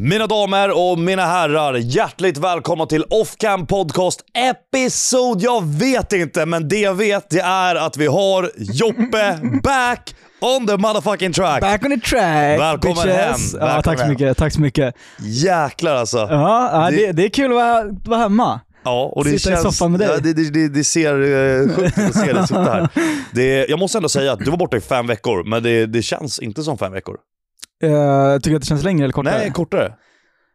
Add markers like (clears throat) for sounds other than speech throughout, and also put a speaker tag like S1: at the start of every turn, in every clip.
S1: Mina damer och mina herrar, hjärtligt välkomna till Offcam Podcast Episod. Jag vet inte, men det jag vet det är att vi har Joppe back on the motherfucking track.
S2: Back on the track!
S1: Välkommen
S2: bitches.
S1: hem,
S2: Ja,
S1: välkommen
S2: tack så
S1: hem.
S2: mycket, tack så mycket.
S1: Jäklar alltså.
S2: Ja, ja,
S1: Det-
S2: det, det är kul att vara, vara hemma.
S1: Ja, och
S2: Sitta i soffan med dig.
S1: Ja, det, det, det, det ser eh, sjukt ut att se dig sitta här. Det, jag måste ändå säga att du var borta i fem veckor, men det, det känns inte som fem veckor.
S2: Eh, tycker du att det känns längre eller kortare?
S1: Nej, kortare.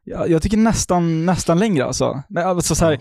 S2: jag, jag tycker nästan, nästan längre alltså. Men, alltså så här,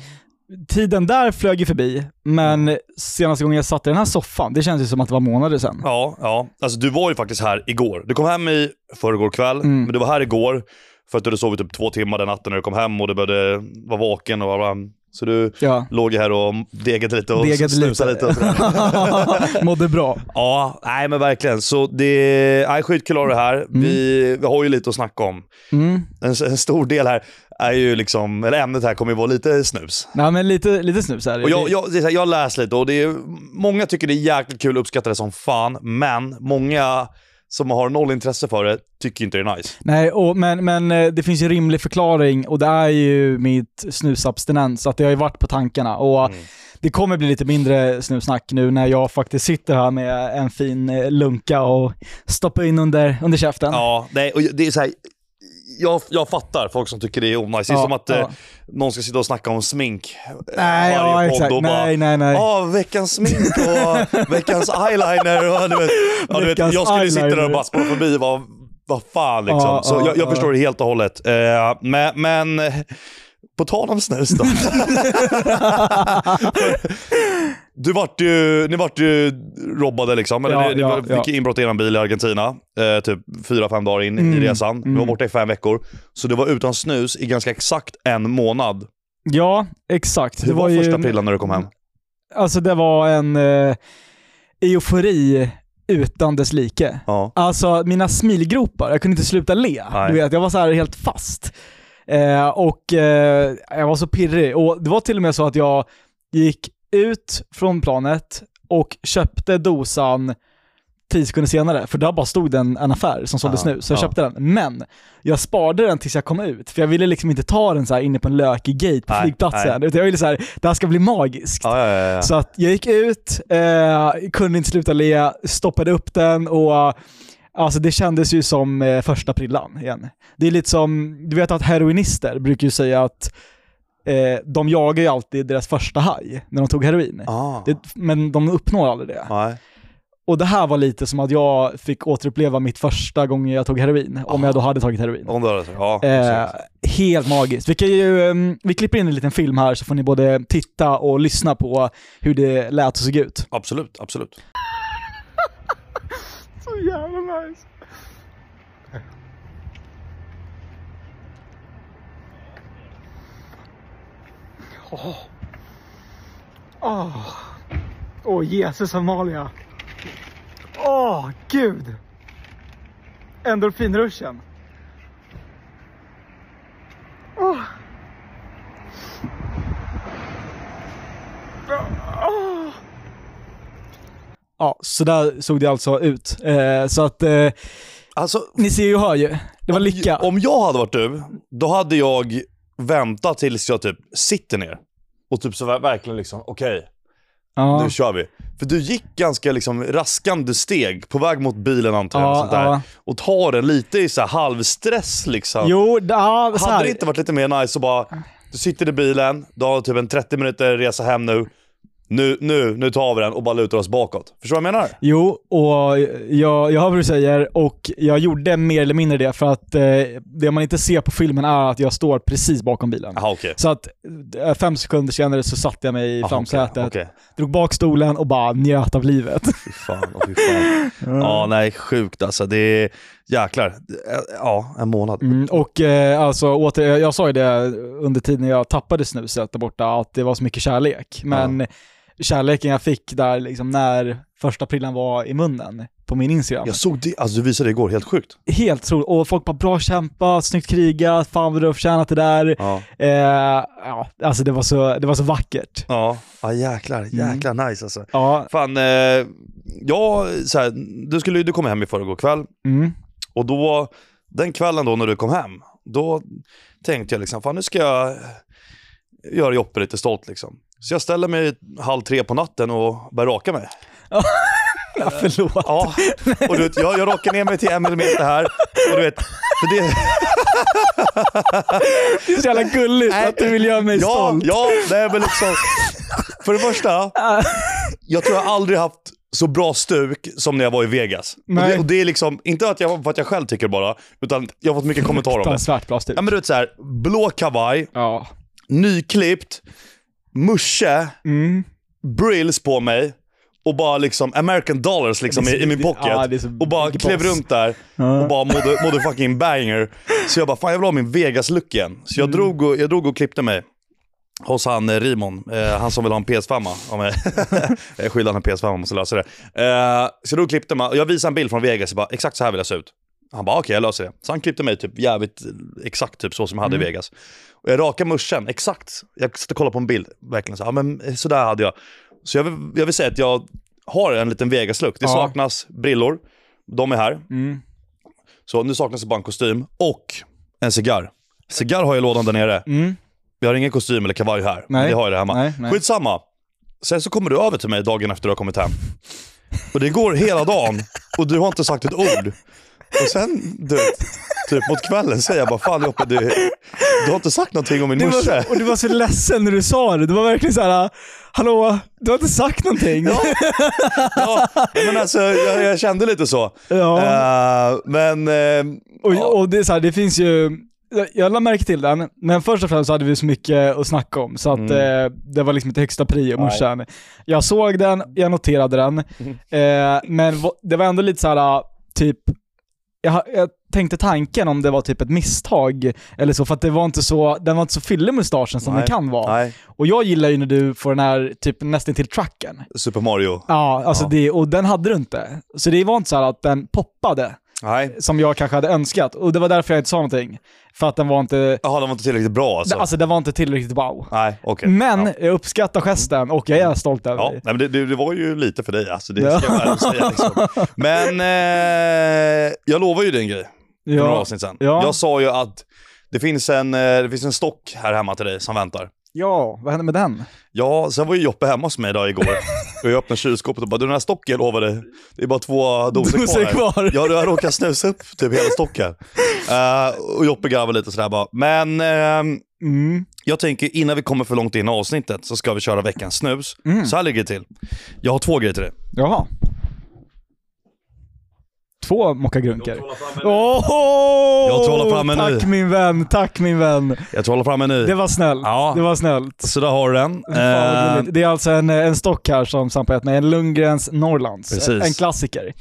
S2: tiden där flög ju förbi,
S1: Mm.
S2: men senaste gången jag satt i den här soffan, det känns ju som att det var månader sedan.
S1: Ja, ja. Alltså du var ju faktiskt här igår. Du kom hem i förrgår kväll,
S2: Mm.
S1: men du var här igår för att du hade sovit typ två timmar den natten när du kom hem och du började vara vaken och bla bla. Så du
S2: Ja. (laughs)
S1: låg ju här och degade lite och
S2: Degade
S1: snusade lite.
S2: lite.
S1: och
S2: (laughs)
S1: sådär.
S2: Mådde bra.
S1: ja, nej men verkligen. Så det nej, skitkul att ha det här. Vi, vi har ju lite att snacka om.
S2: Mm.
S1: En, s- en stor del här är ju liksom, eller ämnet här kommer ju vara lite snus.
S2: Nej men lite, lite snus är det.
S1: Och jag, jag, det är så här, jag läser lite och det är, många tycker det är jäkligt kul och uppskattar det som fan, men många som har noll intresse för det tycker inte det är nice.
S2: Nej, och, men, men eh, det finns ju en rimlig förklaring och det är ju mitt snusabstinens, så att det har ju varit på tankarna. Och
S1: Mm.
S2: Det kommer bli lite mindre snusnack nu när jag faktiskt sitter här med en fin eh, lunka och stoppar in under, under käften.
S1: Ja, nej, och det är så här, jag, jag fattar folk som tycker det är onajs. Det är
S2: Ja,
S1: som att eh,
S2: ja.
S1: någon ska sitta och snacka om smink eh,
S2: Nej, ja,
S1: podd
S2: exakt.
S1: och bara,
S2: Nej, nej, nej.
S1: Ja, veckans smink
S2: (laughs)
S1: och veckans eyeliner. Och, du vet, ja, du vet, jag
S2: Veckans
S1: skulle sitta där och
S2: eyeliner.
S1: bara spåra förbi. Vad, vad fan liksom.
S2: Ja,
S1: Så
S2: ja,
S1: jag, jag
S2: ja.
S1: förstår det helt och hållet. Eh, men, men eh, på tal om snus
S2: (laughs)
S1: då. Du vart ju, ni vart ju robbade liksom. Eller
S2: Ja,
S1: ni, ni
S2: ja,
S1: var-
S2: ja.
S1: fick inbrott i er bil i Argentina. Eh, typ fyra, fem dagar in
S2: Mm,
S1: i resan. Du var borta i fem veckor. Så du var utan snus i ganska exakt en månad.
S2: Ja, exakt.
S1: Hur var, första prillan när du kom hem?
S2: Alltså det var en eh, eufori utan dess like.
S1: Ja.
S2: Alltså mina smilgropar, jag kunde inte sluta le.
S1: Nej.
S2: Du vet, jag var så här helt fast. Eh, och eh, jag var så pirrig. Och det var till och med så att jag gick ut från planet och köpte dosan 10 sekunder senare, för där bara stod det en, en affär som sålde
S1: Ja,
S2: snus, så jag
S1: ja.
S2: köpte den. Men jag sparade den tills jag kom ut, för jag ville liksom inte ta den så här inne på en lökig gate på
S1: Nej,
S2: flygplatsen. Utan jag ville så här, det här ska bli magiskt.
S1: Ja, ja, ja, ja.
S2: Så att jag gick ut, eh, kunde inte sluta le, stoppade upp den och eh, alltså det kändes ju som eh, första prillan igen. Det är lite som, du vet att heroinister brukar ju säga att eh, de jagar ju alltid deras första haj när de tog heroin.
S1: Ah.
S2: Det, men de uppnår aldrig det.
S1: Nej.
S2: Och det här var lite som att jag fick återuppleva mitt första gång jag tog heroin, om jag då hade tagit heroin.
S1: Om du hör det, så- ja,
S2: Eh,
S1: precis.
S2: helt magiskt. Vi, kan ju, ehm, vi klipper in en liten film här så får ni både titta och lyssna på hur det lät och såg ut.
S1: absolut, absolut.
S2: Så jävla nice. Åh, Åh. Åh, Jesus Amalia. Åh, gud. Endorfinruschen. Åh. Åh. Ja, så där såg det alltså ut. Eh, så att eh,
S1: Alltså,
S2: ni ser ju och hör ju. Det var lycka.
S1: Om jag hade varit du, då hade jag väntat tills jag typ sitter ner. Och typ så ver- verkligen liksom, okej,
S2: Ja.
S1: nu kör vi. För du gick ganska liksom raskande steg på väg mot bilen antar jag.
S2: Ja,
S1: och sånt där.
S2: ja.
S1: Och tar den lite i så här halvstress liksom.
S2: Jo, ja, så
S1: hade det
S2: här.
S1: inte varit lite mer nice att bara, du sitter i bilen, du har typ en 30 minuter resa hem nu. Nu, nu, nu tar vi den och bara lutar oss bakåt. Förstår du vad jag menar?
S2: Jo, och jag, jag hör vad du säger och jag gjorde mer eller mindre det för att eh, det man inte ser på filmen är att jag står precis bakom bilen.
S1: Jaha okej.
S2: Så att eh, fem sekunder senare så satte jag mig i
S1: Jaha,
S2: framsätet,
S1: okej, okej.
S2: drog bak stolen och bara njöt
S1: (laughs)
S2: av livet.
S1: Fy fan, oh, fy fan.
S2: (laughs)
S1: Ja, nej, sjukt alltså. Det är jäklar. Ja, en månad.
S2: Mm, och eh, alltså åter, jag, jag sa ju det under tiden jag tappade snuset där borta, att det var så mycket kärlek. Men kärleken jag fick där liksom när första prillan var i munnen på min Instagram.
S1: Jag såg det, alltså du visade det igår, helt sjukt.
S2: Helt otroligt. Och folk bara bra kämpat, snyggt krigat, fan vad du har förtjänat det där.
S1: Ja,
S2: Eh, ja, alltså det var, så, det var så vackert.
S1: ja. ja jäklar,
S2: Mm.
S1: jäklar nice alltså.
S2: Ja,
S1: Fan, eh, jag, så här, du, skulle, ju- du kom hem i förrgår kväll
S2: mm,
S1: och då, den kvällen då när du kom hem, då tänkte jag liksom, fan nu ska jag göra Joppe lite stolt liksom. Så jag ställer mig halv tre på natten och börjar raka mig.
S2: Ja, (laughs) förlåt.
S1: Ja, och du vet, jag, jag rakar ner mig till en millimeter här. Och du vet, för det,
S2: Det är så jävla gulligt att du vill göra mig
S1: ja,
S2: stolt.
S1: ja, nej men liksom. För det första,
S2: Ah,
S1: jag tror jag aldrig haft så bra stuk som när jag var i Vegas. Och
S2: Nej.
S1: det, och det är liksom, inte att jag, för att jag själv tycker bara, utan jag har fått mycket kommentarer om det.
S2: Fruktansvärt bra stuk.
S1: Ja men du vet såhär, blå kavaj,
S2: Ja.
S1: nyklippt, musche,
S2: Mm.
S1: brills på mig och bara liksom American dollars liksom i, i min pocket.
S2: Ja, det är så
S1: och bara
S2: mycket
S1: klev
S2: boss.
S1: runt där och bara mådde, mådde fucking banger. Så jag bara, fan jag vill ha min Vegas-look igen. Så jag, drog och, jag drog och klippte mig. Hos han eh, Rimon, eh, han som vill ha en PS5 av mig. (laughs) jag är skyldig honom en PS5, man måste lösa det. Eh, så då klippte man, och jag visade en bild från Vegas, jag bara, exakt så här vill jag se ut. Han bara, okej jag löser det. Så han klippte mig typ jävligt eh, exakt typ så som jag hade i Vegas. Och jag rakade muschen, exakt. Jag sitter och kollar på en bild, verkligen så, här, ja, men sådär hade jag. Så jag vill, jag vill säga att jag har en liten Vegas-look. Det
S2: Ja.
S1: saknas brillor, de är här.
S2: Mm.
S1: Så nu saknas det bara en kostym och en cigarr. Cigarr har jag i lådan där nere.
S2: Mm.
S1: Jag har ingen kostym eller kavaj här. men
S2: Nej.
S1: Det har jag där hemma.
S2: Nej, nej.
S1: Skitsamma. Sen så kommer du över till mig dagen efter du har kommit hem. Och det går hela dagen och du har inte sagt ett ord. Och sen, du vet, typ mot kvällen säger jag bara fan Joppe, du, du har inte sagt någonting om min
S2: Du var,
S1: morsa.
S2: så- och du var så ledsen när du sa det. Du var verkligen så här: hallå, du har inte sagt någonting.
S1: Ja. ja, men alltså jag, jag kände lite så.
S2: Ja.
S1: Eh, men, eh, ja.
S2: Och, och det, är så här, det finns ju, jag- jag lade märke till den, men först och främst så hade vi så mycket att snacka om så att
S1: Mm.
S2: eh, det var liksom inte högsta prio, morsan. Jag såg den, jag noterade den,
S1: Mm.
S2: eh, men va- det var ändå lite så här ah, typ, jag, ha- jag tänkte tanken om det var typ ett misstag eller så, för att det var inte så, den var inte så fyllig mustaschen som
S1: Nej.
S2: den kan vara.
S1: nej,
S2: Och jag gillar ju när du får den här typ nästan till tracken.
S1: Super Mario.
S2: Ja, alltså
S1: Ja.
S2: Det, och den hade du inte. Så det var inte så här att den poppade
S1: Nej,
S2: som jag kanske hade önskat. Och det var därför jag inte sa någonting. För att den var inte,
S1: jaha den var inte tillräckligt bra alltså.
S2: alltså den var inte tillräckligt wow.
S1: Nej, okej.
S2: Men
S1: Ja. Mm.
S2: jag uppskattar gesten och jag är stolt över
S1: Ja,
S2: dig.
S1: nej, men det, det, det var ju lite för dig alltså, det
S2: Ja.
S1: ska jag väl säga. Liksom. Men eh, jag lovar ju dig en grej för några
S2: Ja,
S1: avsnitt sen.
S2: Ja.
S1: Jag sa ju att det finns, en, eh, det finns en stock här hemma till dig som väntar.
S2: ja, vad hände med den?
S1: Ja, sen var ju Joppe hemma hos mig idag
S2: (laughs)
S1: igår. Och jag öppnade kylskåpet och bara, du den här stocken jag lovade, det är bara två doser,
S2: Doser
S1: kvar. här."
S2: kvar.
S1: Ja, du har råkat snusa upp typ hela stocken. Eh, och Joppe garvade lite sådär bara, men ehm,
S2: Mm.
S1: jag tänker innan vi kommer för långt in i avsnittet så ska vi köra veckans snus.
S2: Mm.
S1: Så här ligger det till. Jag har två grejer till dig.
S2: Jaha. Två mockagrunkar.
S1: Jag
S2: Jag
S1: trollar fram en
S2: Tack
S1: ny.
S2: min vän, tack min vän.
S1: Jag trollar fram en ny.
S2: Det var snällt.
S1: Ja.
S2: Det var snällt.
S1: Så där har du den.
S2: Fan, vad
S1: Eh,
S2: gulligt. det är alltså en, en stock här som Sampa gett mig, en Lundgrens Norrlands.
S1: Precis.
S2: En klassiker.
S1: Eh,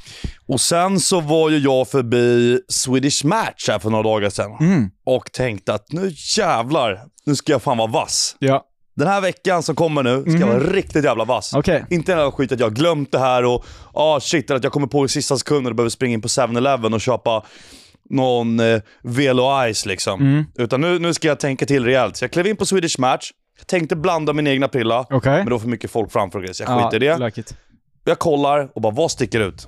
S1: och sen så var ju jag förbi Swedish Match här för några dagar sedan
S2: Mm.
S1: och tänkte att nu jävlar, nu ska jag fan vara vass.
S2: Ja,
S1: Den här veckan som kommer nu ska jag vara riktigt jävla vass.
S2: Mhm. okej.
S1: Inte den här skit att jag har glömt det här och ah shit, att jag kommer på i sista sekunden och behöver springa in på 7-Eleven och köpa någon eh, Velo Ice liksom.
S2: Mm.
S1: Utan nu, nu ska jag tänka till rejält. Så jag klev in på Swedish Match, jag tänkte blanda min egna prilla,
S2: Okej.
S1: men då var för mycket folk framför grejer, så jag skiter i det.
S2: Lökigt.
S1: Jag kollar och bara, vad sticker ut?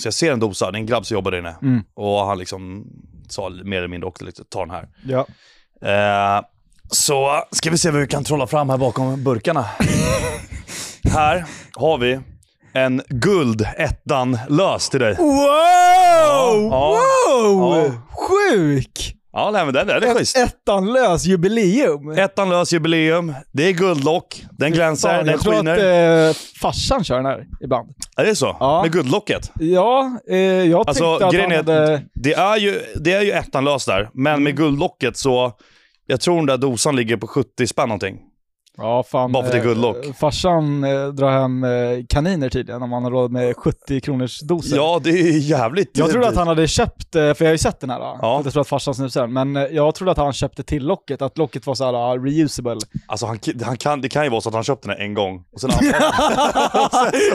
S1: Så jag ser en dosa, det är en grabb som jobbar där inne.
S2: Mm.
S1: Och han liksom sa mer eller mindre också, liksom, ta den här.
S2: Ja.
S1: Eh, så ska vi se vad vi kan trolla fram här bakom
S2: (laughs)
S1: burkarna. här har vi en guld ettan lös till dig.
S2: Wow!
S1: ja,
S2: wow!
S1: ja.
S2: Sjuk!
S1: Ja, nej, men den, den är schysst.
S2: Ettan lös jubileum.
S1: Ettan lös jubileum. Det är guldlock. Den glänser,
S2: Fan,
S1: den
S2: jag tror
S1: skiner.
S2: att eh, farsan kör den här ibland.
S1: Är det så?
S2: Ja.
S1: Med guldlocket?
S2: Ja, eh, jag
S1: Alltså
S2: tyckte att
S1: grejen
S2: han
S1: är
S2: hade... Mm.
S1: att det är ju, det är ju ettan lös där, men med guldlocket så, jag tror den där dosan ligger på 70 spänn någonting.
S2: Ja, fan.
S1: Bara för att det är guldlock.
S2: eh, Farsan eh, drar hem eh, kaniner tydligen om han har råd med 70 kronors doser.
S1: Ja, det är jävligt
S2: Jag trodde att han hade köpt, eh, för jag har ju sett den här,
S1: Ja.
S2: ja. jag tror att farsan snusar den, men eh, jag trodde att han köpte till locket, att locket var så här ah, reusable.
S1: Alltså han, han kan, det kan ju vara så att han köpte den en gång, och sen
S2: (laughs)
S1: använde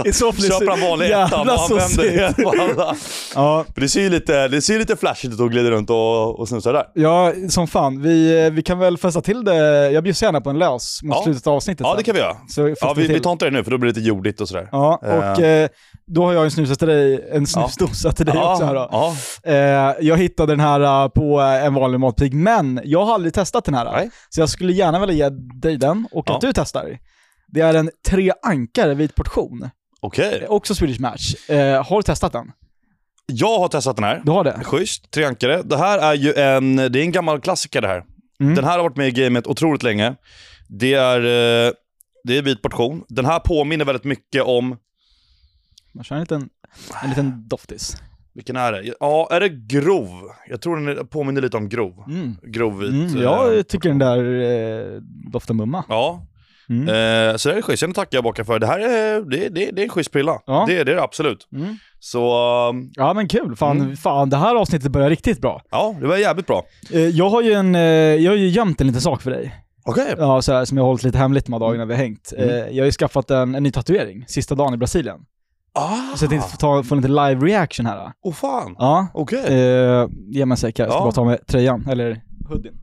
S2: I så fall är det så
S1: (laughs) Köper han vanlig ettan
S2: jävla
S1: och använder
S2: sossigt.
S1: det på alla.
S2: Ja,
S1: För det ser ju lite, det ser ju lite flashigt ut att glida runt och, och snusa där.
S2: eh, Ja, som fan. Vi, vi kan väl fästa till det. Jag bjussar gärna på en lös mot
S1: Ja,
S2: slutet av avsnittet
S1: Ja,
S2: sen.
S1: det kan vi göra.
S2: Så
S1: Ja,
S2: fixar
S1: vi, vi
S2: till.
S1: tar inte det nu för då blir det lite jordigt och sådär.
S2: Ja, och
S1: Eh.
S2: eh, då har jag en snusdosa till dig, en snusdosa till dig också här då.
S1: ja.
S2: Eh, jag hittade den här eh, på eh, en vanlig matbutik, men jag har aldrig testat den här.
S1: Nej.
S2: Så jag skulle gärna vilja ge dig den och att
S1: Ja.
S2: du testar. Det är en tre ankare vit portion.
S1: Okej.
S2: Eh, Också Swedish Match. Eh, har du testat den?
S1: Jag har testat den här.
S2: Du har det?
S1: Schysst, treankare. Det här är ju en, det är en gammal klassiker det här.
S2: Mm.
S1: Den här har varit med i gamet otroligt länge. Det är, eh, det är en vit portion. Den här påminner väldigt mycket om,
S2: Man kör en liten, en liten doftis.
S1: vilken är det? Ja, är det grov? Jag tror den är- påminner lite om grov.
S2: Mm.
S1: Grov vit.
S2: Mm,
S1: eh,
S2: jag tycker den där eh, doftar mumma.
S1: Ja.
S2: Mm.
S1: Eh, så det är schysst. Den tackar jag baka för. Det här är, det, det, det är en schysst prilla.
S2: Ja.
S1: Det, det är det absolut.
S2: Mm.
S1: Så, um,
S2: Ja men kul, fan,
S1: Mm.
S2: fan det här avsnittet börjar riktigt bra.
S1: ja, det var jävligt bra.
S2: Eh, jag har ju en, eh, jag har ju gömt en liten sak för dig.
S1: Okej.
S2: Ja, så här, som jag har hållit lite hemligt de här dagarna vi har hängt. Eh, jag har ju skaffat en, en ny tatuering, sista dagen i Brasilien.
S1: Ah!
S2: Så jag tänkte få, ta, få en liten live reaction här. då.
S1: Åh fan.
S2: Ja,
S1: Okej.
S2: eh, ge mig en sec här. jag ska
S1: Ja.
S2: bara ta med tröjan, eller hoodien.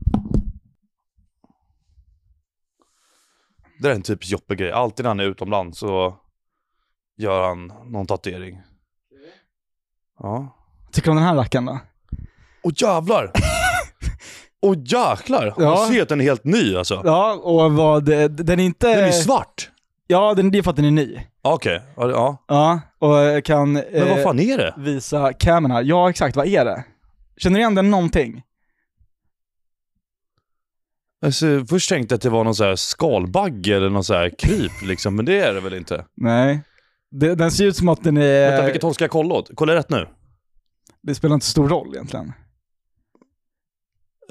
S1: Det där är en typisk Joppe-grej. Alltid när han är utomlands så gör han någon tatuering. Ja.
S2: Tycker du om den här rackaren då?
S1: Åh
S2: (laughs)
S1: jävlar! Åh jäklar! Man
S2: Ja.
S1: ser att den är helt ny alltså.
S2: Ja, och vad, eh, den är inte...
S1: Den är svart!
S2: Ja, den, det är för att den är ny.
S1: Okej, ja, det- ja.
S2: Ja, och jag kan eh,
S1: Men vad fan är det?
S2: visa camen här. Ja, exakt, vad är det? Känner du igen den någonting?
S1: Alltså, först tänkte jag att det var någon så här skalbagge eller någon så här kryp liksom, men det är det väl inte?
S2: Nej. Det, den ser ut som att den är...
S1: Vänta, vilket håll ska jag kolla åt? Kolla rätt nu.
S2: Det spelar inte så stor roll egentligen.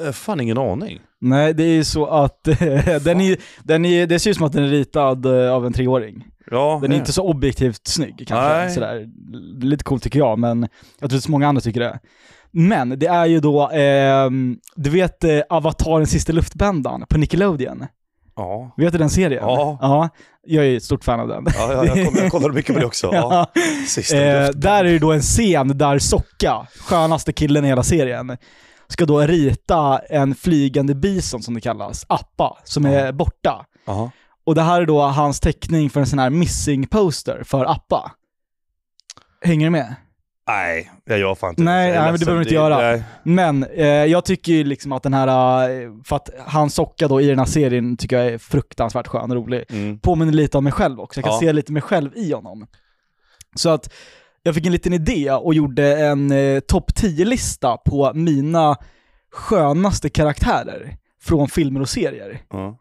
S1: Eh, fan, ingen aning.
S2: Nej, det är ju så att (laughs) eh, den är, den är, det ser ut som att den är ritad eh, av en treåring.
S1: Ja,
S2: Den är
S1: eh.
S2: inte så objektivt snygg kanske.
S1: Nej.
S2: Sådär. L- Lite coolt tycker jag, men jag tror att så många andra tycker det. Men det är ju då, ehm, du vet eh, Avatarens sista luftbändan på Nickelodeon.
S1: Ja.
S2: Vet du den serien?
S1: Ja.
S2: ja jag är ju ett stort fan av den.
S1: Ja, ja, jag, kom, jag kollade mycket på det
S2: (laughs)
S1: också. Ja. Sista
S2: Eh,
S1: luften.
S2: där är det då en scen där Socka, skönaste killen i hela serien, ska då rita en flygande bison som det kallas, Appa, som är borta.
S1: Ja.
S2: Och det här är då hans teckning för en sån här missing poster för Appa. Hänger du med?
S1: Nej, jag gör fan inte
S2: Nej,
S1: Jag är
S2: nej, men det
S1: ledsen.
S2: behöver du inte göra.
S1: nej.
S2: Men eh, jag tycker ju liksom att den här, eh, för att han Socka då i den här serien tycker jag är fruktansvärt skön och rolig.
S1: Mm.
S2: påminner lite om mig själv också. Jag kan
S1: Ja.
S2: se lite mig själv i honom. Så att jag fick en liten idé och gjorde en eh, topp 10-lista på mina skönaste karaktärer från filmer och serier.
S1: Ja.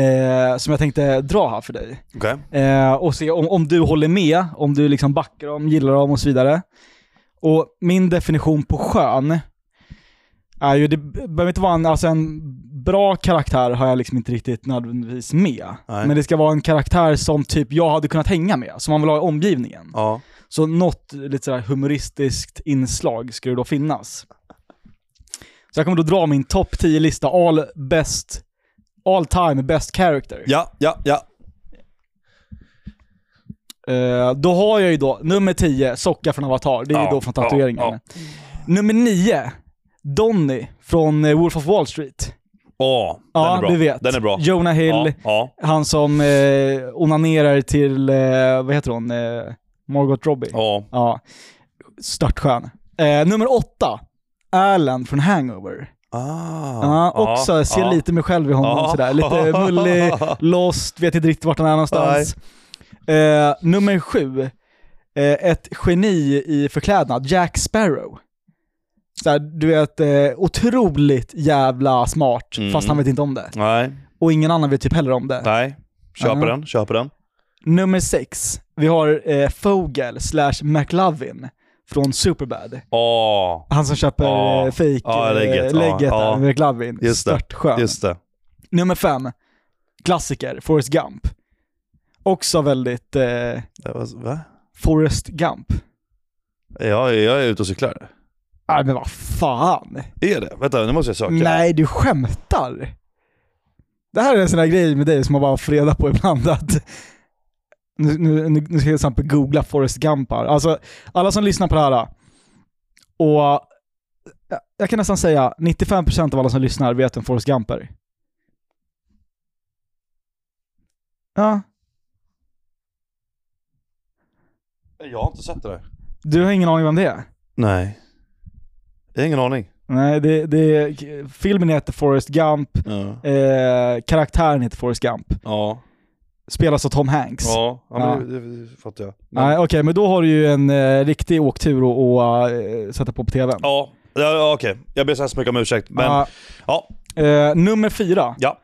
S2: Eh, som jag tänkte dra här för dig.
S1: Okej.
S2: Eh, och se om, om du håller med, om du liksom backar dem, gillar dem och så vidare. Och min definition på skön är ju, det behöver inte vara en, alltså en bra karaktär har jag liksom inte riktigt nödvändigtvis med.
S1: Nej.
S2: Men det ska vara en karaktär som typ jag hade kunnat hänga med, som man vill ha i omgivningen.
S1: Ja.
S2: Så något lite sådär humoristiskt inslag skulle då finnas. Så jag kommer då dra min topp 10-lista, all best, all time best character.
S1: ja, ja, ja.
S2: Eh, då har jag ju då nummer 10, Socka från Avatar. Det är ju
S1: Ja,
S2: då från tatueringen. Nummer 9, Donny från eh, Wolf of Wall Street.
S1: Åh,
S2: Ja,
S1: den är bra.
S2: du vet.
S1: Den är bra.
S2: Jonah
S1: Ja,
S2: Hill,
S1: ja,
S2: han som eh, onanerar till, eh, vad heter hon, eh, Margot Robbie.
S1: ja.
S2: Ja, störtskön. Eh, nummer 8, Alan från Hangover.
S1: Ah,
S2: Ja, också, jag ser
S1: ja.
S2: lite mig själv i honom
S1: Ja.
S2: sådär.
S1: (laughs)
S2: Lite mullig, lost, vet inte riktigt vart han är någonstans. Eh, nummer sju, eh, ett geni i förklädnad, Jack Sparrow. Såhär, du vet, eh, otroligt jävla smart,
S1: Mm.
S2: fast han vet inte om det.
S1: Nej,
S2: Och ingen annan vet typ heller om det.
S1: nej. Köper
S2: Ja.
S1: den, köper den.
S2: Nummer sex, vi har eh, Fogel slash McLovin från Superbad.
S1: Åh,
S2: Han som köper
S1: Ja.
S2: eh, fake
S1: Ja, lägget,
S2: eh, lägget
S1: ja,
S2: där,
S1: ja.
S2: McLovin.
S1: Just det.
S2: Störtskön.
S1: just det.
S2: Nummer fem, klassiker, Forrest Gump. Också väldigt eh,
S1: det var, va?
S2: Forrest Gump.
S1: Jag, jag är ute och cyklar.
S2: Nej men vad fan.
S1: Är det? Vänta, nu måste jag söka.
S2: Nej du skämtar. Det här är en sån här grej med dig som man bara får reda på ibland att (laughs) nu, nu, nu ska jag till exempel googla Forrest Gump här. Alltså alla som lyssnar på det här eh, och eh, jag kan nästan säga 95% av alla som lyssnar vet vem Forrest Gump är. Ja.
S1: Jag har inte sett det där.
S2: Du har ingen aning vem det är?
S1: Nej. Jag har ingen aning.
S2: Nej, det, det, filmen heter Forrest Gump.
S1: Ja.
S2: Eh, karaktären heter Forrest Gump.
S1: Ja,
S2: Spelas av Tom Hanks.
S1: ja, men
S2: Ja.
S1: Det, det, det fattar jag. Men,
S2: Nej, Okej, men då har du ju en eh, riktig åktur att och, eh, sätta på på tvn.
S1: Ja, ja, ja okej. Jag ber så hemskt mycket om ursäkt. Men
S2: Ja.
S1: ja,
S2: Eh, nummer fyra.
S1: Ja.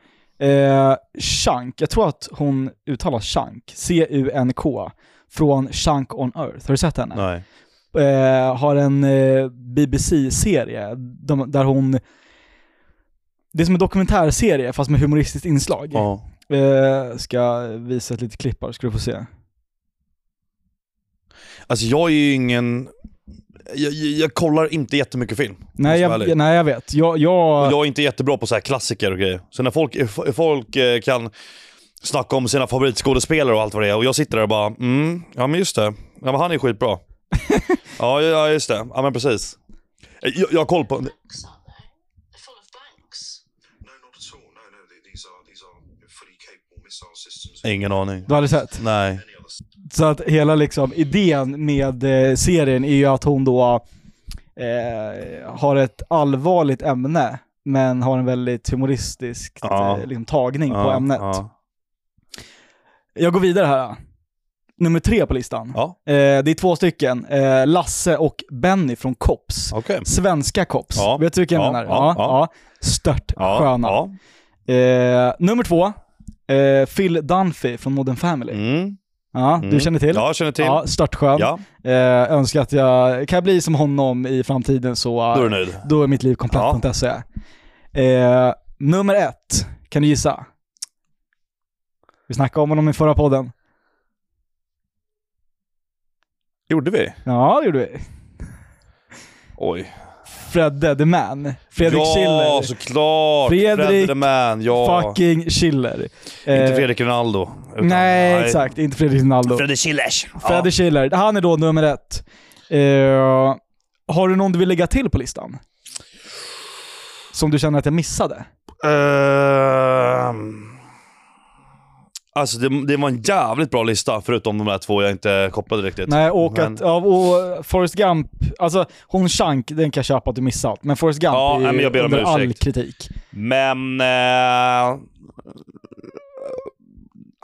S2: Eh, Shank. Jag tror att hon uttalar Shank. C-U-N-K. Från Shank on Earth. Har du sett henne?
S1: nej.
S2: eh, har en eh, BBC-serie de, där hon... Det är som en dokumentärserie fast med humoristiskt inslag.
S1: Ja.
S2: Eh, ska visa ett litet klipp här, ska du få se.
S1: Alltså jag är ju ingen... Jag, jag, jag kollar inte jättemycket film.
S2: Nej
S1: vara
S2: jag,
S1: ärlig.
S2: nej, jag vet. Jag, jag,
S1: Och jag är inte jättebra på så här klassiker och grejer. Så när folk, f- folk eh, kan snacka om sina favoritskådespelare och allt vad det är och jag sitter där och bara mm, ja men just det. Ja men han är
S2: (laughs)
S1: skitbra. ja, ja, ja just det. Ja men precis. Eh, Jag, jag har koll på...
S3: books, aren't they? They're full of blanks.
S4: No, not at all. No, no. th- These are these are fully capable missile systems.
S1: Ingen aning.
S2: Du hade sett?
S1: Nej.
S4: Any other
S2: Så att hela liksom, idén med eh, serien är ju att hon då eh, har ett allvarligt ämne men har en väldigt humoristisk
S1: Ja.
S2: eh, liksom, tagning på
S1: Ja,
S2: ämnet.
S1: ja.
S2: Jag går vidare här. Nummer tre på listan.
S1: Ja,
S2: Eh, det är två stycken. Eh, Lasse och Benny från Kops.
S1: okej.
S2: Svenska Kops.
S1: Ja.
S2: Vet du vilka jag
S1: Ja,
S2: menar?
S1: ja, ja.
S2: Stört
S1: Ja,
S2: sköna.
S1: ja.
S2: Eh, nummer två. Eh, Phil Dunphy från Modern Family.
S1: Mm,
S2: Ja,
S1: mm.
S2: du känner till?
S1: Ja, jag känner till.
S2: Ja,
S1: Ja.
S2: stört skön. Eh, önskar att jag kan jag bli som honom i framtiden så eh,
S1: då är du nöjd.
S2: då är mitt liv komplett. Ja. Eh, nummer ett. Kan du gissa? Vi snackade om honom i förra podden.
S1: Gjorde vi?
S2: Ja, det gjorde vi.
S1: Oj.
S2: Fredde the man. Fredrik
S1: ja,
S2: Schiller.
S1: såklart!
S2: Fredrik
S1: Fredrik the man, ja.
S2: Fucking Schiller.
S1: Inte
S2: Eh,
S1: Fredrik Ronaldo. utan-
S2: Nej, exakt. Inte Fredrik Ronaldo.
S1: Fredrik Schillers.
S2: Fredde Schiller. Han är då nummer ett. Eh, har du någon du vill lägga till på listan? Som du känner att jag missade?
S1: Ehm. Alltså det, det var en jävligt bra lista, förutom de där två jag inte kopplade riktigt.
S2: Nej, och
S1: Men-
S2: att... Ja, och Forrest Gump. Alltså, hon Shank, den kan jag köpa att du missat. Men Forrest Gump
S1: Ja,
S2: är
S1: nej, men jag ber om
S2: under all
S1: ursäkt.
S2: kritik.
S1: Men... Eh,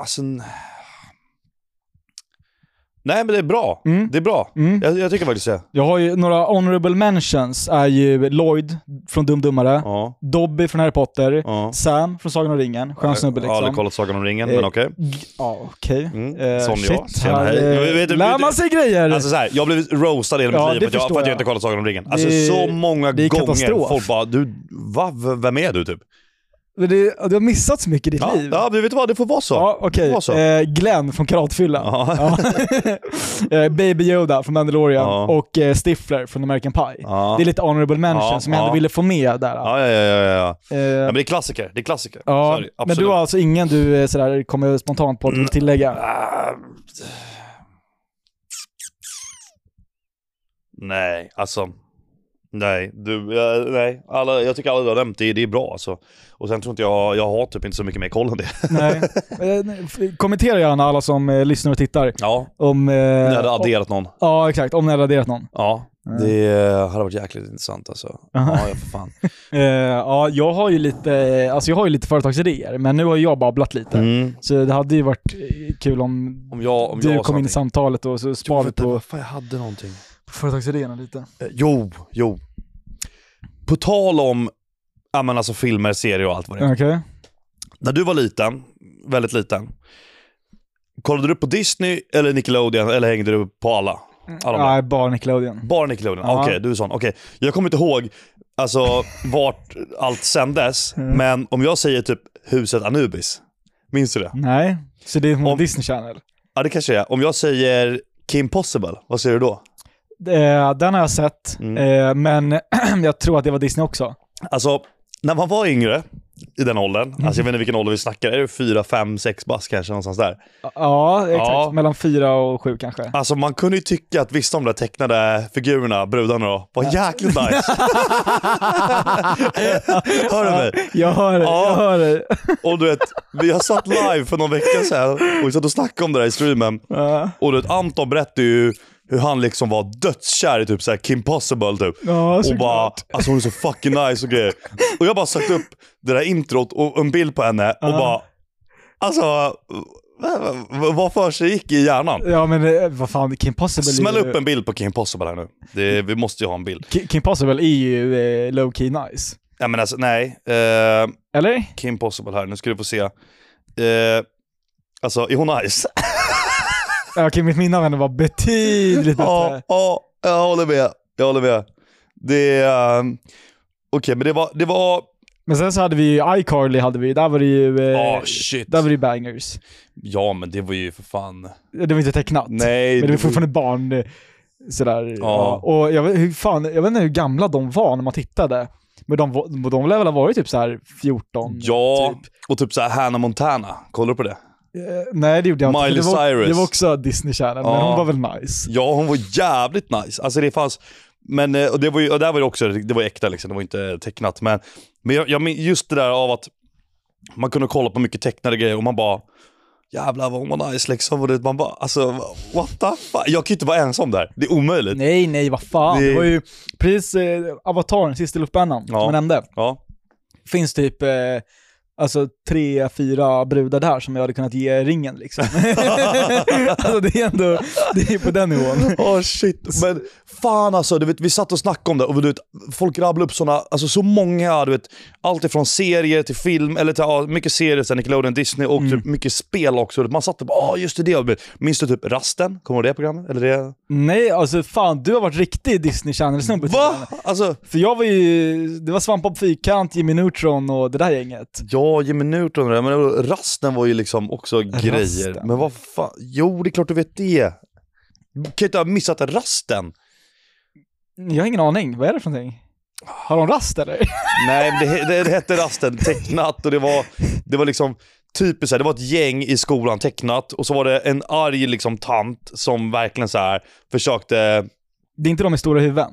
S1: alltså... n- Nej men det är bra.
S2: Mm.
S1: Det är bra.
S2: Mm.
S1: Jag, jag tycker faktiskt det.
S2: Jag har ju några honorable mentions. är ju Lloyd från Dum Dummare,
S1: Ja.
S2: Dobby från Harry Potter,
S1: Ja.
S2: Sam från Sagan om ringen. Skön snubbe
S1: Jag har
S2: liksom.
S1: aldrig kollat Sagan om ringen,
S2: Eh,
S1: men okej.
S2: G- Ja, okej.
S1: Mm.
S2: Eh,
S1: Sån jag.
S2: shit,
S1: Tjena,
S2: här,
S1: hej.
S2: eh,
S1: Jag vet inte-
S2: lär man sig grejer.
S1: Alltså såhär, jag har blivit roastad hela mitt
S2: Ja,
S1: liv
S2: det
S1: för att, jag,
S2: förstår
S1: för att jag
S2: jag.
S1: inte kollat Sagan om ringen. Alltså
S2: Det-
S1: så många
S2: det är
S1: gånger
S2: katastrof.
S1: folk bara du, va, V- vem är du typ?
S2: Men det, du har missat så mycket i ditt
S1: Ja,
S2: liv.
S1: ja men vet du vad, det får vara så.
S2: Ja, okej.
S1: Det var så.
S2: Eh, Glenn från Karatfylla.
S1: Ja.
S2: Ja. (laughs) Eh, Baby Yoda från Mandalorian
S1: Ja.
S2: och eh, Stifler från American Pie.
S1: Ja.
S2: Det är lite honorable mention
S1: Ja,
S2: som jag ändå
S1: ja.
S2: ville få med där.
S1: Ja, ja, ja, ja, ja. ja.
S2: Eh,
S1: Men det är klassiker. Det är klassiker.
S2: ja,
S1: Så är det,
S2: men
S1: absolut.
S2: du har alltså ingen du eh, sådär, kommer spontant på att du
S1: Mm.
S2: vill
S1: (laughs)
S2: tillägga?
S1: Ah. Nej, alltså. Nej, du, eh, nej. Alla, jag tycker alla du har nämnt, det, det är bra alltså. Och sen tror inte jag, jag har typ inte så mycket mer koll än det.
S2: Nej. Eh, nej, f- kommentera gärna alla som eh, lyssnar och tittar.
S1: (laughs) Ja,
S2: Om, eh,
S1: jag hade adderat någon.
S2: Ja, exakt. Om ni hade raderat någon.
S1: Ja, det eh, hade varit jäkligt intressant
S2: (laughs)
S1: alltså. Ja, ja, för fan.
S2: Eh, ja, jag har ju lite, alltså jag har ju lite företagsidéer, men nu har jag babblat lite.
S1: Mm.
S2: Så det hade ju varit eh, kul om,
S1: Om jag, om
S2: du
S1: jag
S2: kom in i
S1: samtidigt.
S2: samtalet och så spar vi på,
S1: Vad fan, jag hade någonting.
S2: på företagsidéerna lite.
S1: Eh, Jo, jo. På tal om ja, men alltså filmer, serier och allt vad det är.
S2: Okej.
S1: När du var liten, väldigt liten, kollade du på Disney eller Nickelodeon eller hängde du på alla? alla de där?
S2: Nej, bara Nickelodeon.
S1: Bara Nickelodeon?
S2: Mm. Ja.
S1: Okej, du är sån. Okej. Jag kommer inte ihåg alltså, vart allt sändes,
S2: Mm.
S1: men om jag säger typ huset Anubis, minns du det?
S2: Nej, så det är från
S1: Om-
S2: Disney Channel.
S1: Ja, det kanske är. Om jag säger Kim Possible, vad säger du då?
S2: Eh, den har jag
S1: Mm.
S2: (clears throat) sett, eh, men jag tror att det var Disney också.
S1: Alltså, när man var yngre i den åldern. Alltså jag vet inte vilken ålder vi snackar. Är det fyra, fem, sex bast kanske någonstans där?
S2: Ja, exakt.
S1: Ja.
S2: Mellan fyra och sju kanske.
S1: Alltså man kunde ju tycka att vissa av de där tecknade figurerna, brudarna då, var jäkligt nice. Hör du mig?
S2: Jag hör dig,
S1: Ja.
S2: jag hör dig.
S1: Och du vet, vi har satt live för någon vecka sedan och vi satt och snackade om det där i streamen.
S2: Ja.
S1: Och du vet, Anton berättade ju hur han liksom var dödskär i typ så här Kim Possible typ. och
S2: Ja,
S1: bara,
S2: såklart.
S1: alltså hon är så fucking nice och grejer. Och jag bara sökte upp det där introt och en bild på henne och bara, alltså v- v- vad för sig gick i hjärnan?
S2: Ja men eh, vad fan, Kim Possible
S1: Smäll
S2: är ju...
S1: upp en bild på Kim Possible här nu. Det, vi måste ju ha en bild.
S2: Ki- Kim Possible är ju eh, low key nice.
S1: Ja, men alltså, nej, eh,
S2: Eller?
S1: Kim Possible här, nu ska du få se. Eh, alltså, är hon
S2: (laughs)
S1: nice?
S2: Okej, mitt minne av henne var betydligt
S1: Ja,
S2: bättre.
S1: ja, jag håller med. Jag håller med. Det är... ehm, Okej, men det var... Det var
S2: Men sen så hade vi ju iCarly, hade vi. där var det ju... Eh,
S1: ah shit.
S2: där var det ju bangers.
S1: Ja, men det var ju för fan...
S2: Det var inte tecknat.
S1: Nej.
S2: Men det var fortfarande barn. eh, Sådär. Ja. Och jag vet, hur fan, jag vet inte hur gamla de var när man tittade. Men de, var- de lär väl ha varit typ så här 14?
S1: Ja,
S2: Typ.
S1: och typ så här Hannah Montana. Kollar du på det?
S2: Eh, Nej, det gjorde jag
S1: Miley
S2: inte. för Det var,
S1: Cyrus.
S2: Det var också Disney Channel, men
S1: Ja.
S2: hon var väl nice.
S1: Ja, hon var jävligt nice. Alltså det fanns... Men, eh, och det var ju, och där var det också, det var ju äkta liksom, det var inte tecknat. Men, men jag, jag min- just det där av att man kunde kolla på mycket tecknade grejer och man bara, jävlar vad hon var nice liksom. Och det, man bara, alltså what the fuck? Jag kan ju inte vara ensam där, det är omöjligt.
S2: Nej, nej, vad fan.
S1: Det-
S2: Det var ju precis eh, Avatar, den sista luftpennan,
S1: Ja.
S2: som jag nämnde.
S1: Ja.
S2: finns typ eh, alltså tre, fyra brudar där som jag hade kunnat ge ringen liksom. (laughs) alltså det är ändå, det är på den nivån.
S1: Åh Oh, shit. Men fan alltså, du vet, vi satt och snackade om det och du vet, folk rabblade upp såna, alltså så många, du vet, allt ifrån serier till film, eller till, ja, mycket serier, så här Nickelodeon, Disney och typ mycket spel också. Man satt och bara, "Ah, just det, det. Och, Minns du typ Rasten? Kommer du ihåg det programmet? Eller det?
S2: Nej, alltså fan du har varit riktig Disney Channel-snubbe. till och
S1: Va?
S2: med.
S1: Alltså,
S2: För jag var ju, det var Svampa på fyrkant, Jimmy Neutron och det där gänget.
S1: ja, Jimmy Neutron och det där, men Rasten var ju liksom också grejer. Men vad fan, jo det är klart du vet det. Du kan ju inte ha missat Rasten.
S2: Jag har ingen aning, vad är det för någonting? Har de rast eller?
S1: Nej, men det, det hette Rasten, tecknat och det var, det var liksom typiskt så här, det var ett gäng i skolan, tecknat, och så var det en arg liksom tant som verkligen så här försökte,
S2: Det är inte de med stora huvuden?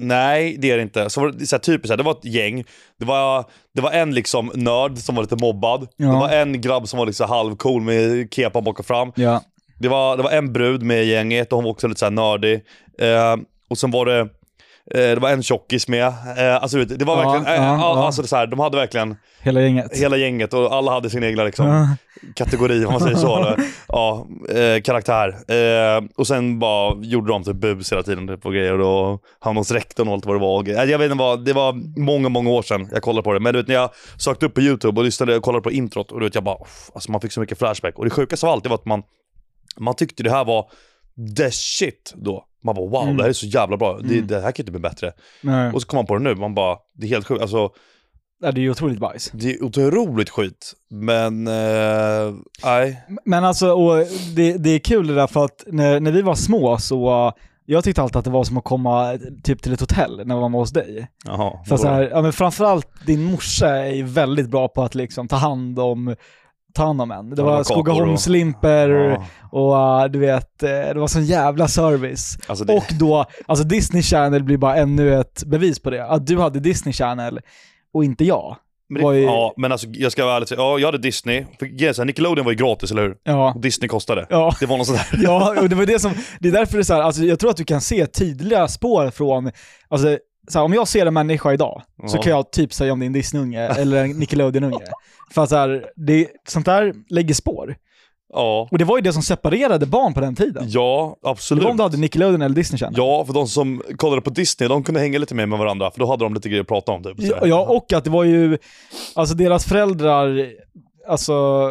S1: nej det är det inte. Så var det så här, typiskt så här, det var ett gäng, det var, det var en liksom nörd som var lite mobbad,
S2: Ja.
S1: det var en grabb som var liksom halvcool med kepan bak och fram,
S2: Ja.
S1: det var, det var en brud med i gänget och hon var också lite så här nördig. Eh, och sen var det, eh, det var en tjockis med. Eh, alltså du vet, det var
S2: Ja,
S1: verkligen, eh,
S2: ja,
S1: all-
S2: ja.
S1: Alltså, det är så här, de hade verkligen
S2: Hela gänget.
S1: hela gänget och alla hade sin egna liksom,
S2: Ja.
S1: kategori om man säger så. Eller, ja, eh, karaktär. Eh, och sen bara gjorde de typ bus hela tiden typ, och grejer och hamnade hos rektorn och allt vad det var. Och, grejer. jag vet inte vad, det var många, många år sedan jag kollade på det. Men du vet när jag sökte upp på YouTube och lyssnade och kollade på introt och du vet jag bara, "Uff", alltså man fick så mycket flashback. Och det sjukaste av allt det var att man, man tyckte det här var the shit då. Man bara wow, det här är så jävla bra. Det, det här kan inte bli bättre.
S2: Nej.
S1: Och så kom man på det nu, man bara, det är helt sjukt. Alltså,
S2: Ja, Det är ju otroligt bajs.
S1: det är otroligt skit, men eh, nej.
S2: Men alltså, och det, det är kul det där för att när, när vi var små så, uh, jag tyckte alltid att det var som att komma eh, typ till ett hotell när man var hos dig.
S1: Jaha.
S2: För så här, ja, men framförallt din morsa är ju väldigt bra på att liksom ta hand om ta hand om en. Det
S1: Ja,
S2: var
S1: kakor och-
S2: Skogaholmslimper
S1: Ja.
S2: och uh, du vet, eh, det var sån jävla service.
S1: Alltså det-
S2: Och då, alltså Disney Channel blir bara ännu ett bevis på det. Att du hade Disney Channel och inte jag.
S1: Men det,
S2: var ju-
S1: Ja, men alltså jag ska vara ärlig och säga, ja, jag hade Disney. För, grejen är så här, Nickelodeon var ju gratis, eller hur?
S2: Ja.
S1: Och Disney kostade.
S2: Ja.
S1: Det var något sådär.
S2: (laughs) Ja, och det var det som, det är därför det är så här, alltså jag tror att du kan se tydliga spår från, alltså så här, om jag ser en människa idag så
S1: Ja.
S2: kan jag typ säga om det är en Disney-unge eller en Nickelodeon-unge. För att så här, det, sånt där lägger spår.
S1: (laughs) Ja.
S2: Och det var ju det som separerade barn på den tiden.
S1: Ja,
S2: Det
S1: absolut.
S2: var om du hade Nickelodeon eller Disney Channel.
S1: Ja, för de som kollade på Disney, de kunde hänga lite mer med varandra, för då hade de lite grejer att prata om. Typ, sådär.
S2: Ja, och att det var ju, alltså deras föräldrar, alltså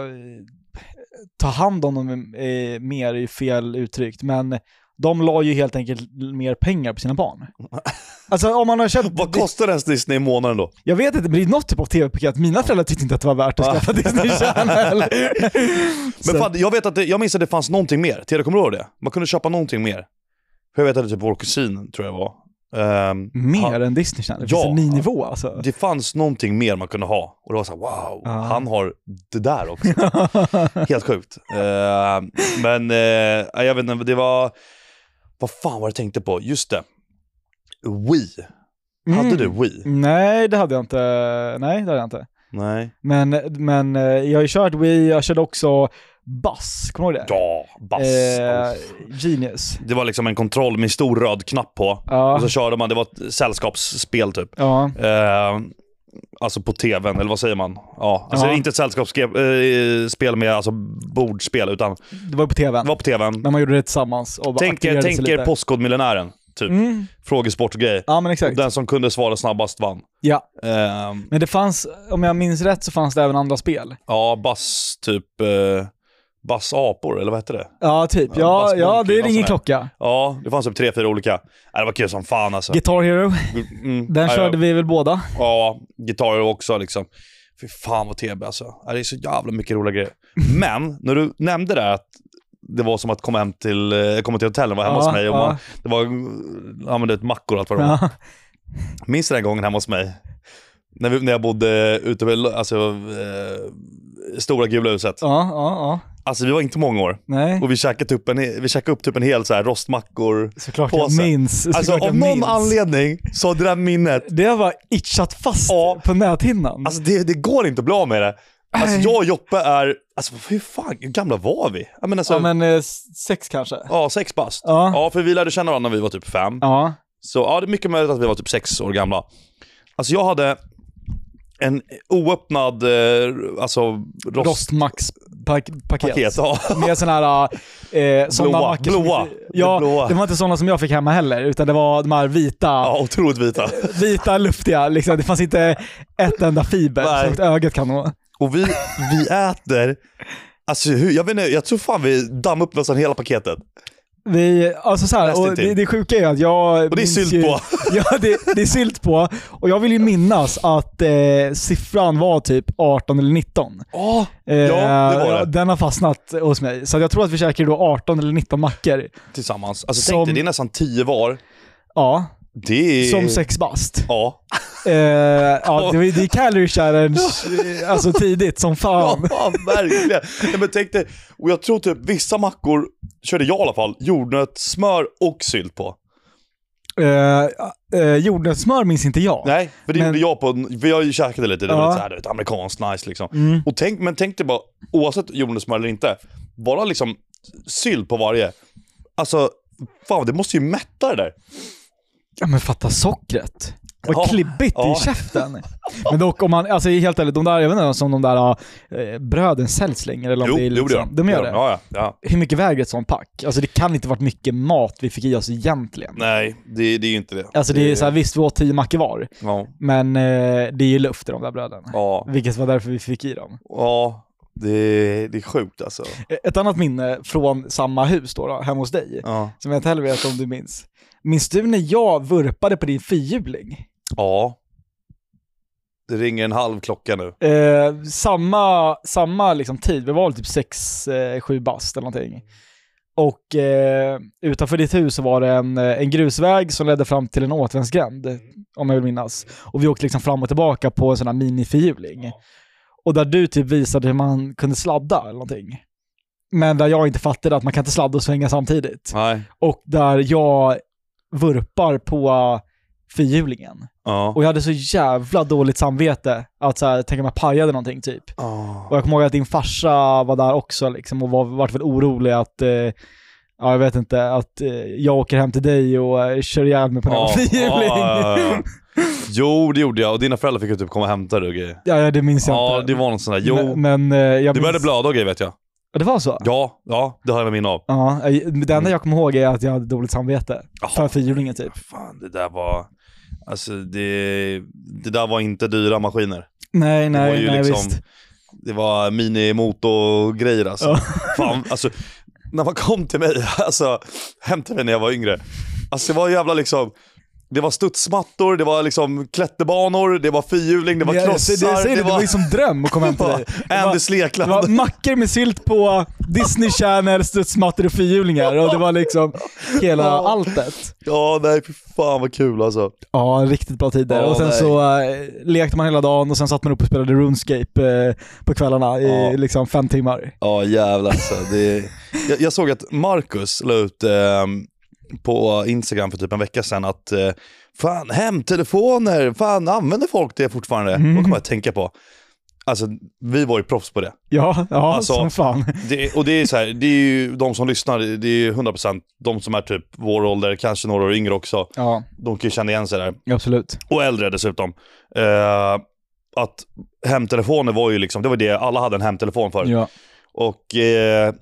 S2: ta hand om dem eh, mer är ju fel uttryckt, men de la ju helt enkelt mer pengar på sina barn.
S1: (laughs)
S2: Alltså om man har köpt...
S1: Vad kostar ens Disney i månaden då?
S2: Jag vet inte, men det är något typ av tv-paket. Mina föräldrar tyckte inte att det var värt att
S1: (laughs)
S2: skaffa Disney Channel.
S1: Men
S2: Så-
S1: fan, jag, vet att det, jag minns att det fanns någonting mer. Tere, kommer du ihåg det? Man kunde köpa någonting mer. För jag vet att det typ vår kusin, tror jag var, Ehm,
S2: Mer
S1: han-
S2: än Disney Channel?
S1: Ja.
S2: Finns det en ny nivå alltså?
S1: det fanns någonting mer man kunde ha. Och det var så här, wow,
S2: Ja.
S1: han har det där
S2: (laughs)
S1: också. Helt sjukt. Eh, men eh, jag vet inte, det var... Vad fan var det jag tänkte på? Just det. Wii. Hade
S2: Mm.
S1: du Wii?
S2: Nej, det hade jag inte. Nej, det hade jag inte.
S1: Nej.
S2: Men, men eh, jag har ju kört Wii, jag körde också Bass, kommer du ihåg det?
S1: Ja, bass.
S2: Eh, genius.
S1: Det var liksom en kontroll med stor röd knapp på.
S2: Ja.
S1: Och så körde man, det var ett sällskapsspel typ.
S2: Ja,
S1: Eh, alltså på tvn, eller vad säger man? Ja, alltså
S2: Ja.
S1: det är inte ett sällskapsspel med alltså bordspel, utan
S2: det var ju på tvn.
S1: det var på tvn.
S2: När man gjorde det tillsammans och bara
S1: Tänk er,
S2: aktiverade sig
S1: tänk er
S2: lite.
S1: Postkodmiljonären, typ.
S2: Mm.
S1: Frågesport och grejer.
S2: Ja, men exakt.
S1: Den som kunde svara snabbast vann.
S2: Ja.
S1: Ehm,
S2: Men det fanns, om jag minns rätt, så fanns det även andra spel.
S1: ja, bass typ... Eh, bass apor, eller vad hette det?
S2: Ja, typ.
S1: Ja,
S2: Ja,
S1: Bass
S2: ja
S1: Monkey,
S2: det
S1: någon
S2: ringer
S1: sån här.
S2: klocka.
S1: Ja, det fanns typ tre, fyra olika. Nej, det var kul som fan alltså.
S2: Guitar Hero,
S1: Mm.
S2: den
S1: Ja,
S2: körde vi
S1: (laughs)
S2: väl båda?
S1: Ja, gitarrer också liksom. Fy fan vad TB alltså. Ja, Det är så jävla mycket roliga
S2: (laughs)
S1: grejer. Men, när du nämnde det här att det var som att komma hem till, eh, komma till hotellet, vara hemma
S2: Ja,
S1: hos mig och
S2: ja.
S1: man, det var, eh, ja men du vet mackor och allt vad det var.
S2: Ja.
S1: Minns du den gången hemma hos mig? När, vi, när jag bodde ute vid alltså, eh, stora gula huset.
S2: ja, ja, ja.
S1: Alltså vi var inte många år.
S2: Nej,
S1: Och vi käkade upp en, vi käkade upp typ en hel så här
S2: (laughs)
S1: rostmackor.
S2: såklart
S1: påse.
S2: jag minns. Såklart
S1: Alltså
S2: jag
S1: av någon
S2: minns.
S1: anledning så har det där minnet
S2: Det har bara itchat fast
S1: Ja.
S2: på näthinnan.
S1: Alltså det, det går inte att bli av med det. Alltså
S2: Nej.
S1: jag och Joppe är, alltså hur fan hur gamla var vi? Ja men alltså,
S2: ja,
S1: ja,
S2: men eh, sex kanske?
S1: sex bast.
S2: Ja.
S1: Ja för vi lärde känna varandra när vi var typ fem.
S2: Ja.
S1: Så ja det är mycket möjligt att vi var typ sex år gamla. Alltså jag hade en oöppnad, eh, alltså rostpaket.
S2: Rostmax-paket.
S1: Ja.
S2: Med sådana här... Eh, såna
S1: Blåa,
S2: mackor som
S1: blåa,
S2: inte- Ja,
S1: blåa.
S2: det var inte sådana som jag fick hemma heller, utan det var de här vita.
S1: ja, otroligt vita.
S2: Vita, luftiga. Liksom. Det fanns inte ett enda fiber
S1: Nej.
S2: som ett ögat kan nå.
S1: Och vi, vi äter, alltså hur, jag vet inte, jag tror fan vi dammade upp nästan hela paketet.
S2: Vi, alltså så här, och
S1: Nästintill.
S2: det, det sjuka är ju att jag...
S1: Och det är
S2: minns
S1: sylt
S2: ju,
S1: på.
S2: (laughs) Ja, det, det är sylt på. Och jag vill ju minnas att eh, siffran var typ 18 eller 19.
S1: Ja,
S2: Eh,
S1: det var det.
S2: Den har fastnat hos mig. Så att jag tror att vi käkade då 18 eller 19 mackor.
S1: tillsammans. Alltså
S2: Som-
S1: tänk dig, det är nästan tio var.
S2: Ja,
S1: Det är...
S2: som sex bast.
S1: Ja.
S2: Eh, ja, det, var- det är calorie challenge eh, alltså tidigt som fan.
S1: Ja, (laughs) verkligen. Nej, men tänk dig, och jag tror typ vissa mackor, körde jag i alla fall, jordnöt, smör och sylt på.
S2: Eh, eh, jordnötssmör minns inte jag.
S1: Nej, för det
S2: Men-
S1: gjorde jag på, för jag käkade lite, det var
S2: Ja.
S1: lite såhär, du vet, amerikanskt nice liksom.
S2: Mm.
S1: Och tänk, men tänk dig bara, oavsett jordnötssmör eller inte, bara liksom sylt på varje. Alltså, fan det måste ju mätta det där.
S2: Ja men fatta sockret. Vad
S1: Ja,
S2: klibbigt
S1: ja.
S2: i käften. Men dock om man, alltså helt ärligt, de där, jag vet inte om de där eh, bröden säljs längre eller om det är liksom, De gör det.
S1: Ja, ja, ja.
S2: Hur mycket väger ett sånt pack? Alltså det kan inte varit mycket mat vi fick i oss egentligen.
S1: Nej, det, det är ju inte det.
S2: Alltså det är så här, visst vi åt tio mackor var,
S1: Ja,
S2: men eh, det är ju luft i de där bröden.
S1: ja,
S2: Vilket var därför vi fick i dem.
S1: ja. Det, det är sjukt alltså.
S2: Eh, Ett annat minne från samma hus då, då hemma hos dig,
S1: Ja.
S2: som jag inte heller vet om du minns. Minns du när jag vurpade på din fyrhjuling?
S1: Ja. Det ringer en halv klocka nu.
S2: Eh, samma samma liksom tid, vi var väl typ 6-7 bast eller någonting. Och eh, utanför ditt hus så var det en, eh, en grusväg som ledde fram till en återvändsgränd, om jag vill minnas. Och vi åkte liksom fram och tillbaka på en sån här minifyrhjuling. Och där du typ visade hur man kunde sladda eller någonting. Men där jag inte fattade att man kan inte sladda och svänga samtidigt.
S1: Nej.
S2: Och där jag vurpar på eh, fyrhjulingen.
S1: Ja.
S2: Och jag hade så jävla dåligt samvete att så här, tänk om jag pajade någonting typ. Och jag kommer ihåg att din farsa var där också liksom och var, vart väl orolig att, eh, ja jag vet inte, att eh, jag åker hem till dig och eh, kör ihjäl mig på någon
S1: Ja, ja,
S2: (laughs) fyrhjuling.
S1: ja, ja. Jo, det gjorde jag. Och dina föräldrar fick ju typ komma och hämta dig och grejer.
S2: Ja, ja, det minns jag
S1: Ja,
S2: inte.
S1: det var någon sån där. Jo,
S2: Liksom, Men, men eh, jag
S1: det började
S2: minns...
S1: blöda och grejer vet jag.
S2: Ja, Det var så?
S1: Ja, ja, det har jag minne av.
S2: Ja, eh, det enda jag kommer ihåg är att jag hade dåligt samvete.
S1: Ja.
S2: För fyrhjulingen typ.
S1: Fan, det där var... Alltså det, det där var inte dyra maskiner.
S2: Nej,
S1: var
S2: nej,
S1: ju
S2: nej
S1: liksom-
S2: visst.
S1: Det var minimotorgrejer alltså.
S2: Ja.
S1: Fan, alltså. (laughs) När man kom till mig, alltså hem till mig när jag var yngre. Alltså det var jävla liksom, det var studsmattor, det var liksom klätterbanor, det var fyrhjuling, det var
S2: Jag- jag-
S1: krossar.
S2: jag säger det, det var ju som dröm att
S1: (laughs)
S2: komma hem till dig. Det var-
S1: Anders
S2: Det var
S1: Lekland.
S2: mackor med sylt på, Disney Channel, studsmattor och fyrhjulingar och det var liksom hela
S1: Ja.
S2: alltet.
S1: Ja, nej fy fan vad kul alltså.
S2: Ja, riktigt bra tider.
S1: Ja,
S2: och sen
S1: nej.
S2: så eh, lekte man hela dagen och sen satt man upp och spelade RuneScape eh, på kvällarna i
S1: Ja.
S2: liksom fem timmar.
S1: Ja jävlar alltså. Det... Jag, jag såg att Marcus la ut ehm, på Instagram för typ en vecka sedan att eh, fan hemtelefoner, fan använder folk det fortfarande?
S2: Mm.
S1: Vad kommer jag att tänka på? Alltså vi var ju proffs på det.
S2: Ja, ja
S1: Alltså,
S2: som fan.
S1: det och det är så här, det är ju de som lyssnar, det är ju 100% de som är typ vår ålder, kanske några år yngre också.
S2: Ja,
S1: De kan ju känna igen sig där.
S2: absolut.
S1: Och äldre dessutom. Eh, att hemtelefoner var ju liksom, det var det, alla hade en hemtelefon förut.
S2: Ja.
S1: Och, eh,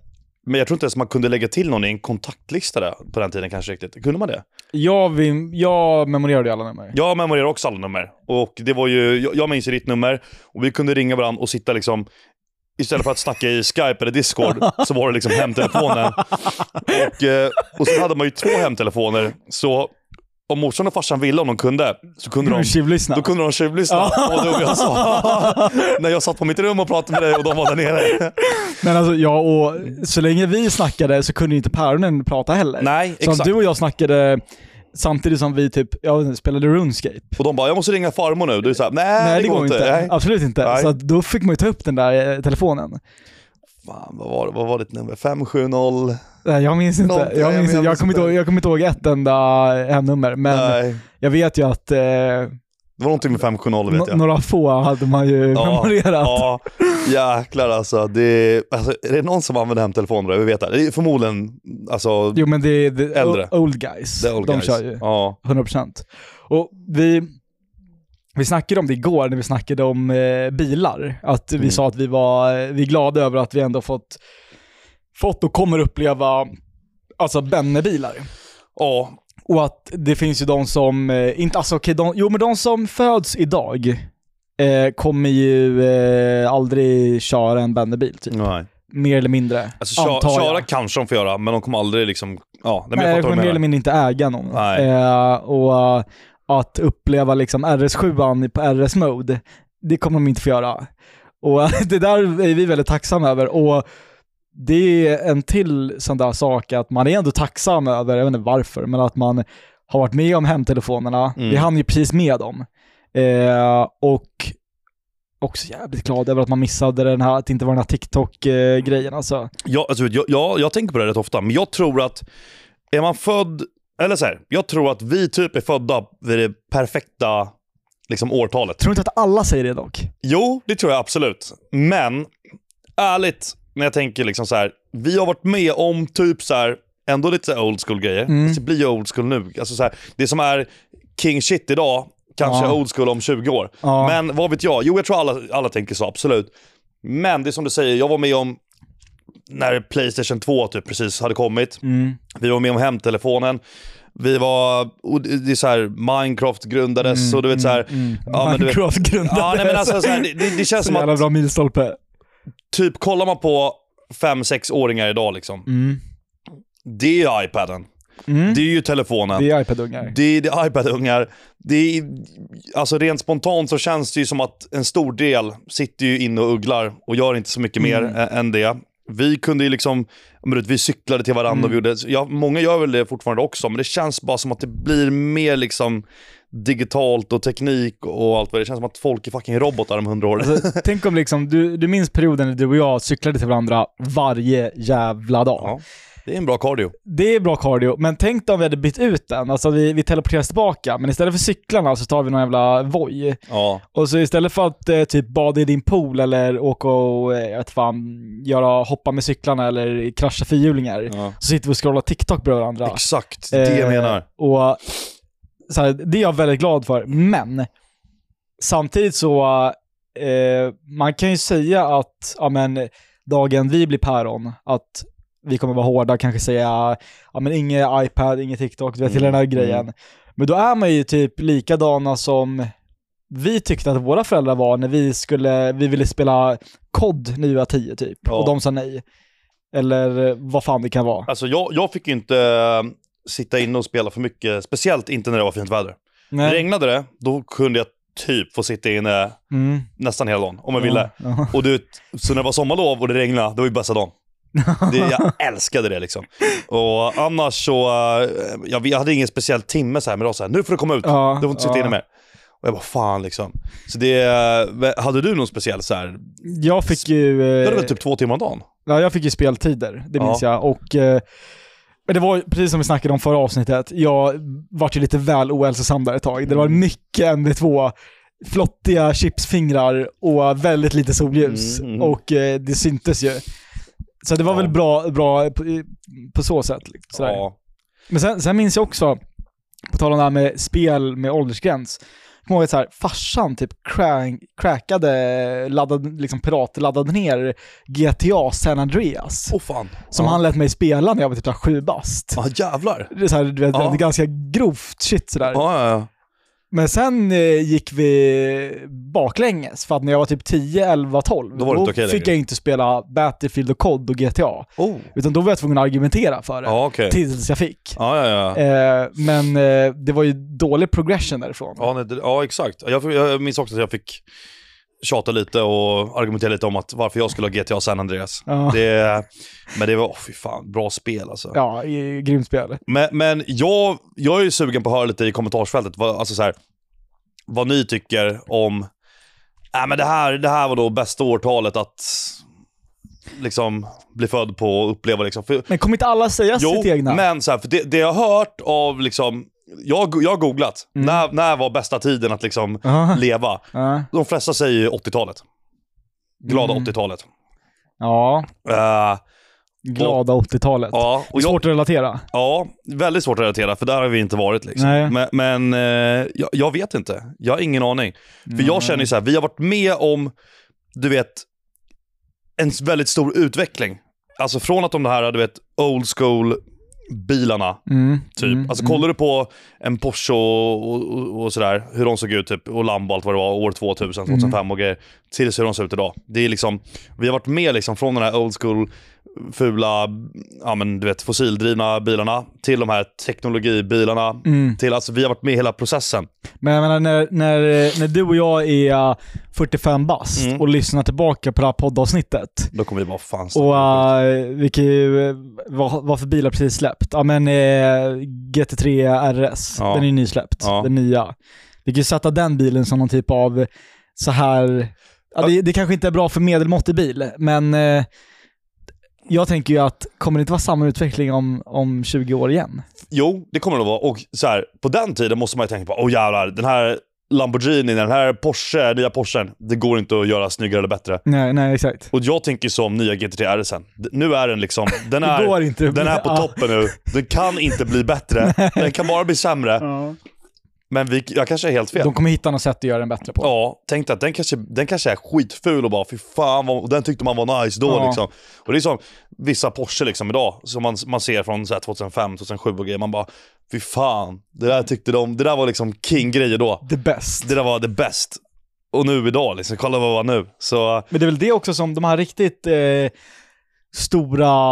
S1: men jag tror inte ens man kunde lägga till någon i en kontaktlista där, på den tiden kanske riktigt. Kunde man det?
S2: Jag, vin- jag memorerade ju alla nummer.
S1: Jag memorerar också alla nummer. Och det var ju, jag, jag minns ju ditt nummer och vi kunde ringa varandra och sitta liksom Istället för att snacka i Skype eller Discord så var det liksom hemtelefonen. Och, eh, och sen hade man ju två hemtelefoner. Så om morsan och farsan ville, om de kunde, så kunde de
S2: Tjuvlyssna.
S1: Då kunde de tjuvlyssna på vad dum jag sa.
S2: (laughs)
S1: När jag satt på mitt rum och pratade med dig och de var där nere.
S2: Men alltså, ja, och så länge vi snackade så kunde ju inte päronen prata heller.
S1: Nej,
S2: så om
S1: exakt.
S2: du och jag snackade samtidigt som vi typ, jag vet inte, spelade RuneScape.
S1: Och de bara, jag måste ringa farmor nu. Du sa, nej,
S2: Nej, det går inte.
S1: Nej.
S2: Absolut inte.
S1: Nej.
S2: Så att då fick man ju ta upp den där eh, telefonen.
S1: Fan, vad var, det? vad var ditt nummer? 570?
S2: Nej, Jag minns inte.
S1: Någonting,
S2: jag,
S1: jag
S2: minns,
S1: minns
S2: jag, kommer inte
S1: inte.
S2: ihåg, jag kommer inte ihåg ett enda hemnummer, men
S1: Nej.
S2: jag vet ju att eh,
S1: Det var någonting med 570 vet
S2: no-
S1: jag.
S2: några få hade man ju (laughs) memorerat.
S1: Ja, jäklar alltså. Det, alltså. Är det någon som använder hemtelefoner? Jag vill veta. Det är förmodligen, alltså,
S2: Jo men det är det-
S1: Äldre.
S2: o- old guys.
S1: the old
S2: De
S1: guys.
S2: kör ju.
S1: Ja.
S2: 100%. Och vi, vi snackade om det igår när vi snackade om eh, bilar. Att vi
S1: Mm.
S2: sa att vi var eh, vi är glada över att vi ändå fått, fått och kommer uppleva alltså Benne-bilar.
S1: ja,
S2: Och att det finns ju de som, eh, inte, alltså okej, de, jo men de som föds idag eh, kommer ju eh, aldrig köra en Benne-bil typ.
S1: nej.
S2: Mer eller mindre,
S1: Alltså, kö-
S2: antar jag.
S1: köra kanske de får göra, men de kommer aldrig liksom, ja. Nej, men
S2: Nej,
S1: jag
S2: jag kommer
S1: fattar
S2: Eh, mer
S1: vad
S2: eller
S1: du menar.
S2: mindre inte äga någon.
S1: Nej.
S2: Eh, och eh, att uppleva liksom RS7 på RS-mode, det kommer de inte få göra. Och (laughs) det där är vi väldigt tacksamma över. Och det är en till sån där sak att man är ändå tacksam över, jag vet inte varför, men att man har varit med om hemtelefonerna.
S1: Mm.
S2: Vi hann ju precis med dem. Eh, och också jävligt glad över att man missade den här, att det inte var den här TikTok-grejen alltså.
S1: Ja, alltså, jag, jag, jag tänker på det rätt ofta, men jag tror att är man född, eller så här, jag tror att vi typ är födda vid det perfekta liksom, årtalet.
S2: Tror inte att alla säger det dock.
S1: Jo, det tror jag absolut. Men ärligt, när jag tänker liksom så här, vi har varit med om typ så här, ändå lite så här old school grejer.
S2: Mm.
S1: Fast Det blir ju old school nu. Alltså så här, det som är king shit idag kanske
S2: Ja.
S1: är old school om 20 år.
S2: Ja.
S1: Men vad vet jag? Jo, jag tror alla, alla tänker så, absolut. Men det är som du säger, jag var med om när Playstation 2 typ precis hade kommit.
S2: Mm.
S1: Vi var med om hemtelefonen. Vi var, och det det är så här, Minecraft grundades och du vet så här. Ja, men du vet,
S2: Mm, Minecraft grundades.
S1: ja, nej, men alltså, så här, det, det, det känns
S2: så
S1: som att
S2: jävla bra milstolpe.
S1: typ kollar man på 5-6-åringar idag liksom.
S2: Mm.
S1: Det är ju iPaden.
S2: Mm.
S1: Det är ju telefonen.
S2: Det är iPad-ungar.
S1: Det är, det är iPad-ungar. Det är, alltså rent spontant så känns det ju som att en stor del sitter ju inne och ugglar och gör inte så mycket mer ä- än det. Vi kunde ju liksom, men du vet, vi cyklade till varandra och vi gjorde, ja, många gör väl det fortfarande också, men det känns bara som att det blir mer liksom digitalt och teknik och allt vad det är. Det känns som att folk är fucking robotar om hundra år.
S2: Alltså, tänk om liksom, du, du minns perioden när du och jag cyklade till varandra varje jävla dag.
S1: Ja. Det är en bra cardio.
S2: Det är bra cardio, men tänk då om vi hade bytt ut den. Alltså vi, vi teleporteras tillbaka, men istället för cyklarna så tar vi någon jävla Voi.
S1: Ja.
S2: Och så istället för att eh, typ bada i din pool eller åka och, eh, jag vet fan, göra, hoppa med cyklarna eller krascha fyrhjulingar,
S1: ja.
S2: så sitter vi och scrollar TikTok bredvid varandra.
S1: Exakt, det jag
S2: Eh,
S1: menar.
S2: Och, så här, det är jag väldigt glad för, men samtidigt så, eh, man kan ju säga att ja, men, dagen vi blir päron, att vi kommer vara hårda, kanske säga ja, men, ingen iPad, ingen TikTok, du vet hela den här
S1: Mm,
S2: grejen. Men då är man ju typ likadana som vi tyckte att våra föräldrar var när vi, skulle, vi ville spela COD 9 av 10 typ,
S1: Ja.
S2: och de sa nej. Eller vad fan det kan vara.
S1: Alltså jag, jag fick ju inte sitta inne och spela för mycket, speciellt inte när det var fint väder.
S2: Nej.
S1: Regnade det, då kunde jag typ få sitta inne
S2: Mm.
S1: nästan hela dagen, om jag
S2: Ja,
S1: ville.
S2: ja.
S1: Och du, vet, så när det var sommarlov och det regnade, det var ju bästa
S2: (laughs)
S1: dagen. Det, jag älskade det liksom. Och annars så, eh, jag, jag hade ingen speciell timme så här, men det var så här, nu får du komma ut,
S2: Ja,
S1: du får inte sitta
S2: ja.
S1: inne mer. Och jag bara, fan liksom. Så det, eh, hade du någon speciell så här,
S2: Jag fick ju... eh,
S1: du hade väl typ två timmar om dagen?
S2: Ja, jag fick ju speltider, det minns jag. Och, eh, men det var ju precis som vi snackade om förra avsnittet, jag vart ju lite väl ohälsosam där ett tag. Det var
S1: Mm.
S2: mycket ND2, flottiga chipsfingrar och väldigt lite solljus.
S1: Mm.
S2: Och eh, det syntes ju. Så det var
S1: Ja.
S2: väl bra, bra på, i- på så sätt. liksom, Sådär.
S1: Ja.
S2: Men sen, sen minns jag också, på tal om det här med spel med åldersgräns, jag kommer ihåg att så här, farsan typ crank, crackade, laddade, liksom piratladdade ner GTA San Andreas.
S1: Åh fan.
S2: Som
S1: ja.
S2: han lät mig spela när jag var typ så här sju bast.
S1: Ja jävlar.
S2: Det är så här, du vet,
S1: Ja.
S2: det är ganska grovt shit sådär.
S1: Ja, ja, ja.
S2: Men sen eh, gick vi baklänges, för att när jag var typ 10, 11, 12,
S1: Då var det inte okej
S2: fick
S1: längre.
S2: jag inte spela Battlefield och COD och GTA.
S1: Oh.
S2: Utan då var jag tvungen att argumentera för det,
S1: Ja okej.
S2: tills jag fick.
S1: Ja, ja, ja.
S2: Eh, men eh, det var ju dålig progression därifrån.
S1: Ja, nej, det- ja exakt. Jag, fick- jag minns också att jag fick tjata lite och argumentera lite om att varför jag skulle ha GTA San Andreas.
S2: Ja.
S1: Det, men det var, oh, fy fan, bra spel alltså.
S2: Ja, i- grymt spel.
S1: Men, men jag, jag är ju sugen på att höra lite i kommentarsfältet, vad, alltså så här, vad ni tycker om... Äh, men det, här, det här var då bästa årtalet att liksom, bli född på och uppleva. Liksom. För,
S2: Men kommer inte alla säga sitt egna?
S1: men så här, för det, det jag har hört av liksom... Jag, jag har googlat.
S2: Mm.
S1: När, när var bästa tiden att liksom
S2: Ja.
S1: leva?
S2: Ja.
S1: De flesta säger ju 80-talet. Glada
S2: Mm.
S1: 80-talet.
S2: ja,
S1: Eh,
S2: glada 80-talet.
S1: ja,
S2: Det är
S1: och jag,
S2: Svårt att relatera.
S1: ja, väldigt svårt att relatera för där har vi inte varit. Liksom.
S2: Nej.
S1: Men, men eh, jag, jag vet inte. Jag har ingen aning. För jag känner ju så här, vi har varit med om, du vet, en s- väldigt stor utveckling. Alltså från att de här, du vet, old school bilarna
S2: Mm.
S1: Typ.
S2: Mm.
S1: alltså kollar du på en Porsche och, och, och, och sådär, hur de såg ut typ, och Lambo allt vad det var, år
S2: Mm.
S1: 2000, 2005 och grejer, tills hur de ser ut idag. Det är liksom, vi har varit med liksom från den här old school, fula, ja men du vet fossildrivna bilarna, till de här teknologibilarna,
S2: Mm.
S1: till alltså vi har varit med i hela processen.
S2: Men jag menar, när, när, när du och jag är äh, 45 bast
S1: Mm.
S2: och lyssnar tillbaka på det här poddavsnittet,
S1: Då kommer vi bara, fan
S2: och äh, vi kan ju, äh, vad, vad för bilar precis släppt? Ja men eh, GT3 RS,
S1: Ja.
S2: den är ju nysläppt,
S1: Ja.
S2: den nya. Vi kan ju sätta den bilen som någon typ av så här, ja, det, det kanske inte är bra för medelmåttig bil, men eh, jag tänker ju att kommer det inte vara samma utveckling om, om 20 år igen?
S1: Jo, det kommer det att vara. Och så här, på den tiden måste man ju tänka på, åh jävlar, den här Lamborghini, den här Porsche, nya Porschen, det går inte att göra snyggare eller bättre.
S2: Nej, nej exakt.
S1: Och jag tänker som nya GT3 RS. Nu är den
S2: (laughs)
S1: liksom, den
S2: Det
S1: är,
S2: går inte.
S1: den är på
S2: Ja.
S1: toppen nu. Den kan inte bli
S2: (laughs)
S1: bättre. Den kan bara bli sämre. Men vi, jag kanske är helt fel.
S2: De kommer hitta något sätt att göra den bättre på.
S1: Ja, tänkte att den kanske, den kanske är skitful och bara fy fan, vad, och den tyckte man var nice då
S2: Ja.
S1: liksom. Och det är som vissa Porsche liksom idag, som man, man ser från så här 2005, 2007 och grejer. Man bara, fy fan, det där tyckte de, det där var liksom king-grejer då.
S2: The best.
S1: Det där var the best. Och nu idag liksom, kolla vad det var nu. Så
S2: Men det är väl det också som de här riktigt eh, stora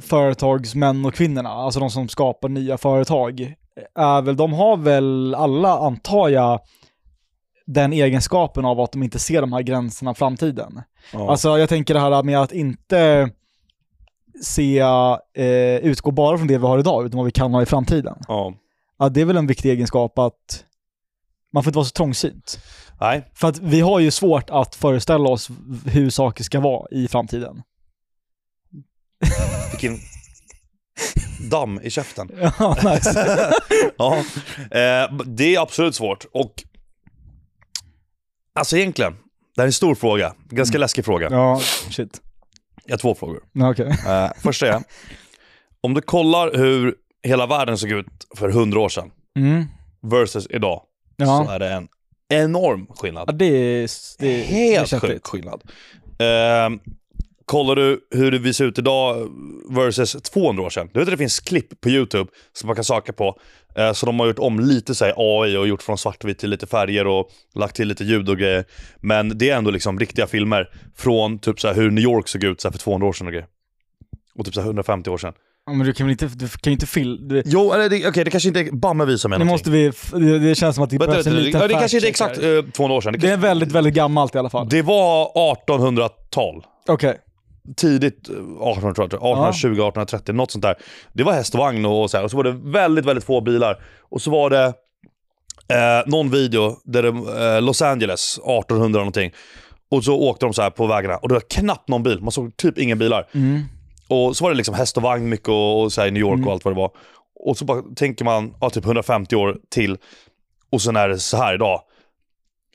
S2: företagsmän och kvinnorna, alltså de som skapar nya företag, är väl, de har väl alla, antar jag, den egenskapen av att de inte ser de här gränserna i framtiden.
S1: ja.
S2: Alltså jag tänker det här med att inte se, eh, utgå bara från det vi har idag, utan vad vi kan ha i framtiden.
S1: ja.
S2: Ja, det är väl en viktig egenskap att man får inte vara så trångsynt.
S1: Nej,
S2: För att vi har ju svårt att föreställa oss hur saker ska vara
S1: (laughs)
S2: i framtiden.
S1: Vilken damm i käften.
S2: Ja, nice.
S1: Ja, eh, det är absolut svårt. Och alltså egentligen, det här är en stor fråga. Ganska läskig fråga.
S2: (laughs) ja, shit.
S1: Jag har två frågor.
S2: Ja, Okej.
S1: Eh, första är, om du kollar hur hela världen såg ut för hundra år sedan
S2: Mm.
S1: versus idag, så
S2: Ja.
S1: är det en enorm skillnad.
S2: ja, det är... Det är
S1: Helt
S2: det är
S1: sjuk
S2: köttigt.
S1: skillnad. Eh, kollar du hur det ser ut idag versus 200 år sedan? Du vet att det finns klipp på YouTube som man kan söka på. Eh, så de har gjort om lite så här, AI och gjort från svartvitt till lite färger och lagt till lite ljud och grejer. Men det är ändå liksom riktiga filmer från typ så här, hur New York såg ut så här, för 200 år sedan och grejer. Och typ så här, 150 år sedan.
S2: Ja, Men du kan väl inte, du kan ju inte fil... Det,
S1: Jo, eller det- okej, det kanske inte är bara vi som är
S2: nu
S1: någonting.
S2: måste vi, f- det, det känns som att det
S1: Vänta,
S2: behövs
S1: vänta,
S2: en
S1: det,
S2: liten
S1: ja, det kanske inte är
S2: fact-check
S1: exakt
S2: här.
S1: eh, 200 år sedan. Det,
S2: Det är
S1: kanske-
S2: väldigt, väldigt gammalt i alla fall.
S1: det var 1800-tal.
S2: Okej.
S1: tidigt eh, 1800-tal, tror jag. 1820, 1830, något sånt där. Det var häst och vagn och, och så här. Och så var det väldigt, väldigt få bilar. Och så var det eh, någon video där de, eh, Los Angeles, 1800 någonting. Och så åkte de så här på vägarna och det var knappt någon bil. Man såg typ inga bilar.
S2: Mm.
S1: Och så var det liksom häst och vagn mycket och, och så här i New York och allt vad det var. Och så bara tänker man, ja, typ 150 år till. Och sen är det så här idag.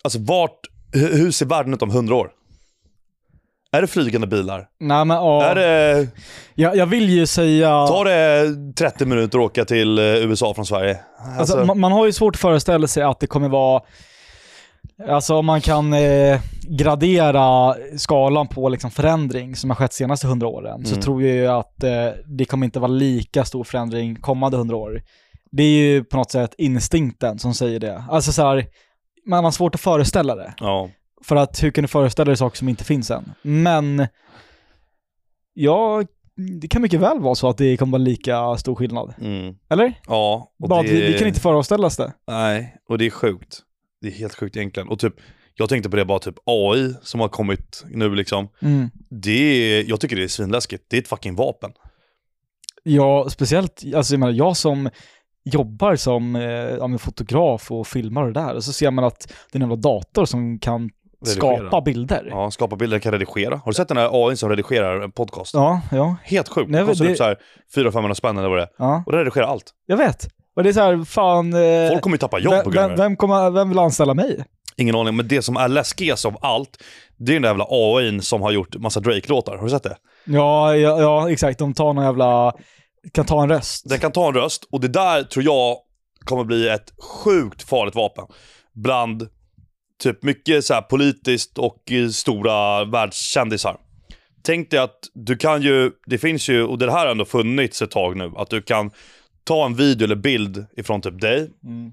S1: Alltså vart, hur, hur ser världen ut om 100 år? Är det flygande bilar?
S2: Nej men ja.
S1: Är det
S2: Jag, jag vill ju säga...
S1: Tar det 30 minuter att åka till eh, USA från Sverige?
S2: Alltså, man, man har ju svårt att föreställa sig att det kommer vara... Alltså om man kan eh, gradera skalan på liksom, förändring som har skett de senaste hundra åren så
S1: Mm.
S2: tror jag ju att eh, det kommer inte vara lika stor förändring kommande hundra år. Det är ju på något sätt instinkten som säger det. Alltså så här, man har svårt att föreställa det.
S1: ja.
S2: För att hur kan du föreställa dig saker som inte finns än? Men ja, det kan mycket väl vara så att det kommer vara lika stor skillnad.
S1: Mm.
S2: Eller?
S1: Ja. och
S2: Bara, det... Det, kan inte föreställas det.
S1: Nej, och det är sjukt. Det är helt sjukt egentligen. Och typ, jag tänkte på det bara, typ AI som har kommit nu liksom.
S2: Mm.
S1: Det är, jag tycker det är svinläskigt. Det är ett fucking vapen.
S2: Ja, speciellt, alltså jag menar, jag som jobbar som eh, ja, men fotograf och filmar och det där, och så ser man att det är en jävla dator som kan
S1: Redigera.
S2: skapa bilder. Ja,
S1: Ja, skapa bilder, kan redigera. Har du sett den här AI som redigerar en podcast?
S2: ja, ja.
S1: Helt sjukt.
S2: Nej,
S1: Det
S2: men
S1: kostar
S2: det-
S1: typ såhär 400-500 spänn eller vad det är. Och den redigerar allt.
S2: Jag vet. Och det är så här, fan... eh,
S1: Folk kommer ju tappa jobb på
S2: vem,
S1: grund av det.
S2: vem, vem, kommer, vem vill anställa mig?
S1: Ingen aning, men det som är läskigast av allt, det är den där jävla AIn som har gjort massa Drake-låtar. Har du sett det?
S2: Ja, ja, ja, exakt. De tar någon jävla... Kan ta en röst.
S1: Den kan ta en röst och det där tror jag kommer bli ett sjukt farligt vapen. Bland typ mycket så här politiskt och eh, stora världskändisar. Tänk dig att du kan ju, det finns ju, och det här har ändå funnits ett tag nu, att du kan ta en video eller bild ifrån typ dig
S2: Mm.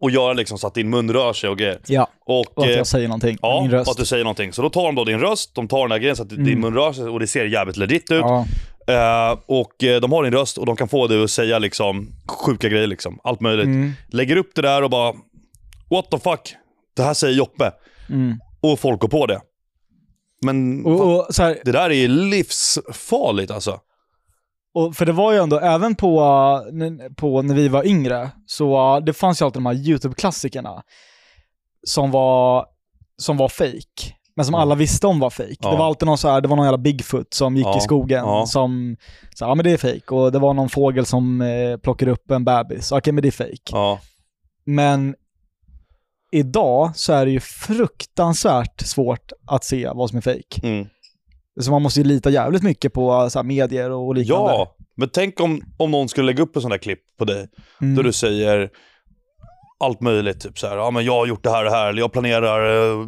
S1: och göra liksom så att din mun rör sig och grejer.
S2: Ja,
S1: Och,
S2: och att
S1: eh,
S2: jag säger någonting.
S1: Ja,
S2: med min röst. Mm.
S1: och att du säger någonting. Så då tar de då din röst, de tar den där grejen så att din mun rör sig och det ser jävligt legit ut.
S2: ja.
S1: Eh, och eh, de har din röst och de kan få dig att säga liksom sjuka grejer liksom. Allt möjligt.
S2: Mm.
S1: Lägger upp det där och bara What the fuck? Det här säger Joppe.
S2: Mm.
S1: Och folk går på det. Men fan,
S2: Och, och så här,
S1: det där är livsfarligt alltså.
S2: Och för det var ju ändå, även på, uh, n- på när vi var yngre, så uh, det fanns ju alltid de här YouTube-klassikerna som var, som var fake. Men som
S1: Ja.
S2: alla visste om var fake.
S1: Ja.
S2: Det var alltid någon så här, det var någon jävla Bigfoot som gick
S1: Ja,
S2: i skogen
S1: ja.
S2: som sa ja men det är fake. Och det var någon fågel som eh, plockade upp en bebis. Okej men det är fake.
S1: Ja.
S2: Men idag så är det ju fruktansvärt svårt att se vad som är fake.
S1: Mm. så
S2: Så man måste ju lita jävligt mycket på uh, så här, medier och liknande.
S1: ja. Men tänk om, om någon skulle lägga upp en sån där klipp på dig.
S2: Mm.
S1: Där du säger allt möjligt. Typ så här, ja men jag har gjort det här och det här. Eller jag planerar eh,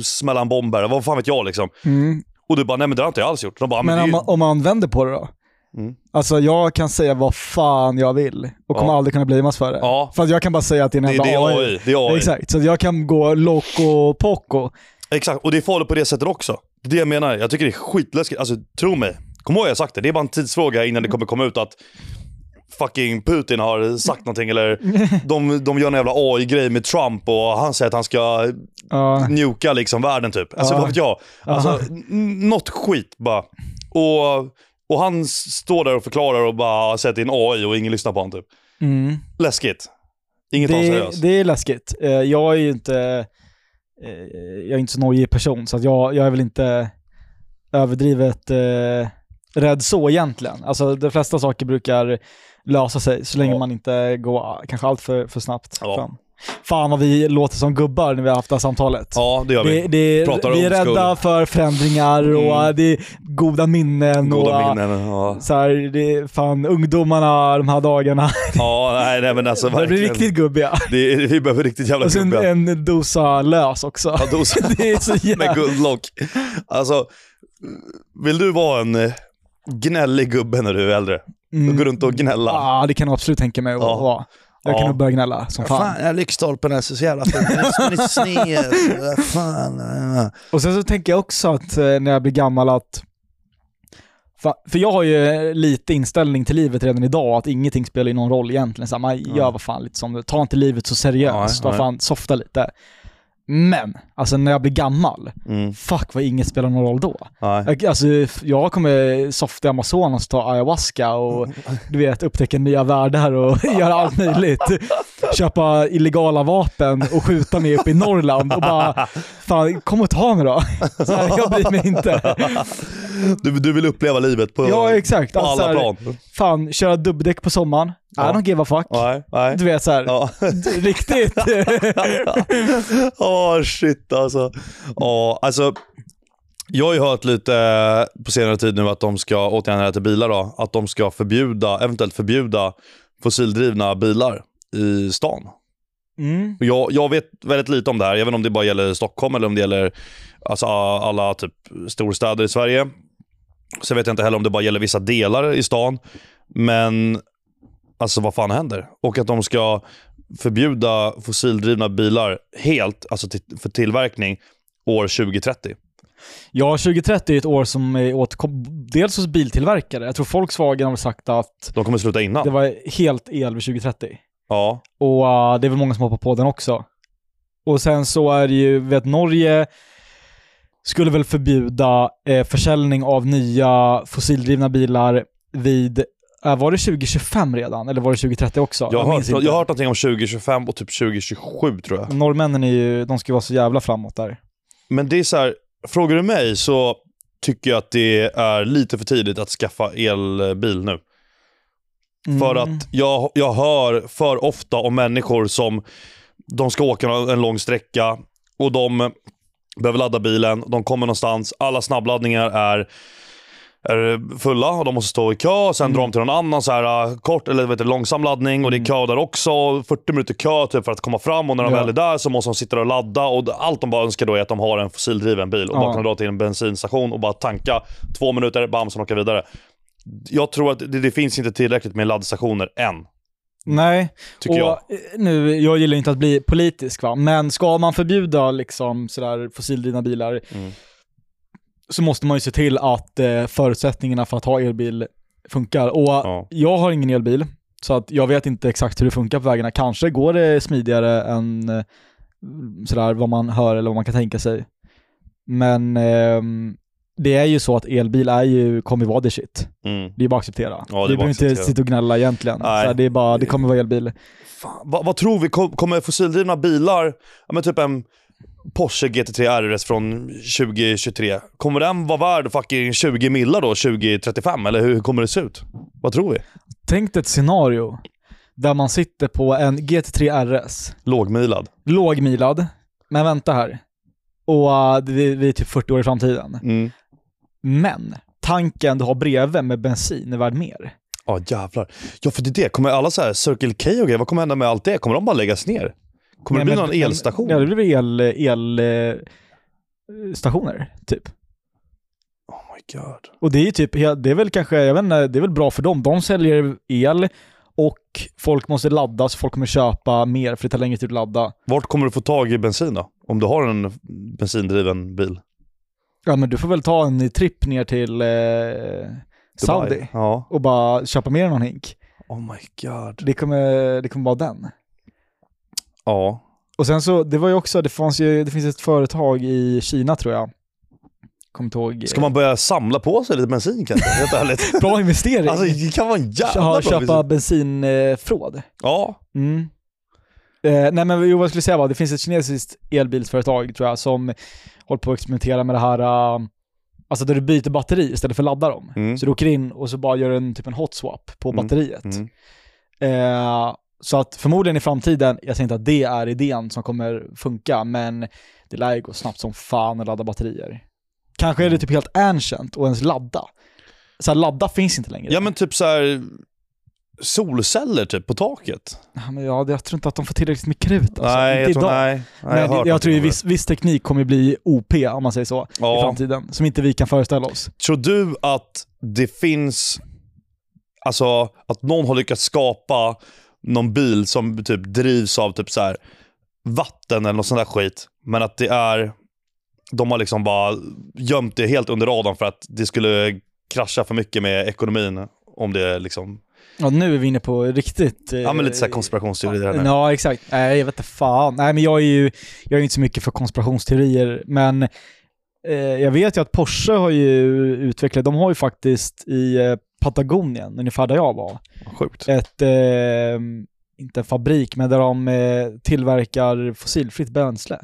S1: att smälla en bomb här. Vad fan vet jag liksom.
S2: Mm.
S1: Och du bara, nej men det har inte jag alls gjort. De bara, men,
S2: Men
S1: det är
S2: om
S1: ju...
S2: man, om man vänder på det då?
S1: Mm.
S2: Alltså jag kan säga vad fan jag vill och kommer
S1: Ja.
S2: aldrig kunna blamas för det.
S1: Ja.
S2: För att jag kan bara säga att det är en
S1: Det,
S2: jävla
S1: det är AI. Det är AI. Exakt.
S2: Exakt, så att jag kan gå loco poco.
S1: Och det är farligt på det sättet också. Det är det jag menar. Jag tycker det är skitläskigt. Alltså tro mig. Kom ihåg jag har sagt det. Det är bara en tidsfråga innan det kommer komma ut att fucking Putin har sagt någonting
S2: (laughs)
S1: eller de, de gör en jävla AI-grej med Trump och han säger att han ska
S2: Ja.
S1: njuka liksom världen typ. Alltså
S2: Ja.
S1: vad vet jag.
S2: Aha.
S1: Alltså n- något skit bara. Och, och han s- står där och förklarar och bara säger att det är en AI och ingen lyssnar på honom typ.
S2: Mm.
S1: Läskigt. Inget av
S2: Det,
S1: seriöst.
S2: det är läskigt. Eh, Jag är ju inte, eh, jag är inte så nojig person så att jag, jag är väl inte överdrivet eh, rädd så egentligen. Alltså de flesta saker brukar lösa sig så länge
S1: Ja.
S2: man inte går kanske allt för, för snabbt
S1: Ja.
S2: fram. Fan vad vi låter som gubbar när vi har haft det här samtalet.
S1: Ja, det gör vi.
S2: Det, det,
S1: Pratar
S2: vi är
S1: old school.
S2: rädda för förändringar och
S1: Mm.
S2: äh, det är goda minnen. och,
S1: Goda
S2: äh,
S1: minnen. Ja.
S2: Så här, det är fan ungdomarna de här dagarna.
S1: Ja, nej, nej men alltså
S2: (laughs) De blir
S1: verkligen.
S2: riktigt gubbiga.
S1: Det är, vi behöver riktigt jävla
S2: Och sen
S1: gubbiga.
S2: en dosa lös också.
S1: Ja, dosa.
S2: (laughs) Det är så
S1: Med
S2: jävla...
S1: guldlock. Alltså, vill du vara en eh, gnällig gubbe när du är äldre?
S2: Mm.
S1: Gå runt och gnälla.
S2: Ja, det kan jag absolut tänka mig att
S1: Ja.
S2: vara. Jag kan
S1: Ja.
S2: nog börja gnälla som fan.
S1: jag lyktstolpen är så jävla
S2: (laughs)
S1: fin. Den är sned. Fan.
S2: Och sen så tänker jag också att eh, när jag blir gammal att För, för jag har ju eh, lite inställning till livet redan idag, att ingenting spelar ju någon roll egentligen. Så här, man gör vad fan lite som det- ta inte livet så seriöst,
S1: Nej,
S2: vad fan, softa lite. Men, alltså när jag blir gammal,
S1: Mm.
S2: fuck vad inget spelar någon roll då. (laughs)
S1: Nej.
S2: Jag, alltså, jag kommer softa i Amazonas och ta ayahuasca och du vet, upptäcka nya världar och (laughs) göra allt möjligt. Köpa illegala vapen och skjuta mig uppe i Norrland och bara, fan kom och ta mig då. (laughs) Så här, jag bryr mig inte.
S1: Du, du vill uppleva livet på,
S2: Ja exakt.
S1: på
S2: Alltså,
S1: alla
S2: så här,
S1: plan.
S2: Fan, köra dubbdäck på sommaren.
S1: Ja.
S2: I don't give a fuck.
S1: Nej, nej.
S2: Du vet såhär,
S1: Ja. (laughs)
S2: (laughs) riktigt.
S1: Åh shit alltså. Ja, alltså. Jag har ju hört lite eh, på senare tid nu att de ska, återigen här till bilar då, att de ska förbjuda, eventuellt förbjuda fossildrivna bilar i stan.
S2: Mm.
S1: Och Jag, jag vet väldigt lite om det här. Jag vet inte om det bara gäller Stockholm eller om det gäller alltså, alla typ, storstäder i Sverige. Sen vet jag inte heller om det bara gäller vissa delar i stan. Men alltså vad fan händer? Och att de ska förbjuda fossildrivna bilar helt alltså, till, för tillverkning år 2030.
S2: Ja, 2030 är ett år som är återkom, dels hos biltillverkare. Jag tror Volkswagen har väl sagt att
S1: De kommer sluta innan.
S2: det var helt el vid 2030.
S1: Ja.
S2: Och eh, det är väl många som hoppar på den också. Och sen så är det ju, vet Norge skulle väl förbjuda eh, försäljning av nya fossildrivna bilar vid, eh, var det 2025 redan? Eller var det 2030 också?
S1: Jag har,
S2: minns
S1: hört, jag
S2: inte.
S1: har hört någonting om 2025 och typ 2027 tror jag.
S2: Norrmännen är ju, de ska ju vara så jävla framåt där.
S1: Men det är så här, frågar du mig så tycker jag att det är lite för tidigt att skaffa elbil nu.
S2: Mm.
S1: För att jag, jag hör för ofta om människor som de ska åka en lång sträcka och de behöver ladda bilen, de kommer någonstans, alla snabbladdningar är, är fulla och de måste stå i kö, sen
S2: Mm.
S1: drar de till någon annan så här, äh, kort eller vet du, långsam laddning och det är kö där också. 40 minuter kö typ, för att komma fram och när de
S2: Ja.
S1: väl är där så måste de sitta och ladda och allt de bara önskar då är att de har en fossildriven bil och
S2: Ja.
S1: bara kan dra till en bensinstation och bara tanka. Två minuter, bam, sen åka vidare. Jag tror att det, det finns inte tillräckligt med laddstationer än,
S2: Nej,
S1: tycker
S2: och
S1: jag.
S2: eh, nu, jag gillar inte att bli politisk va, men ska man förbjuda liksom sådär fossildrivna bilar
S1: Mm.
S2: så måste man ju se till att eh, förutsättningarna för att ha elbil funkar. Och
S1: Ja.
S2: jag har ingen elbil, så att jag vet inte exakt hur det funkar på vägarna. Kanske går det smidigare än eh, sådär vad man hör eller vad man kan tänka sig. Men ehm, det är ju så att elbil är ju, kommer vara the shit.
S1: Mm.
S2: Det är bara att acceptera.
S1: det är bara
S2: vi behöver
S1: att
S2: inte
S1: acceptera.
S2: sitta och gnälla egentligen.
S1: Nej.
S2: Så här, det, är bara, det kommer vara elbil.
S1: Fan, vad, vad tror vi? Kom- Kommer fossildrivna bilar, ja, men typ en Porsche GT3 RS från 2023, kommer den vara värd fucking 20 millar då 2035? Eller hur kommer det se ut? Vad tror vi?
S2: Tänk dig ett scenario där man sitter på en GT3 RS,
S1: Lågmilad.
S2: lågmilad, men vänta här. Och eh, vi, vi är typ 40 år i framtiden.
S1: Mm.
S2: Men tanken du har bredvid med bensin är värd mer.
S1: Ja, jävlar. Ja, för det är det. Kommer alla så här Circle K och grejer, vad kommer hända med allt det? Kommer de bara läggas ner? Kommer det
S2: Nej,
S1: bli
S2: men-
S1: någon elstation?
S2: Ja, det blir el, el eh, stationer typ.
S1: Oh my god.
S2: Och det är ju typ, ja, det är väl kanske, jag vet inte, det är väl bra för dem. De säljer el och folk måste ladda så folk kommer köpa mer för det tar längre tid att ladda.
S1: Vart kommer du få tag i bensin då? Om du har en bensindriven bil?
S2: Ja men du får väl ta en tripp ner till eh,
S1: Dubai.
S2: Saudi
S1: Ja.
S2: och bara köpa mer än någon hink.
S1: Oh my god.
S2: Det kommer, det kommer vara den.
S1: Ja.
S2: Och sen så, det var ju också, det fanns ju, det finns ett företag i Kina tror jag. Kommer inte ihåg.
S1: Ska man börja samla på sig lite bensin kanske? Helt ärligt.
S2: (laughs) Bra investering.
S1: Alltså det kan vara en jävla
S2: Ja,
S1: bra
S2: köpa
S1: bensin.
S2: bensinfråd.
S1: Ja.
S2: Mm. Eh, nej men jo, vad jag skulle säga var, det finns ett kinesiskt elbilsföretag tror jag som håller på att experimentera med det här, eh, alltså där du byter batteri istället för att ladda dem.
S1: Mm.
S2: Så du åker in och så bara gör en typ en hot swap på
S1: Mm.
S2: batteriet.
S1: Mm.
S2: Eh, så att förmodligen i framtiden, jag säger inte att det är idén som kommer funka, men det lär ju gå snabbt som fan att ladda batterier. Kanske
S1: Mm.
S2: är det typ helt ancient och ens ladda. Så här, ladda finns inte längre.
S1: ja men typ så här solceller typ på taket.
S2: Ja, men ja, jag tror inte att de får tillräckligt med krut. Alltså.
S1: nej,
S2: inte
S1: jag tror,
S2: idag.
S1: nej, nej.
S2: Men
S1: har
S2: jag,
S1: hört
S2: tror ju
S1: något om
S2: viss, viss teknik kommer ju bli OP, om man säger så,
S1: det. ja.
S2: i framtiden. Som inte vi kan föreställa oss.
S1: Tror du att det finns, alltså att någon har lyckats skapa någon bil som typ drivs av typ så här vatten eller något sånt där skit, men att det är, de har liksom bara gömt det helt under radarn för att det skulle kraschar för mycket med ekonomin. Om det är liksom,
S2: Ja, nu är vi inne på riktigt... eh,
S1: ja men lite såhär konspirationsteorier här nu.
S2: Ja, exakt. Nej, jag vet inte fan. Nej, men jag är ju jag är ju inte så mycket för konspirationsteorier, men eh, jag vet ju att Porsche har ju utvecklat, de har ju faktiskt i eh, Patagonien, ungefär där jag var,
S1: Sjukt.
S2: ett, eh, inte en fabrik, men där de eh, tillverkar fossilfritt bränsle.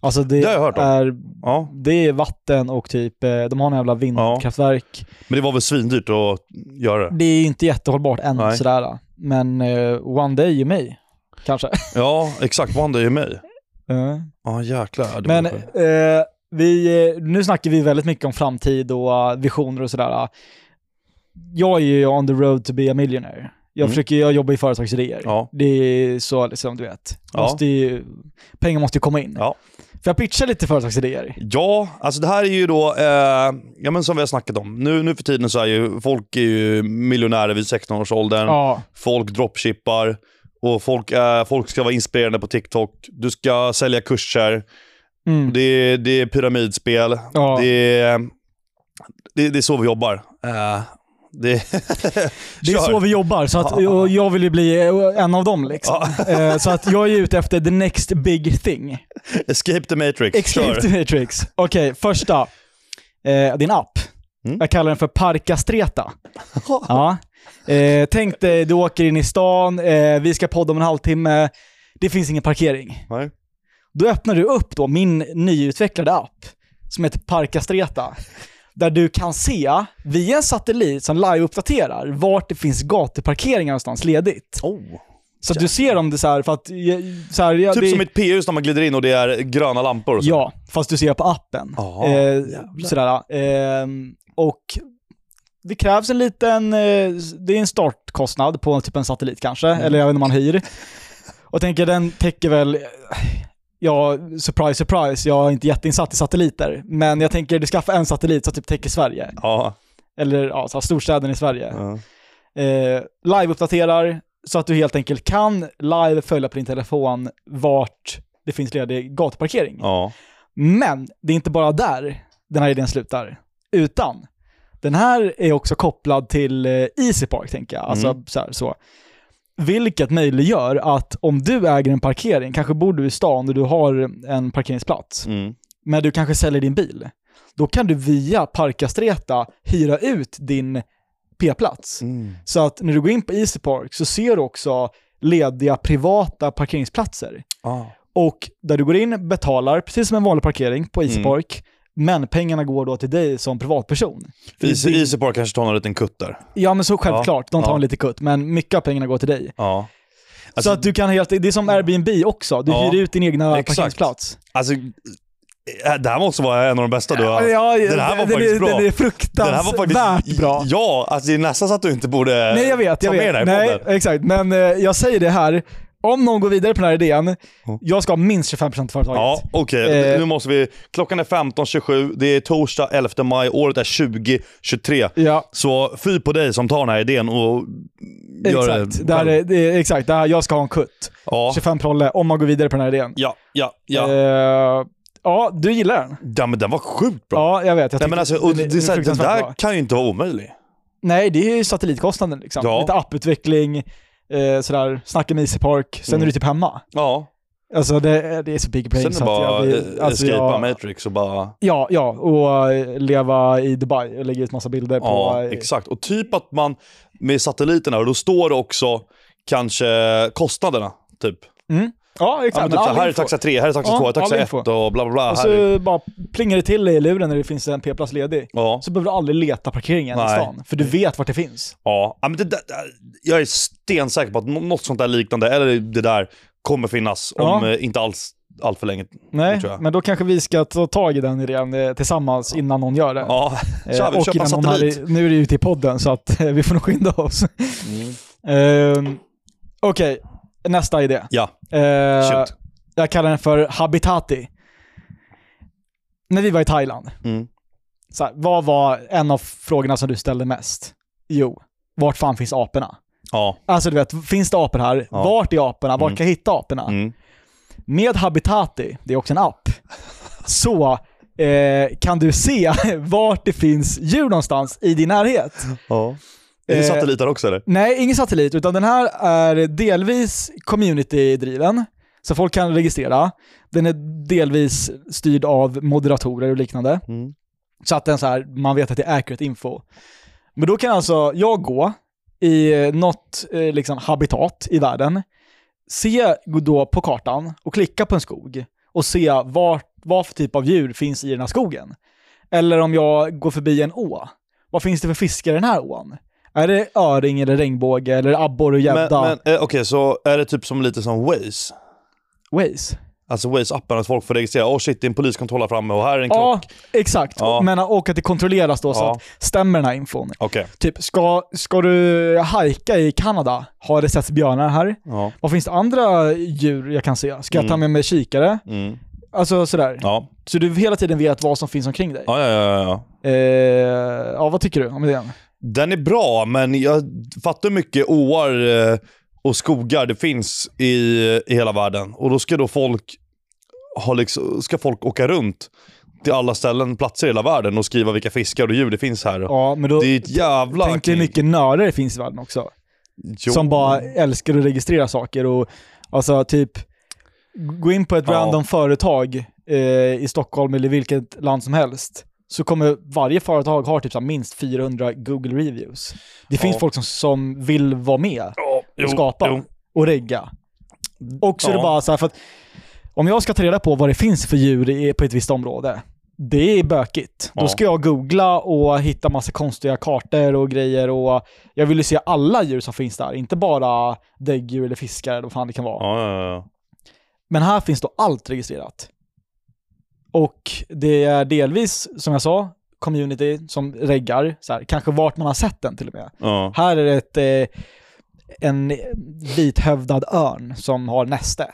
S2: Alltså det,
S1: Det har jag hört om.
S2: är,
S1: Ja.
S2: det är vatten och typ, eh, de har en jävla vindkraftverk.
S1: Men det var väl svindyrt att göra det?
S2: Det är ju inte jättehållbart än
S1: Nej.
S2: sådär, men eh, one day you may, kanske.
S1: Ja, exakt. One day är mig.
S2: Eh.
S1: (laughs) Ja, jäklar. Det
S2: Men
S1: var sjukt.
S2: eh, vi, eh, nu snackar vi väldigt mycket om framtid och eh, visioner och sådär. Jag är ju on the road to be a millionaire. Jag,
S1: Mm.
S2: försöker, jag jobbar i företagsidéer.
S1: Ja.
S2: Det är så liksom, du vet.
S1: Ja.
S2: Måste ju, pengar måste ju komma in.
S1: Ja.
S2: För jag pitchar lite företagsidéer.
S1: Ja, alltså det här är ju då, eh, ja, men som vi har snackat om. Nu, nu för tiden så är ju folk är ju miljonärer vid 16-årsåldern.
S2: Ja.
S1: Folk dropshippar och folk, eh, folk ska vara inspirerande på TikTok. Du ska sälja kurser.
S2: Mm.
S1: Det är, det är pyramidspel.
S2: Ja.
S1: Det, är, det, det är så vi jobbar. Eh, det,
S2: Det är
S1: Kör.
S2: så vi jobbar, så
S1: (laughs)
S2: att,
S1: Ja.
S2: och jag vill ju bli eh, en av dem liksom. Eh, Så att jag är ute efter the next big thing.
S1: (laughs) Escape the Matrix.
S2: Escape
S1: Kör.
S2: the Matrix. Okej, första. Eh, din app.
S1: Mm.
S2: Jag kallar den för Parka Streta. ja. eh, tänk dig, du åker in i stan, eh, vi ska podda om en halvtimme, det finns ingen parkering.
S1: Nej.
S2: Då öppnar du upp då min nyutvecklade app som heter Parka Streta. Där du kan se, via en satellit som live-uppdaterar, vart det finns gatuparkeringar någonstans ledigt.
S1: Oh.
S2: Så att du ser om det så här, för att... eh, Så här, ja,
S1: Typ
S2: det,
S1: som ett p-hus när man glider in och det är gröna lampor och så.
S2: Ja, fast du ser på appen.
S1: Ja,
S2: Eh,
S1: jävlar.
S2: sådär. Eh, och det krävs en liten, eh, det är en startkostnad på typ en satellit kanske,
S1: Mm.
S2: eller jag vet inte om man hyr. Och tänker den täcker väl, ja, surprise surprise, jag är inte jätteinsatt i satelliter, men jag tänker du skaffar en satellit som typ täcker Sverige,
S1: Ja.
S2: eller ja, så här, storstäderna i Sverige.
S1: Ja.
S2: Eh, Live-uppdaterar så att du helt enkelt kan live följa på din telefon vart det finns ledig gatuparkering.
S1: ja.
S2: Men det är inte bara där den här idén slutar, utan den här är också kopplad till eh, Easy Park, tänker jag. Alltså, så här, så. Vilket möjliggör att om du äger en parkering, kanske bor du i stan och du har en parkeringsplats,
S1: Mm.
S2: men du kanske säljer din bil, då kan du via Parka Streta hyra ut din P-plats.
S1: Mm.
S2: Så att när du går in på Easy Park så ser du också lediga privata parkeringsplatser.
S1: Ah.
S2: Och där du går in, betalar, precis som en vanlig parkering på Easy
S1: Mm.
S2: Park, men pengarna går då till dig som privatperson. För
S1: Easy,
S2: det-
S1: Easy Park kanske tar någon liten kutt där.
S2: Ja men så självklart, de tar
S1: ja.
S2: en lite kutt, men mycket av pengarna går till dig.
S1: Ja.
S2: så att du kan helt, det är som Airbnb också, du
S1: Mm. Ja.
S2: hyr ut din egna
S1: Exakt.
S2: parkeringsplats.
S1: Alltså, eh, det här måste vara en av de bästa du har
S2: Ja,
S1: Den här var
S2: den,
S1: faktiskt
S2: är,
S1: bra.
S2: den är fruktansvärt bra.
S1: Ja, alltså det är nästan så att du inte borde
S2: Nej jag vet, jag
S1: ta med
S2: vet.
S1: den här i
S2: Nej,
S1: podden.
S2: exakt. Men eh, jag säger det här, om någon går vidare på den här idén,
S1: Ja.
S2: jag ska ha minst 25% av företaget.
S1: Mm. Ja, okej. Nu-
S2: Eh.
S1: Nu måste vi... Klockan är 15.27, det är torsdag 11 maj, året är 2023.
S2: Ja,
S1: Så fy på dig som tar den här idén och gör
S2: exakt.
S1: det
S2: Där,
S1: själv.
S2: är- det är, exakt, där jag ska ha en kutt.
S1: Ja,
S2: 25 prolle om man går vidare på den här idén.
S1: ja, ja. Ja,
S2: Eh, ja du gillar den.
S1: ja men den var sjukt bra.
S2: Ja, jag vet. Jag
S1: Nej, men
S2: tycker-
S1: alltså, och
S2: den är-
S1: det,
S2: den
S1: är
S2: är
S1: så här, den
S2: fruktansvärt
S1: där
S2: bra.
S1: kan ju inte vara omöjlig.
S2: Nej, det är ju satellitkostnaden liksom.
S1: Ja.
S2: Lite apputveckling, eh, sådär, snacka med Easy Park, sen
S1: Mm.
S2: är du typ hemma.
S1: Ja,
S2: Alltså det, det är så big brain
S1: sen är det
S2: så att
S1: bara
S2: blir-
S1: eh,
S2: alltså,
S1: escapea
S2: jag-
S1: Matrix och bara...
S2: Ja, ja, och eh, leva i Dubai och lägga ut massa bilder på...
S1: Ja,
S2: eh,
S1: exakt. Och typ att man med satelliterna, och då står det också kanske kostnaderna. Typ.
S2: Ja, exakt.
S1: Ja, men typ
S2: men
S1: så här,
S2: all
S1: här är
S2: info.
S1: taxa 3, här är taxa
S2: Ja,
S1: 2, här är taxa
S2: all
S1: 1
S2: info.
S1: och bla bla bla.
S2: Och
S1: här är,
S2: så bara plingar det till i luren när det finns en p-plats ledig.
S1: ja.
S2: Så behöver du aldrig leta parkeringen
S1: Nej.
S2: i stan, för du vet vart det finns.
S1: Ja. ja, men det där, där- jag är stensäker på att nå- något sånt där liknande, eller det där, kommer finnas
S2: Ja.
S1: om eh, inte alls allt för länge.
S2: Nej,
S1: tror jag.
S2: men då kanske vi ska ta tag i den idén eh, tillsammans innan någon gör det.
S1: Ja,
S2: Eh,
S1: kör vi,
S2: och
S1: köpa en
S2: innan någon här,
S1: satellit.
S2: i- nu är det ute i podden så att eh, vi får nog skynda oss.
S1: Mm.
S2: Ehm, Okej, nästa idé.
S1: Ja,
S2: Eh,
S1: Shoot.
S2: jag kallar den för Habitati. När vi var i Thailand,
S1: Mm.
S2: så här, vad var en av frågorna som du ställde mest? Jo, vart fan finns aporna?
S1: ja.
S2: Alltså du vet, finns det apor här?
S1: Ja.
S2: Vart är aporna? Vart
S1: Mm.
S2: kan jag hitta aporna?
S1: Mm.
S2: Med Habitati, det är också en app, så eh, kan du se (laughs) vart det finns djur någonstans i din närhet.
S1: Ja. Är det
S2: Eh,
S1: satellitar också eller?
S2: Nej, ingen satellit, utan den här är delvis community-driven, så folk kan registrera. Den är delvis styrd av moderatorer och liknande.
S1: Mm.
S2: Så att den så här, man vet att det är accurate info. Men då kan alltså jag gå i eh, något eh, liksom, habitat i världen, se gå då på kartan och klicka på en skog och se vart, vad för typ av djur finns i den här skogen. Eller om jag går förbi en å, vad finns det för fiskar i den här ån? Är det öring eller regnbåge eller abborre och
S1: Men,
S2: gädda?
S1: men eh, okej, så är det typ som lite som Waze?
S2: Waze?
S1: Alltså Waze-appen, att folk får registrera. Åh shit, det är en poliskontroll här framme och här är en klocka.
S2: Ja, exakt.
S1: Ja.
S2: Men, och att det kontrolleras då så
S1: Ja.
S2: att stämmer den här infon?
S1: Okej.
S2: Typ, ska, ska du hajka i Kanada? Har det setts björnar här?
S1: Ja.
S2: Vad finns det andra djur jag kan se? Ska jag ta med mig kikare?
S1: Mm.
S2: Alltså sådär.
S1: Ja.
S2: Så du hela tiden vet vad som finns omkring dig.
S1: Ja, ja, ja, ja.
S2: Eh, ja, vad tycker du om idén?
S1: Den är bra, men jag fattar hur mycket åar eh, och skogar det finns i, i hela världen. Och då ska då folk, ha liksom, ska folk åka runt till alla ställen, platser i hela världen och skriva vilka fiskar och djur det finns här.
S2: Ja, men då
S1: Det är ett jävla...
S2: tänk dig hur mycket nördar det finns i världen också.
S1: Jo.
S2: Som bara älskar att registrera saker och alltså typ gå in på ett
S1: Ja.
S2: random företag eh, i Stockholm eller vilket land som helst så kommer varje företag ha typ så här minst 400 Google reviews. Det finns
S1: Ja.
S2: folk som, som vill vara med.
S1: Ja, jo,
S2: och skapa
S1: jo.
S2: och regga. Och så är det
S1: Ja.
S2: bara så här, för att om jag ska ta reda på vad det finns för djur i- på ett visst område, det är bökigt.
S1: Ja.
S2: Då ska jag googla och hitta massa konstiga kartor och grejer och jag vill ju se alla djur som finns där, inte bara däggdjur eller fiskar eller vad fan det kan vara.
S1: Ja, ja, ja.
S2: Men här finns då allt registrerat. Och det är delvis, som jag sa, community som reggar, så här, kanske vart man har sett den till och med.
S1: ja.
S2: Här är det ett, eh, en vithövdad örn som har näste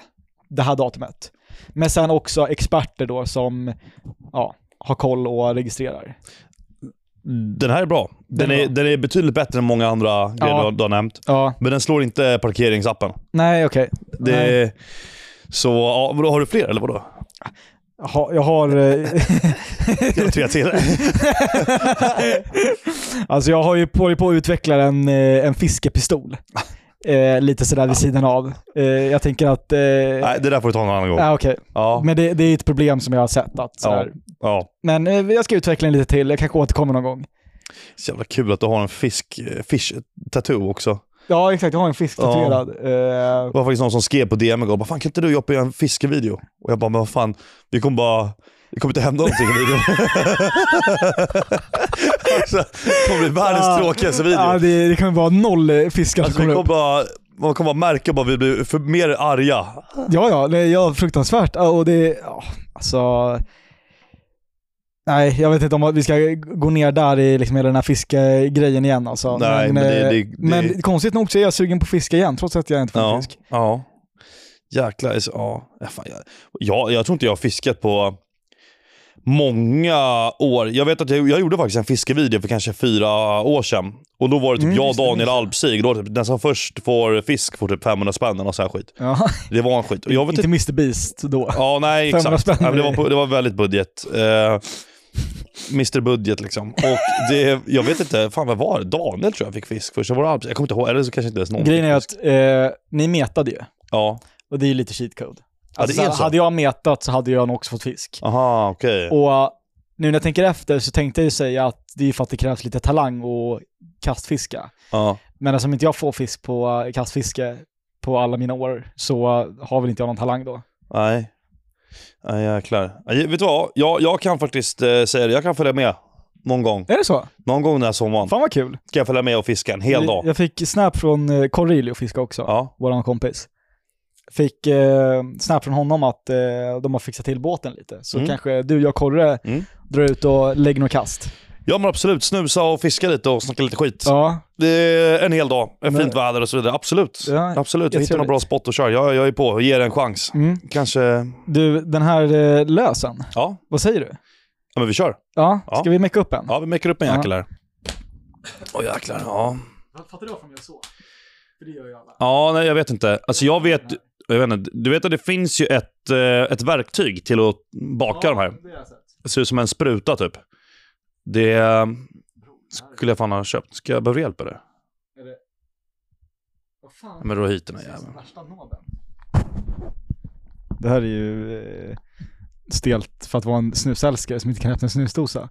S2: det här datumet. Men sen också experter då som ja, har koll och registrerar.
S1: Den här är bra. Den,
S2: Mm. Den är
S1: är,
S2: bra.
S1: den är betydligt bättre än många andra grejer
S2: Ja.
S1: du, har- du har nämnt.
S2: Ja,
S1: Men den slår inte parkeringsappen.
S2: nej okej. Nej.
S1: Det, så, ja, vadå, har du fler eller vadå?
S2: Jag har- Jag har... eh, (laughs)
S1: Jag har tre till.
S2: alltså jag har ju på, på att utveckla en, eh, en fiskepistol. Eh, lite sådär vid sidan av. Eh, jag tänker att... Eh, nej,
S1: Nej, det där får du ta en annan gång.
S2: ah, okej.
S1: Ja,
S2: Men det, det är ett problem som jag har sett. Att, sådär.
S1: ja.
S2: Men eh, jag ska utveckla den lite till. Jag kanske återkommer någon gång.
S1: Så jävla kul att du har en fisk, eh, fish tattoo också.
S2: Ja, exakt. Jag har en fisk
S1: Ja.
S2: tatuerad. Eh,
S1: Det var faktiskt någon som skrev på DM igår, bara, fan kan inte du Joppe göra en fiskevideo? Och jag bara, men vad fan, det kommer bara, det kommer inte hända någonting i (laughs) videon. alltså, det kommer bli
S2: Ja.
S1: världens tråkigaste video.
S2: Ja, det, det kommer vara noll eh, fiskar
S1: alltså,
S2: som
S1: vi
S2: kommer
S1: kommer
S2: upp.
S1: bara, man kommer bara märka att vi blir för, mer arga.
S2: Ja, ja, det är ja, fruktansvärt. Ja, Och det, ja, alltså... Nej, jag vet inte om vi ska gå ner där i liksom hela den här fiskegrejen igen alltså.
S1: Nej, men det-
S2: eh,
S1: det- det-
S2: men konstigt nog så är jag sugen på fiska igen, trots att jag inte får
S1: Ja.
S2: fisk.
S1: ja. Jäklar, alltså, ja. Ja, Fan, jag, jag, jag tror inte jag har fiskat på många år. Jag vet att jag, jag gjorde faktiskt en fiskevideo för kanske fyra år sedan. Och då var det typ
S2: Mm,
S1: jag och
S2: just det,
S1: Daniel
S2: minns jag.
S1: Alpsig. Då var det typ, den som först får fisk får typ 500 spänn eller sån här skit.
S2: Ja.
S1: Det var en skit. Och jag vet
S2: (laughs) Inte
S1: inte...
S2: Mr Beast då.
S1: Ja, nej
S2: 500
S1: exakt.
S2: spänn.
S1: Nej, men det, var, på- det var väldigt budget. Eh, Mr Budget liksom. Och det, jag vet inte, fan vad var det? Daniel tror jag fick fisk först. Det var Alpsig. Jag kommer inte ihåg, eller så kanske inte ens någon
S2: Grejen
S1: fick
S2: är
S1: fisk.
S2: att eh, ni metade ju,
S1: Ja.
S2: och det är ju lite cheat code. Alltså,
S1: Ja, det är så.
S2: Hade jag metat så hade jag nog också fått fisk.
S1: Aha, okej.
S2: Och nu när jag tänker efter så tänkte jag ju säga att det är för att det krävs lite talang och kastfiska.
S1: Ja.
S2: Men eftersom inte jag får fisk på eh, kastfiske på alla mina år så eh, har väl inte jag någon talang då.
S1: Nej. Nej, jäklar. Nej, Vet du vad? Jag, jag kan faktiskt eh, säga det. Jag kan följa med någon gång.
S2: Är det så?
S1: Någon gång den här sommaren
S2: Fan vad kul.
S1: kan jag följa med och fiska en hel dag.
S2: Jag fick snap från eh, Cornelio fiska också,
S1: Ja.
S2: våran kompis. Fick eh, snap från honom att eh, de har fixat till båten lite. Så
S1: Mm.
S2: kanske du, jag och Korre
S1: Mm.
S2: drar ut och lägger några kast.
S1: ja, men absolut. Snusa och fiska lite och snacka lite skit.
S2: Ja,
S1: Det är en hel dag. En
S2: Men-
S1: fint väder och så vidare. Absolut.
S2: Ja,
S1: absolut. Jag hittar någon
S2: jättetrevligt.
S1: bra spot och kör. Jag, jag är på. och Ger det en chans.
S2: Mm.
S1: Kanske...
S2: du den här eh, lösen,
S1: Ja.
S2: vad säger du?
S1: ja, men vi kör.
S2: Ja, ska
S1: Ja.
S2: vi mecka upp en?
S1: Ja, vi mäcker upp en
S2: Ja.
S1: jäkel här. Åh jäklar. Ja.
S2: Fattar du varför de gör så? För det gör ju alla.
S1: Ja, nej jag vet inte. Alltså jag vet... Jag vet inte. Du vet att det finns ju ett, eh, ett verktyg till att baka de här.
S2: det har jag sett.
S1: Det ser ut som en spruta typ. Det eh, skulle jag fan ha köpt. Ska jag behöva hjälp eller?
S2: Vad fan?
S1: Men då hit den här jäveln.
S2: Det här är ju eh, stelt för att vara en snusälskare som inte kan öppna en snusdosa.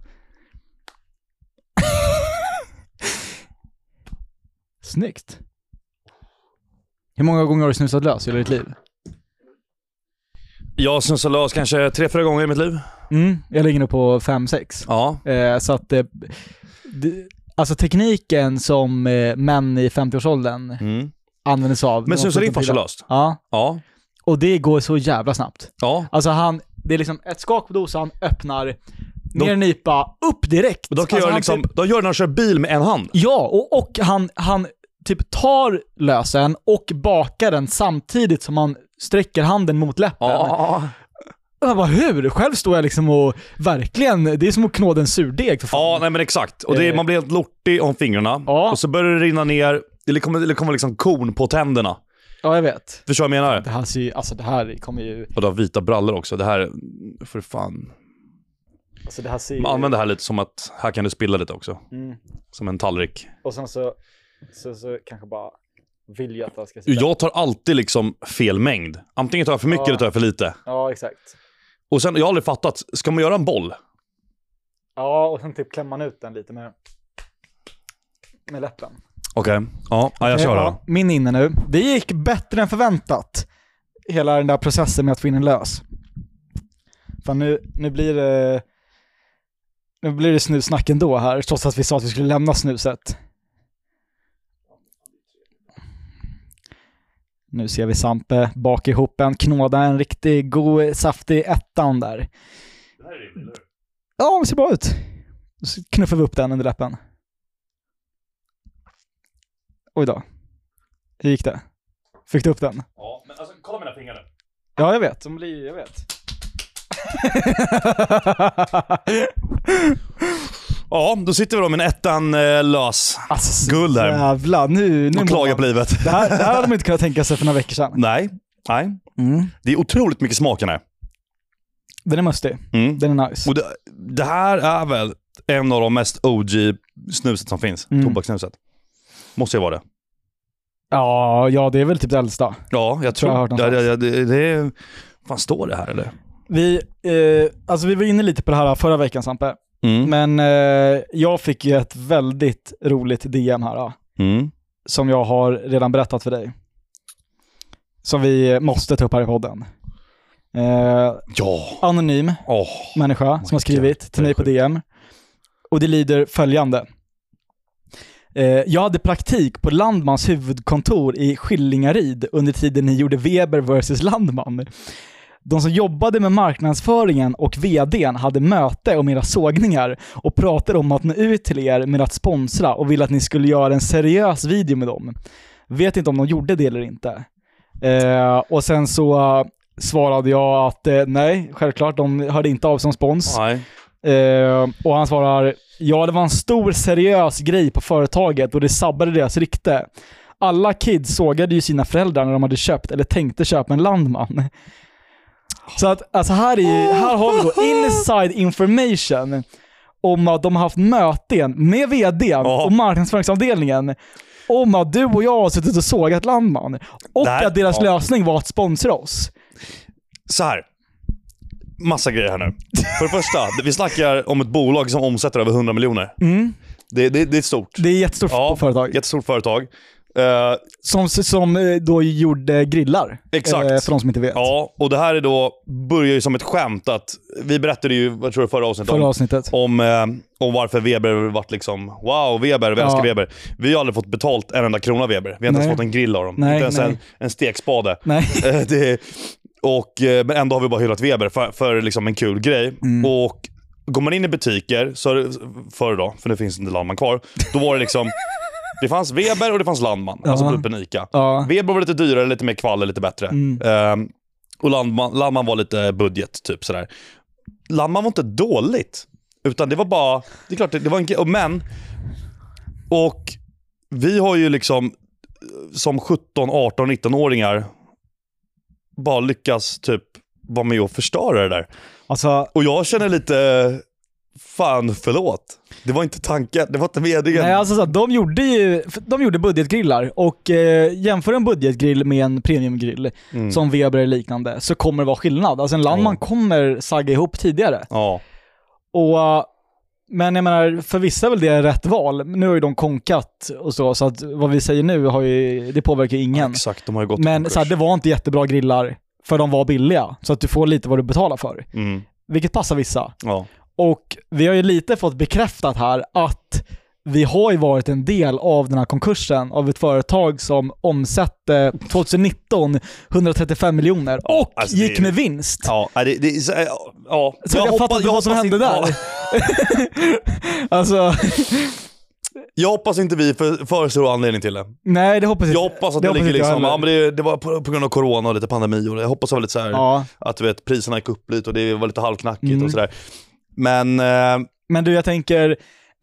S2: (laughs) Snyggt. Hur många gånger har du snusat lös i hela ditt liv?
S1: Jag har snusat lös kanske tre, fyra gånger i mitt liv.
S2: Mm, jag ligger nog på 5-6.
S1: Ja.
S2: Eh, så att eh, det, alltså tekniken som eh, män i 50-årsåldern
S1: Mm.
S2: använder sig av.
S1: Men snusar din farsa
S2: lös?
S1: löst?
S2: Ja,
S1: Ja.
S2: och det går så jävla snabbt.
S1: Ja.
S2: Alltså han, det är liksom ett skak på dosan, öppnar, ner nypa, upp direkt.
S1: Och de kan
S2: alltså
S1: göra
S2: han
S1: liksom,
S2: Typ,
S1: de gör det när de kör bil med en hand.
S2: ja, och, och han, han typ tar lösen och bakar den samtidigt som han sträcker handen mot läppen.
S1: Ja.
S2: Jag bara, hur? Själv står jag liksom och verkligen, det är som att knåda en surdeg för fan.
S1: Ja, nej men exakt. Och det, är-
S2: Eh.
S1: man blir helt lortig om fingrarna.
S2: Ja.
S1: Och så börjar det rinna ner. Det kommer, det kommer liksom korn på tänderna.
S2: ja, jag vet.
S1: Förstår du vad jag menar?
S2: Det här ser ju, alltså det här kommer ju,
S1: Och du har vita brallor också. Det här, för fan.
S2: alltså det här ser ju...
S1: Man använder det här lite som att, här kan du spilla lite också.
S2: Mm.
S1: Som en tallrik.
S2: Och sen så, så, så kanske bara vill jag att jag ska
S1: Jag tar alltid liksom fel mängd. Antingen tar jag för mycket
S2: Ja.
S1: eller tar jag för lite.
S2: Ja, exakt.
S1: Och sen, jag har aldrig fattat, ska man göra en boll?
S2: Ja, och sen typ klämmer man ut den lite med, med läppen.
S1: Okej. Ja, ja, jag kör då.
S2: min inne nu. Det gick bättre än förväntat. Hela den där processen med att få in en lös. Fan, nu, nu blir det... Nu blir det snussnack ändå här, trots att vi sa att vi skulle lämna snuset. Nu ser vi Sampe baka ihop en, knåda en riktig god saftig ettan där. Ja, det ser bra ut. Så knuffar vi upp den under läppen. Oj då. Hur gick det? Fick du upp den?
S1: Ja, men alltså, kolla mina fingrar nu.
S2: Ja, jag vet. De blir jag vet.
S1: Ja, då sitter vi då med en ettan eh, lös.
S2: (laughs) alltså, så
S1: Guld här.
S2: Jävlar, nu... nu
S1: Och
S2: mår
S1: klagar
S2: man.
S1: på livet.
S2: det, här, det här hade man inte kunnat tänka sig för några veckor sedan.
S1: Nej, nej. Det är otroligt mycket smak i den här.
S2: Den är mustig.
S1: Mm.
S2: Den är nice.
S1: Och det, det här är väl en av de mest OG-snuset som finns.
S2: Mm.
S1: Tobakssnuset. Måste ju vara det.
S2: Ja, ja, det är väl typ det äldsta.
S1: Ja, jag tror...
S2: jag har hört
S1: det,
S2: någonstans.
S1: det, det, det, är... Fan, står det här eller?
S2: Vi, eh, alltså vi var inne lite på det här förra veckan Sampe,
S1: Mm.
S2: men eh, jag fick ju ett väldigt roligt DM här. ja.
S1: Mm.
S2: som jag har redan berättat för dig. Som vi måste ta upp här i podden. Eh,
S1: Ja.
S2: anonym
S1: Åh.
S2: människa
S1: Oh my
S2: som har skrivit
S1: God, det är
S2: till mig på
S1: sjukt.
S2: DM. Och det lyder följande. Eh, jag hade praktik på Landmans huvudkontor i Skillingaryd under tiden ni gjorde Weber vs Landman. De som jobbade med marknadsföringen och VDn hade möte om era sågningar och pratade om att nå ut till er med att sponsra och ville att ni skulle göra en seriös video med dem. Vet inte om de gjorde det eller inte. Eh, och sen så eh, svarade jag att eh, nej, självklart, de hörde inte av som spons.
S1: Nej.
S2: Eh, och han svarar, ja det var en stor seriös grej på företaget och det sabbade deras rykte. Alla kids sågade ju sina föräldrar när de hade köpt eller tänkte köpa en Landman. Så att, alltså här, är ju, här har vi då inside information om att de har haft möten med vd
S1: Ja.
S2: och marknadsföringsavdelningen om att du och jag har suttit och sågat Landman. Och
S1: Det här-
S2: att deras
S1: ja.
S2: lösning var att sponsra oss.
S1: Så här. Massa grejer här nu. För det första, vi snackar om ett bolag som omsätter över 100 miljoner. Det, det, det är stort.
S2: Mm. Det är jättestort
S1: Ja,
S2: företag.
S1: Jättestort företag. Eh,
S2: Som, som eh, då gjorde grillar.
S1: Exakt.
S2: Eh, För de som inte vet.
S1: ja, och det här är då, börjar ju som ett skämt att, vi berättade ju, vad tror du förra avsnittet
S2: Förra
S1: om,
S2: avsnittet.
S1: om, eh, om varför Weber varit liksom, wow Weber, vi älskar
S2: Ja.
S1: Weber. Vi har aldrig fått betalt en enda krona av Weber. Vi har inte
S2: Nej.
S1: ens fått en grill av dem.
S2: Nej,
S1: inte ens
S2: nej.
S1: En, en stekspade.
S2: Nej.
S1: (laughs)
S2: (laughs)
S1: Eh, det, och, eh, men ändå har vi bara hyllat Weber för, för liksom en kul grej.
S2: Mm.
S1: Och Går man in i butiker, så är det- förr då, för nu finns inte Landman kvar, då var det liksom det fanns Weber och det fanns Landman, alltså
S2: Ja.
S1: typ en Ica.
S2: Ja.
S1: Weber var lite dyrare, lite mer kvaller, lite bättre.
S2: Mm.
S1: Ehm, och Landman, Landman var lite budget, typ sådär. Landman var inte dåligt, utan det var bara... Det är klart, det, det var en... ge- och Men... Och vi har ju liksom eh, som 17, 18, 19-åringar bara lyckas typ vara med och förstöra det där.
S2: Alltså,
S1: Och jag känner lite, fan förlåt. Det var inte tanken, det var inte meningen.
S2: nej, alltså så här, de gjorde ju de gjorde budgetgrillar och eh, jämför en budgetgrill med en premiumgrill
S1: Mm.
S2: som Weber eller liknande så kommer det vara skillnad. Alltså en Landman kommer sagga ihop tidigare.
S1: Ja,
S2: Och, eh, men jag menar, för vissa är väl det rätt val. Nu har ju de konkat och så, så att vad vi säger nu har ju, det påverkar ju ingen.
S1: exakt. De har ju gått i
S2: Men
S1: konkurs.
S2: så här, det var inte jättebra grillar, för de var billiga. Så att du får lite vad du betalar för.
S1: mm.
S2: Vilket passar vissa.
S1: ja.
S2: Och vi har ju lite fått bekräftat här att vi har ju varit en del av den här konkursen av ett företag som omsatte 2019 135 miljoner och
S1: alltså det
S2: gick
S1: är-
S2: med vinst.
S1: Ja, nej, det, det, så, eh, ja.
S2: Så jag, fattar inte vad som hände
S1: inte-
S2: där.
S1: ja.
S2: (laughs) alltså,
S1: Jag hoppas inte vi för- föreslår anledning till det.
S2: nej det hoppas jag
S1: Jag hoppas att
S2: det
S1: det, ligger
S2: inte jag
S1: liksom,
S2: heller.
S1: ja, men det, det var på, på grund av corona och lite pandemi och det. jag hoppas det var lite så här,
S2: Ja.
S1: att du vet, priserna gick upp lite och det var lite halvknackigt
S2: Mm.
S1: och sådär. Men eh,
S2: Men du, jag tänker,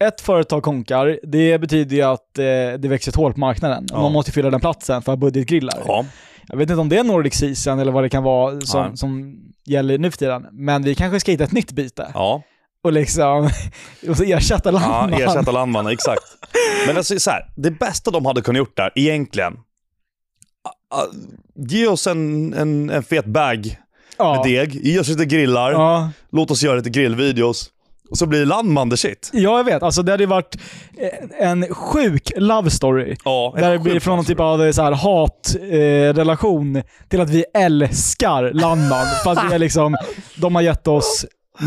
S2: ett företag konkar, det betyder ju att eh, det växer ett hål på marknaden. Och
S1: Ja.
S2: Man måste fylla den platsen för budgetgrillar.
S1: ja,
S2: Jag vet inte om det är Nordic Season eller vad det kan vara
S1: Nej.
S2: som, som gäller nu för tiden. Men vi kanske ska hitta ett nytt byte
S1: ja.
S2: och liksom (laughs) och så ersätta (laughs)
S1: Ja,
S2: Landman.
S1: ersätta landmannen, exakt. Men alltså, så här, det bästa de hade kunnat gjort där, egentligen, a- a- ge oss en, en, en fet bag med
S2: ja.
S1: deg, ge oss lite grillar,
S2: Ja.
S1: låt oss göra lite grillvideos, och så blir landman the shit.
S2: ja, jag vet. Alltså, det hade ju varit eh, en sjuk love story.
S1: Ja,
S2: Där det
S1: sjukt
S2: blir från någon
S1: alltså.
S2: typ av så här, hatrelation eh, relation till att vi älskar
S1: (laughs)
S2: Landman. för att vi är liksom, de har gett oss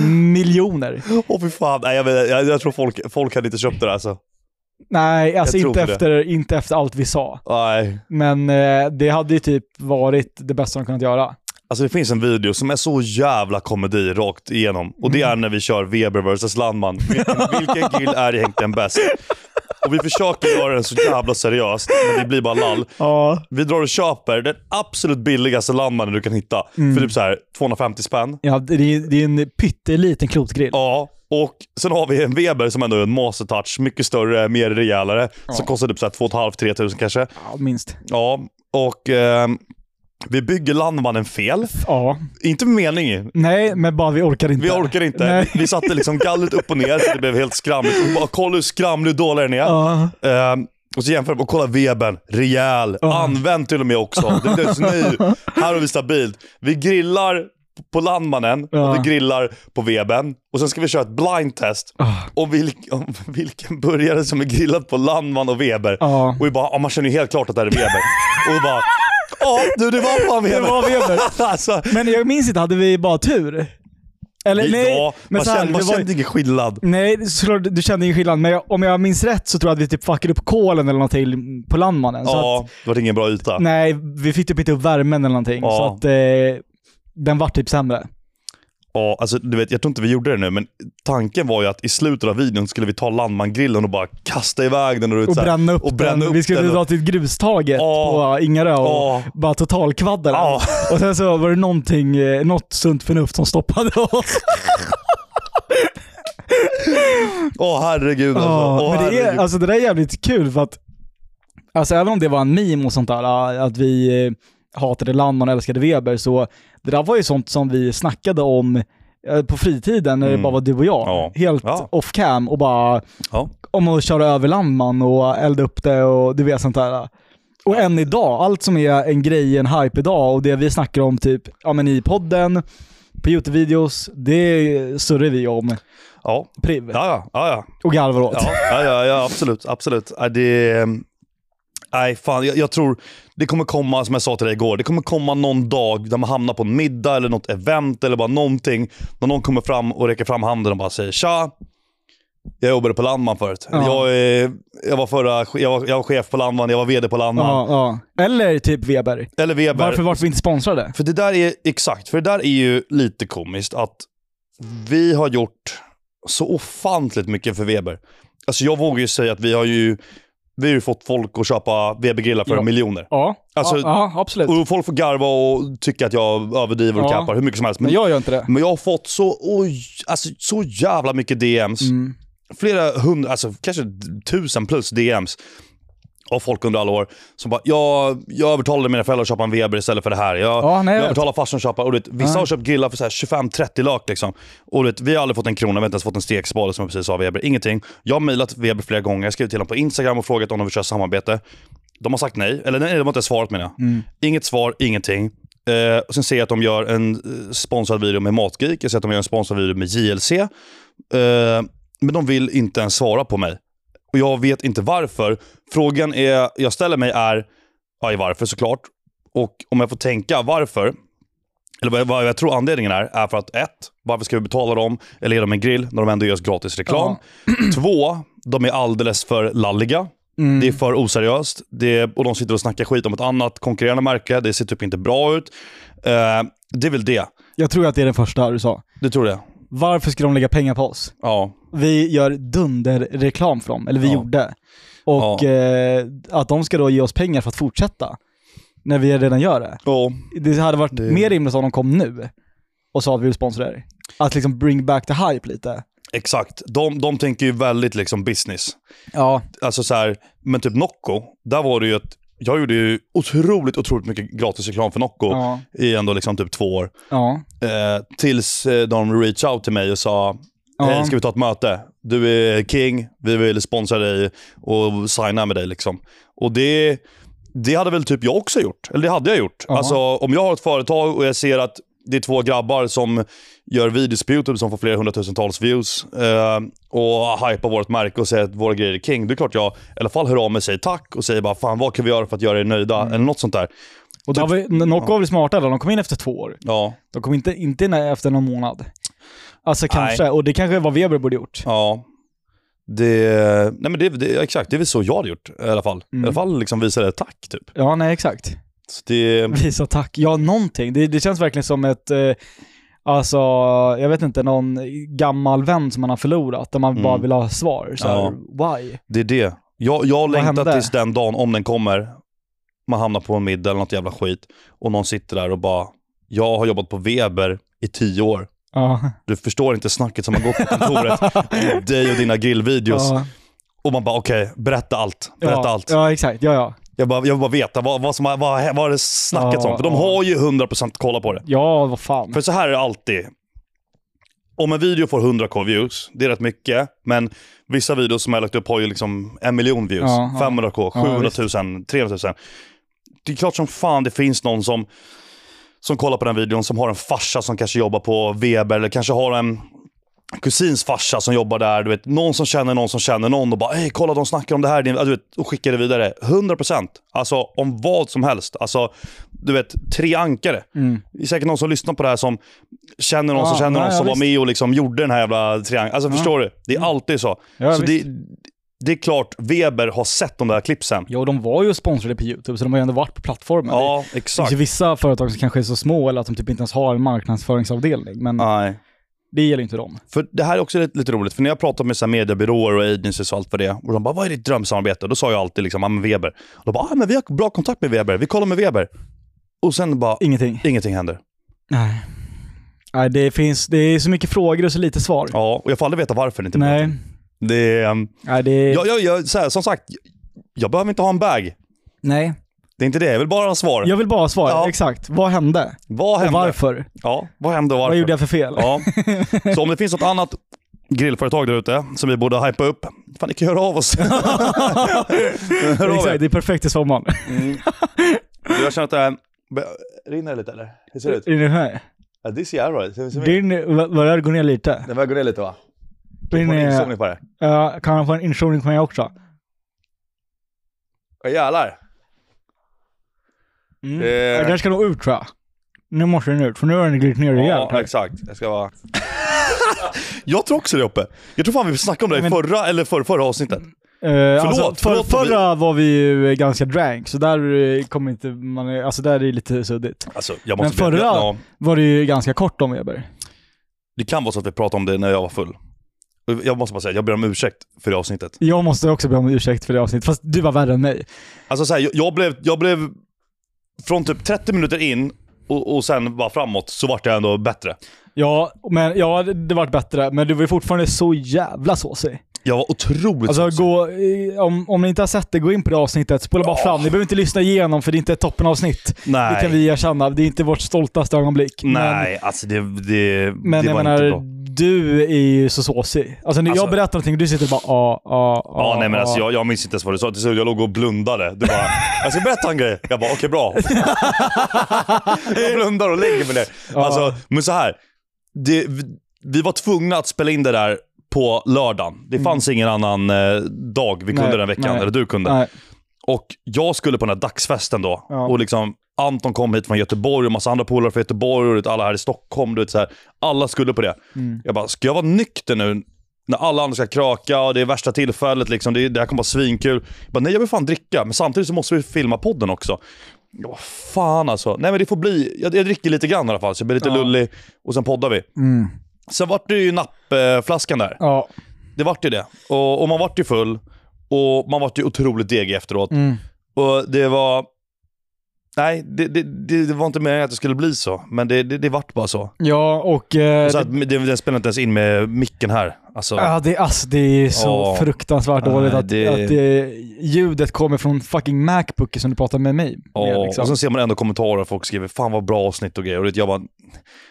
S2: miljoner.
S1: Åh fy fan, nej, jag, vet, jag, jag tror folk, folk hade inte köpt det där alltså.
S2: Nej, alltså
S1: Jag tror
S2: inte
S1: på det.
S2: efter, inte efter allt vi sa.
S1: Nej.
S2: Men eh, det hade ju typ varit det bästa de kunnat göra.
S1: Alltså det finns en video som är så jävla komedi rakt igenom. Och det är
S2: Mm.
S1: när vi kör Weber vs Landman. Vilken, vilken grill är egentligen bäst? Och vi försöker göra den så jävla seriöst, men det blir bara lall.
S2: Ja.
S1: Vi drar och köper den absolut billigaste landmannen du kan hitta.
S2: Mm.
S1: För typ så här 250 spänn.
S2: Ja, det är, det är en pytteliten klotgrill.
S1: Ja, och sen har vi en Weber som ändå är en mastertouch. Mycket större, mer rejälare. Som kostar typ så här 2,5-3 tusen kanske.
S2: Ja, minst.
S1: Ja, och ehm, vi bygger landmannen fel.
S2: Ja.
S1: Inte med mening.
S2: Nej, men bara vi orkar inte.
S1: Vi orkar inte.
S2: Nej.
S1: Vi, vi satte liksom gallret upp och ner så det blev helt skramligt. Och bara, kolla hur skramlig och dålig den är.
S2: Ja.
S1: Ehm, och så jämför vi och kolla Webern, rejäl, använd till och med också. Det behövs ny. Här har vi stabilt. Vi grillar på Landmannen
S2: Ja.
S1: och vi grillar på Webern. Och sen ska vi köra ett blindtest
S2: Ah.
S1: om, vilk- (laughs) om vilken burgare som är grillad på Landman och Weber.
S2: Ja.
S1: Och vi bara, ja, man känner ju helt klart att det här är Weber. och vi bara, ja du det var fan Weber.
S2: Det var Weber.
S1: (laughs) alltså,
S2: Men jag minns inte, hade vi bara tur? Eller nej,
S1: ja, man
S2: men så här,
S1: känner, man
S2: det var-
S1: känner ingen skillnad.
S2: Nej, såklart, du kände ingen skillnad. Men jag, om jag minns rätt så tror jag att vi typ fuckade upp kolen eller någonting på landmannen. Så att,
S1: Ja, det var ingen bra yta.
S2: nej, vi fick typ inte upp värmen eller någonting.
S1: Ja.
S2: Så att eh, den var typ sämre.
S1: Ja, alltså du vet, jag tror inte vi gjorde det nu, men tanken var ju att i slutet av videon skulle vi ta landmangrillen och bara kasta iväg den. Och, du vet,
S2: Och
S1: så här-
S2: bränna upp
S1: och bränna
S2: den.
S1: Upp
S2: vi skulle
S1: den.
S2: dra till grustaget
S1: Ja.
S2: på Ingarö och
S1: Ja.
S2: bara totalkvadda den.
S1: Ja.
S2: Och sen så var det någonting, eh, något sunt förnuft som stoppade oss.
S1: Åh herregud alltså.
S2: Ja,
S1: Åh,
S2: men det, är,
S1: herregud.
S2: alltså, det där är jävligt kul för att, alltså även om det var en meme och sånt där, ah, att vi eh, hatade Landman och älskade Weber, så det där var ju sånt som vi snackade om eh, på fritiden när det
S1: Mm.
S2: bara var du och jag.
S1: Ja.
S2: Helt
S1: Ja.
S2: off cam och bara
S1: Ja.
S2: om att köra över Landman och elda upp det och du vet sånt där. Och än idag, allt som är en grej, en hype idag och det vi snackar om typ ja, men i podden, på Youtube-videos, det surrar vi om.
S1: ja.
S2: Priv.
S1: Ja, ja, ja,
S2: Och garvar åt.
S1: ja, ja, ja, ja, absolut, absolut. Ja, det, ehm, nej, fan, jag, jag tror det kommer komma, som jag sa till dig igår, det kommer komma någon dag där man hamnar på en middag eller något event eller bara någonting. När någon kommer fram och räcker fram handen och bara säger tja. Jag jobbade på Landman förut.
S2: Ja.
S1: Jag, är- jag, var förra, jag, var, jag var chef på Landman, jag var vd på Landman.
S2: Ja, ja. Eller typ Weber.
S1: Eller Weber.
S2: Varför var vi inte sponsrade?
S1: För det där är, exakt, för det där är ju lite komiskt att vi har gjort så ofantligt mycket för Weber. Alltså jag vågar ju säga att vi har ju, vi har ju fått folk att köpa Weber-grillar för
S2: Ja.
S1: miljoner.
S2: Ja,
S1: Alltså-
S2: ja, ja, absolut.
S1: Och folk får garva och tycka att jag överdriver och
S2: Ja.
S1: cappar hur mycket som helst.
S2: Men
S1: Men,
S2: jag gör inte det.
S1: men jag har fått så, oj, alltså, så jävla mycket DMs.
S2: Mm.
S1: Flera hundra, alltså kanske tusen plus DMs. och folk under alla år som bara, jag, jag övertalade mina föräldrar att köpa en Weber istället för det här. Jag,
S2: Ja, nej, jag
S1: jag
S2: vet.
S1: övertalade farsan att köpa, och du vet, vissa har köpt grillar för så här 25-30 lök liksom. Och du vet, vi har aldrig fått en krona, vi har inte ens fått en stekspade som jag precis sa, Weber. Ingenting. Jag har mejlat Weber flera gånger, jag skrev till dem på Instagram och frågat om de vill köra samarbete. De har sagt nej, eller nej, de har inte svarat menar jag.
S2: Mm.
S1: Inget svar, ingenting. Eh, och sen ser jag att de gör en eh, sponsrad video med Matgeek, jag ser att de gör en sponsrad video med JLC. Eh, men de vill inte ens svara på mig. Och jag vet inte varför. Frågan är, jag ställer mig är, ja, i varför såklart. Och om jag får tänka varför, eller vad jag, vad jag tror anledningen är, är för att ett, varför ska vi betala dem eller ge dem en grill när de ändå ger oss gratis reklam? Två, de är alldeles för lalliga. Det är för oseriöst. Det är, och de sitter och snackar skit om ett annat konkurrerande märke. Det ser typ inte bra ut. Eh, det är väl det.
S2: Jag tror att det är den första du sa.
S1: Du tror det?
S2: Varför ska de lägga pengar på oss?
S1: Ja.
S2: Vi gör dunderreklam för dem, eller vi
S1: Ja.
S2: gjorde. Och
S1: Ja.
S2: eh, att de ska då ge oss pengar för att fortsätta, när vi redan gör det.
S1: Ja.
S2: Det hade varit
S1: Det-
S2: mer rimligt om de kom nu och sa att vi vill sponsra er. Att liksom bring back the hype lite.
S1: Exakt. De, de tänker ju väldigt liksom business.
S2: Ja.
S1: alltså så här, men typ Nocco, där var det ju att jag gjorde ju otroligt, otroligt mycket gratis reklam för Nocco
S2: Ja.
S1: i ändå liksom typ två år.
S2: Ja.
S1: Eh, tills eh, de reach out till mig och sa Hej,
S2: Ja.
S1: ska vi ta ett möte? Du är king, vi vill sponsra dig och signa med dig. Liksom. Och det, det hade väl typ jag också gjort. Eller det hade jag gjort.
S2: Ja.
S1: Alltså, om jag har ett företag och jag ser att det är två grabbar som gör videos på YouTube som får flera hundratusentals views eh, och hypar vårt märke och säger att våra grejer är king. Det är klart jag i alla fall hör av mig och säger tack och säger bara fan vad kan vi göra för att göra er nöjda?
S2: Mm.
S1: Eller något sånt där.
S2: Och då var ju- Nocco var väl smartare, de kom in efter två år.
S1: Ja,
S2: De kom inte, inte in efter någon månad. Alltså kanske, och det kanske var Weber borde gjort.
S1: Ja. Det, nej men det, det, exakt, det är väl så jag hade gjort i alla fall.
S2: Mm.
S1: I alla fall liksom visa det tack typ.
S2: Ja, nej exakt.
S1: Så det,
S2: Visa tack. Ja, någonting. Det, det känns verkligen som ett, eh, alltså, jag vet inte, någon gammal vän som man har förlorat, där man bara
S1: Mm.
S2: vill ha svar. Så här, why?
S1: det är det. Jag, jag längtar
S2: hände?
S1: tills den dagen, om den kommer, man hamnar på en middag eller något jävla skit och någon sitter där och bara, jag har jobbat på Weber i tio år.
S2: Ja.
S1: Du förstår inte snacket som har gått på kontoret
S2: (laughs)
S1: om dig och dina grillvideos.
S2: ja.
S1: Och man bara okej, berätta allt. Berätta
S2: ja.
S1: allt.
S2: Ja, exakt. Ja, ja.
S1: Jag, bara, jag vill bara veta vad, vad, som, har- vad, vad är det snacket
S2: Ja,
S1: om? För de
S2: ja.
S1: har ju 100% kolla på det.
S2: Ja, vad fan.
S1: För så här är det alltid. Om en video får 100k views, det är rätt mycket, men vissa videos som jag har lagt upp har ju liksom en miljon views.
S2: Ja, ja.
S1: 500k,
S2: Ja,
S1: 700 000, 300 000. Det är klart som fan det finns någon som, som kollar på den videon som har en farsa som kanske jobbar på Weber eller kanske har en kusins farsa som jobbar där. Du vet, någon som känner någon som känner någon och bara Ey, kolla de snackar om det här. Ja, Du vet, och skickar det vidare. 100%. Alltså om vad som helst. Alltså, du vet, tre ankare. Det är säkert någon som lyssnar på det här som känner någon
S2: Mm. Ja,
S1: som känner någon
S2: ja, ja,
S1: som
S2: visst. Mm.
S1: var med och liksom gjorde den här jävla triangeln. Alltså förstår du? Det är alltid så.
S2: Ja,
S1: så det, det är klart Weber har sett de där klippsen.
S2: Ja, och de var ju sponsrade på YouTube, så de har ju ändå varit på plattformen. Det-
S1: Ja,
S2: Det finns
S1: exakt.
S2: ju vissa företag som kanske är så små eller att de typ inte ens har en marknadsföringsavdelning, men
S1: Nej.
S2: det gäller ju inte dem.
S1: För det här är också lite, lite roligt, för när jag pratar med så här mediebyråer och agencies och allt för det, och de bara “Vad är ditt drömsamarbete?” Då sa jag alltid liksom, ah, men Weber. Och de bara ah, men “Vi har bra kontakt med Weber, vi kollar med Weber”. Och sen bara,
S2: Ingenting.
S1: ingenting händer.
S2: Nej. Nej, det finns, det är så mycket frågor och så lite svar.
S1: Ja, och jag får aldrig veta varför det inte blir
S2: Nej.
S1: någonting. Det är... ehm,
S2: Nej, det är...
S1: Jag, jag, jag, så här, som sagt, jag behöver inte ha en bag.
S2: Nej.
S1: Det är inte det, jag vill bara ha svar.
S2: Jag vill bara ha svar.
S1: Ja.
S2: Exakt. Vad hände?
S1: Vad
S2: Och
S1: hände?
S2: varför?
S1: Ja, vad hände och varför?
S2: Vad gjorde jag för fel?
S1: Ja. Så om det finns något annat grillföretag där ute som vi borde hypa upp, fan ni kan höra av
S2: (laughs)
S1: oss. Hör av er.
S2: Exakt, det är perfekt i sommaren.
S1: Mm. (laughs) Jag känner att det här... Rinner det lite eller? Hur ser det ut?
S2: Är det här?
S1: Ja, det ser jävla bra ut.
S2: Din, vad är det? Går ner lite?
S1: Den börjar gå ner lite va?
S2: Din,
S1: Får ni
S2: eh,
S1: insomning på det?
S2: ja, kan jag få en inzoomning på mig också?
S1: Ja jävlar.
S2: Mm.
S1: Det-
S2: Ja, Den ska nog ut tror jag. Nu måste den ut, för nu har den glidit ner rejält
S1: Ja
S2: här.
S1: exakt. Jag ska vara... (laughs) jag tror också det uppe. Jag tror fan vi snackade om det i
S2: Men-
S1: förra eller förra, förra avsnittet.
S2: Eh, alltså, för,
S1: förlåt,
S2: förra var vi ju eh, ganska drank, så där eh, kommer inte man... Alltså där är det lite suddigt.
S1: Alltså jag
S2: Men
S1: måste...
S2: förra
S1: Ja,
S2: var det ju ganska kort om Weber.
S1: det kan vara så att vi pratade om det när jag var full. Jag måste bara säga, jag ber om ursäkt för det avsnittet.
S2: Jag måste också be om ursäkt för det avsnittet, fast du var värre än mig.
S1: Alltså så här, jag, jag, blev, jag blev... Från typ 30 minuter in och, och sen bara framåt så vart jag ändå bättre.
S2: Ja, men, ja det, det vart bättre, men du var ju fortfarande så jävla såsig.
S1: Jag var otroligt
S2: Alltså
S1: smutsig.
S2: gå, eh, om, om ni inte har sett det, gå in på det avsnittet. Spola bara fram. Ni behöver inte lyssna igenom för det är inte ett toppenavsnitt.
S1: Nej.
S2: Det kan vi erkänna. Det är inte vårt stoltaste ögonblick.
S1: Nej, alltså det, det,
S2: Men, men
S1: det
S2: jag
S1: var inte bra.
S2: menar, du är ju så såsig. Alltså, när jag
S1: Alltså-
S2: berättar någonting och du sitter bara ah, ja, ja,
S1: Ja, nej men alltså
S2: ah.
S1: jag, jag minns inte ens vad du sa. Till slut jag låg och blundade. Du bara, jag ska berätta en grej. Jag bara, okej
S2: (laughs)
S1: bra. jag blundar och lägger mig ner.
S2: Ja.
S1: Alltså, men så här. Det, vi, vi var tvungna att spela in det där på lördagen. Det fanns ingen annan eh, dag vi kunde
S2: Mm. Nej,
S1: den veckan,
S2: nej.
S1: eller du kunde.
S2: Nej.
S1: Och jag skulle på den här dagsfesten då.
S2: Ja.
S1: Och liksom Anton kom hit från Göteborg och massa andra polare från Göteborg och du vet, alla här i Stockholm. Du vet, så här. Alla skulle på det.
S2: Mm.
S1: Jag bara, ska jag vara nykter nu när alla andra ska kraka och det är värsta tillfället liksom. Det, det här kommer vara svinkul. Jag bara, nej jag vill fan dricka. Men samtidigt så måste vi filma podden också. Jag bara, fan alltså. Nej men det får bli. Jag, jag dricker lite grann i alla fall så jag blir lite
S2: Ja.
S1: lullig och sen poddar vi.
S2: Mm.
S1: Sen vart det ju nappflaskan där.
S2: Ja.
S1: Det vart ju det. Och, och man vart ju full. Och man vart ju otroligt degig efteråt.
S2: Mm.
S1: Och det var... Nej, det, det, det, det var inte meningen att det skulle bli så. Men det, det, det vart bara så.
S2: Ja, och... eh,
S1: så att, det, den spelar inte ens in med micken här. Alltså,
S2: Ja, det, alltså, det är så
S1: Ja.
S2: fruktansvärt dåligt
S1: Nej,
S2: att,
S1: det-
S2: att det, ljudet kommer från fucking Macbook som du pratar med mig
S1: ja, Alltså,
S2: med, liksom.
S1: Och sen ser man ändå kommentarer. Folk skriver “Fan vad bra avsnitt” och grejer. Och det- jag bara, alltså,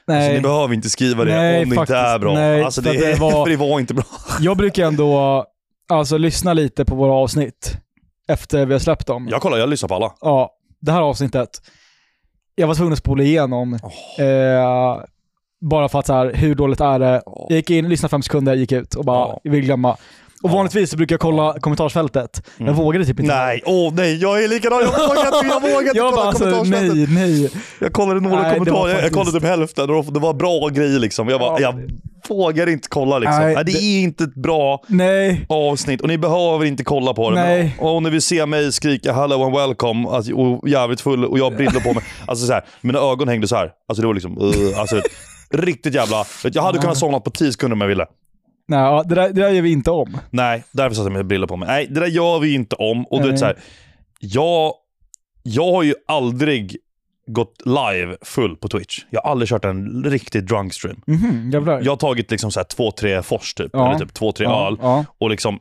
S1: ni
S2: Nej,
S1: behöver inte skriva det
S2: Nej,
S1: om det
S2: faktiskt.
S1: inte är (laughs) bra.
S2: Nej,
S1: alltså,
S2: för
S1: det,
S2: det var-
S1: för det var inte bra.
S2: jag brukar ändå alltså, lyssna lite på våra avsnitt efter vi har släppt dem.
S1: Jag kollar, jag lyssnar på alla.
S2: Ja, det här avsnittet. Jag var tvungen att spola igenom.
S1: Åh.
S2: Eh, bara för att så här, hur dåligt är det? Jag gick in, lyssnade fem sekunder, gick ut och bara,
S1: Ja.
S2: jag vill glömma. Och
S1: Ja. Mm.
S2: vanligtvis så brukar jag kolla kommentarsfältet. Jag vågade typ inte.
S1: Nej, åh nej, jag är likadan. Jag vågar inte, jag vågar inte
S2: Jag
S1: kolla
S2: bara alltså,
S1: kommentarsfältet.
S2: nej, nej.
S1: Jag kollade några
S2: Nej, det var
S1: kommentarer, jag- jag
S2: faktiskt-
S1: kollade typ hälften och det var bra grejer liksom. Jag, bara,
S2: Ja.
S1: jag vågar inte kolla liksom. Nej,
S2: Nej,
S1: det
S2: det-
S1: är inte ett bra
S2: Nej.
S1: avsnitt och ni behöver inte kolla på det.
S2: Nej.
S1: Men, och när vi ser mig skrika hello and welcome alltså, och jävligt full och jag har brillor på mig. Alltså så här, mina ögon hängde så här. Alltså det var liksom, uh, alltså, riktigt jävla... Jag hade kunnat somna på 10 sekunder om jag ville.
S2: Nej, ja, det, där, det där gör vi inte om.
S1: Nej, därför satte jag mina brillor på mig. Nej, det där gör vi inte om. Och du vet
S2: Nej.
S1: så här, jag, jag har ju aldrig gått live full på Twitch. Jag har aldrig kört en riktig drunk stream.
S2: Mhm, jävlar.
S1: Jag har tagit liksom så här två, tre fors typ,
S2: Ja.
S1: eller typ två, tre
S2: ja,
S1: öl
S2: ja.
S1: och liksom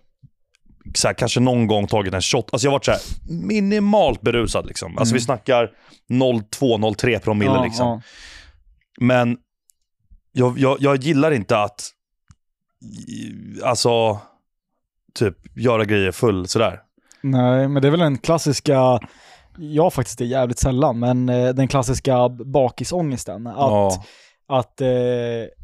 S1: så här, kanske någon gång tagit en shot. Alltså jag har varit så här minimalt berusad liksom. Alltså vi snackar 0,2-0,3 promille
S2: Mm. ja,
S1: liksom.
S2: ja.
S1: Men jag, jag, jag gillar inte att alltså typ göra grejer full sådär.
S2: Nej, men det är väl den klassiska, jag faktiskt är jävligt sällan, men eh, den klassiska bakisångesten. Att,
S1: Ja.
S2: att eh,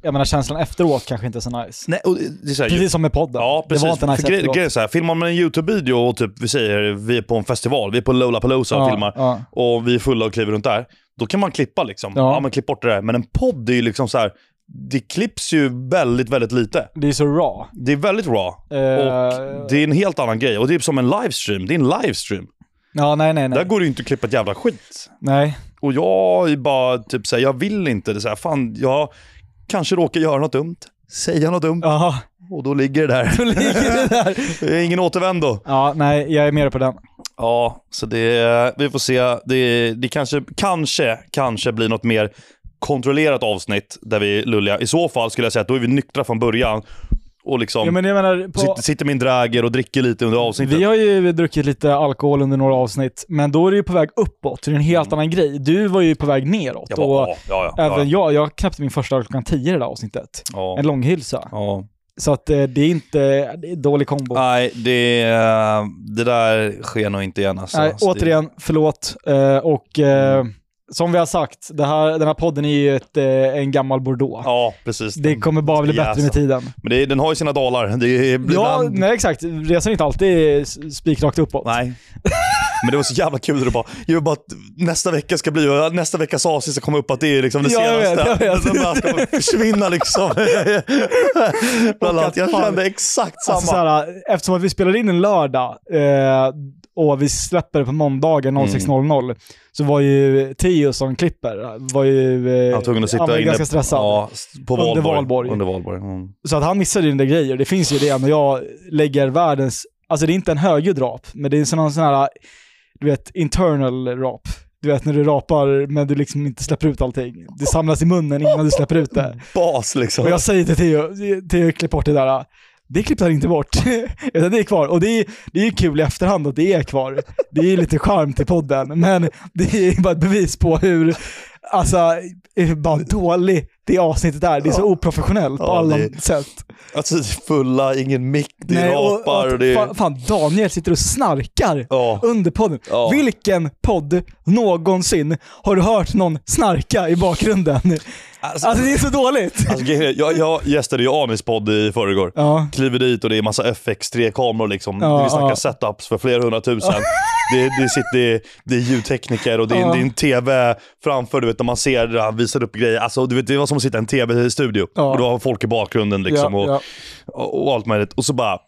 S2: jag menar känslan efteråt kanske inte är så nice.
S1: Nej, och det det är så här,
S2: Precis som med podden.
S1: Ja, precis.
S2: Det var inte
S1: För
S2: nice
S1: gre-
S2: efteråt.
S1: grejen är så här, filmar man en YouTube-video och typ, vi säger vi är på en festival, vi är på Lollapalooza och
S2: ja,
S1: filmar
S2: Ja.
S1: och vi är fulla och kliver runt där. Då kan man klippa liksom. Ja.
S2: Ja.
S1: men klipp bort det där. Men en podd är ju liksom så här, det klipps ju väldigt, väldigt lite.
S2: Det är så raw.
S1: Det är väldigt raw.
S2: Eh,
S1: Och det är en helt annan grej. Och det är som en livestream. Det är en livestream.
S2: Ja, nej, nej, nej.
S1: Där går det ju inte att klippa ett jävla skit.
S2: nej.
S1: Och jag är bara typ såhär, jag vill inte. Det är så här, fan, jag kanske råkar göra något dumt. Säga något dumt. (laughs)
S2: Ja, (laughs)
S1: Och då ligger det där.
S2: då ligger det där.
S1: Det är ingen återvändo.
S2: Ja, nej, jag är med dig på den.
S1: Ja, så det, vi får se. Det, det kanske, kanske, kanske blir något mer kontrollerat avsnitt där vi är lulliga. I så fall skulle jag säga att då är vi nyktra från början och liksom
S2: Ja, men jag menar, på,
S1: sitter, sitter med en dräger och dricker lite under avsnittet.
S2: vi har ju druckit lite alkohol under några avsnitt, men då är det ju på väg uppåt. Det är en helt annan grej. Du var ju på väg neråt.
S1: Mm. jag bara,
S2: och
S1: ja, ja, ja,
S2: Även
S1: ja,
S2: jag, jag knäppte min första öl klockan 10 i det där avsnittet.
S1: ja,
S2: En långhylsa.
S1: ja.
S2: Så att eh, det är inte, det är dålig kombo.
S1: Nej, det, det där sker nog inte igen alltså.
S2: Nej,
S1: Så det- Mm.
S2: återigen, förlåt. Eh, och eh, som vi har sagt, det här, den här podden är ju ett, eh, en gammal bordeaux.
S1: Ja, precis.
S2: det kommer bara bli bättre med
S1: Jäsa.
S2: tiden.
S1: Men det, den har ju sina dalar. Det blir
S2: Ja,
S1: ibland-
S2: nej exakt. Resan är inte alltid s- spikrakt uppåt.
S1: Nej. Men det var så jävla kul när du bara, jag vill bara att nästa vecka ska bli, nästa veckas avsnitt ska komma upp att det är liksom det
S2: Ja, jag vet,
S1: senaste.
S2: jag vet.
S1: (laughs) Den bara ska försvinna
S2: (laughs)
S1: liksom. Bland annat. Jag
S2: fan-
S1: kände exakt samma.
S2: Alltså, så här, eftersom att vi spelar in en lördag eh, och vi släpper det på
S1: Mm.
S2: måndagen 06.00 så var ju Theo som klipper var ju, eh,
S1: jag var tvungen att sitta
S2: han var ju
S1: inne
S2: ganska stressad.
S1: Ja, på
S2: Under
S1: Valborg.
S2: Valborg.
S1: Under Valborg. Mm.
S2: Så att han missade ju den där grejer. Det finns ju det, men jag lägger världens... Alltså det är inte en högljudd rap, men det är en sån, sån här, du vet, internal rap. Du vet när du rapar men du liksom inte släpper ut allting. Det samlas i munnen innan du släpper ut det.
S1: Bas liksom.
S2: Och jag säger till Theo, Theo klipp bort det där. Det klippte han inte bort. (laughs) Utan det är kvar. Och det är, det är ju kul i efterhand att det är kvar. Det är ju lite charm till podden, men det är ju bara ett bevis på hur, alltså, hur bara dålig det avsnittet är. Det är så oprofessionellt på
S1: Ja,
S2: alla
S1: det-
S2: sätt.
S1: Alltså det är fulla, ingen mick, det är
S2: och-
S1: rapar och,
S2: och,
S1: det är...
S2: fan, fan, Daniel sitter och snarkar
S1: Ja.
S2: under podden.
S1: Ja.
S2: Vilken podd någonsin har du hört någon snarka i bakgrunden?
S1: Alltså,
S2: Alltså det är så dåligt.
S1: alltså, grejen är, jag, jag gästade ju Anis podd i förrgår.
S2: Ja.
S1: Kliver dit och det är massa FX3-kameror liksom.
S2: Ja,
S1: vi snackar
S2: ja.
S1: setups för flera
S2: (laughs)
S1: hundratusen. Det, det, sitter, det, är- det är ljudtekniker och det är,
S2: Ja.
S1: det är en TV framför, du vet när man ser det, han visar upp grejer. Alltså du vet, det var som att sitta i en TV-studio.
S2: Ja.
S1: Och du har folk i bakgrunden liksom. och,
S2: ja.
S1: och, och allt möjligt. Och så bara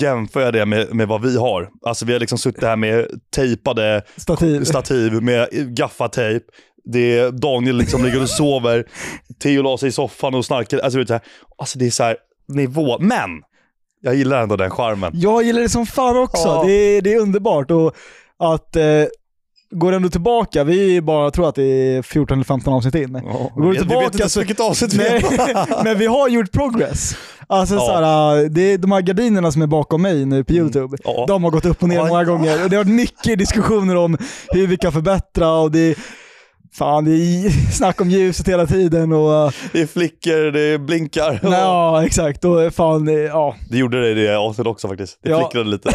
S1: jämför jag det med, med vad vi har. Alltså vi har liksom suttit här med tejpade
S2: Stativ.
S1: Typ. stativ med gaffatejp. Det är Daniel liksom ligger och sover. Theo la sig i soffan och snarkade. Alltså, du vet, så här. alltså det är så här nivå. Men! Jag gillar ändå den charmen.
S2: Jag gillar det som fan också.
S1: Ja.
S2: Det, är, det är underbart. Och att, eh, går ändå tillbaka, vi är bara, tror att det är 14 eller 15 avsnitt in. Går
S1: vi,
S2: du
S1: vi
S2: tillbaka
S1: vet inte ens
S2: så-
S1: vilket avsnitt vi
S2: Nej,
S1: är på.
S2: men (laughs) vi har gjort progress. Alltså
S1: Ja. Mm.
S2: såhär, det är de här gardinerna som är bakom mig nu på YouTube,
S1: Ja.
S2: de har gått upp och ner
S1: Ja.
S2: många gånger. Och det har varit mycket diskussioner om hur vi kan förbättra och det är, fan, det är (laughs) snack om ljuset hela tiden och
S1: Det flickar, det blinkar.
S2: ja, exakt. Och fan, ja.
S1: Det gjorde det i det avsnittet också faktiskt. Det
S2: Ja.
S1: flickrade (laughs) lite.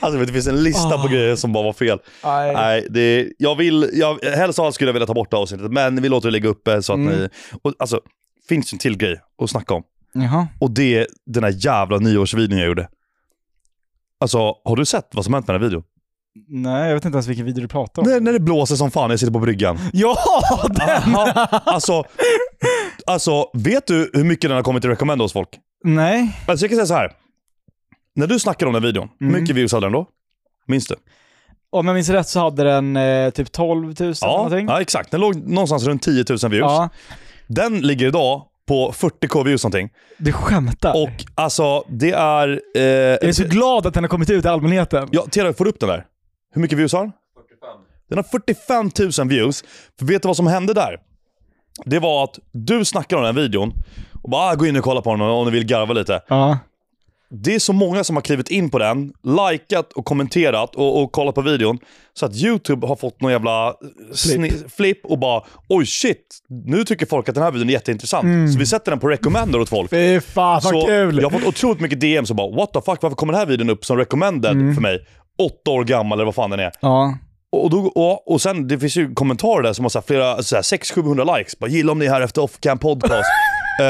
S1: alltså vet, det finns en lista på
S2: Ah.
S1: grejer som bara var fel.
S2: Nej.
S1: Nej, det, jag vill, jag, helst av allt skulle jag vilja ta bort det avsnittet, men vi låter det ligga uppe så att
S2: Mm.
S1: ni... Och, alltså, finns en till grej att snacka om.
S2: Jaha.
S1: Och det är den här jävla nyårsvideon jag gjorde. Alltså, har du sett vad som hänt med den här videon?
S2: Nej, jag vet inte ens vilken video du pratar om.
S1: När, när det blåser som fan när jag sitter på
S2: (laughs)
S1: bryggan.
S2: Ja, den!
S1: Aha, alltså, alltså, vet du hur mycket den har kommit i recommend hos folk?
S2: Nej.
S1: Alltså jag kan säga så här. När du snackade om den här videon, hur
S2: Mm.
S1: mycket views hade den då? Minns du?
S2: Om jag minns rätt så hade den eh, typ 12 000
S1: Ja,
S2: någonting.
S1: ja, exakt. Den låg någonstans runt 10 000 views.
S2: Ja.
S1: Den ligger idag på 40k views någonting.
S2: Du skämtar.
S1: Och alltså det är... Eh,
S2: jag är så glad att den har kommit ut i allmänheten.
S1: ja, Tera, får du upp den där? Hur mycket views har den? 45. Den har 45 000 views. För vet du vad som hände där? Det var att du snackade om den här videon och bara ah, gå in och kolla på den om ni vill garva lite.
S2: Ja.
S1: Det är så många som har klivit in på den, likat och kommenterat och, och kollat på videon. Så att YouTube har fått någon jävla flip. flip och bara oj shit, nu tycker folk att den här videon är jätteintressant. Så vi sätter den på recommender åt folk.
S2: Fy fan vad
S1: Så
S2: kul!
S1: Jag har fått otroligt mycket DM som bara what the fuck, varför kommer den här videon upp som recommended
S2: Mm.
S1: för mig? Åtta år gammal eller vad fan den är.
S2: Ja.
S1: Och, då, och, och sen det finns ju kommentarer där som har så här flera, så här 600-700 likes. Bara gilla om ni är här efter Offcam
S2: (laughs)
S1: podcast. Eh,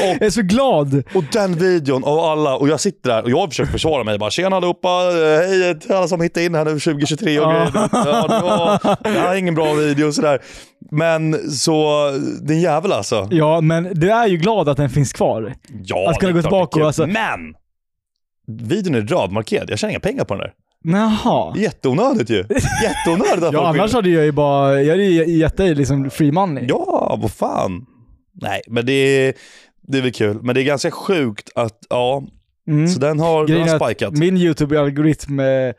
S2: Jag är så glad.
S1: och den videon av alla, och jag sitter där och jag har försökt försvara mig. Bara, Tjena allihopa, eh, hej till alla som hittade in här nu 2023 och
S2: Ja.
S1: grejer. Ja, det, var, det här är ingen bra video och sådär. Men så, din jävel alltså.
S2: Ja, men du är ju glad att den finns kvar.
S1: Ja,
S2: Att kunna
S1: det är
S2: gå
S1: klart det är
S2: tillbaka
S1: kul.
S2: och alltså-
S1: Men! Videon är rödmarkerad. Jag tjänar inga pengar på den där.
S2: Jaha.
S1: Jätteonödigt
S2: (laughs)
S1: ju. Jätteonödigt att
S2: Ja,
S1: folk vill-
S2: annars hade jag ju bara, jag hade ju gett dig liksom free money.
S1: Ja, vad fan. Nej, men det är, det är väl kul. Men det är ganska sjukt att, ja,
S2: Mm.
S1: så den har, den
S2: Grejen är
S1: har
S2: att
S1: spikat.
S2: Min YouTube-algoritm eh,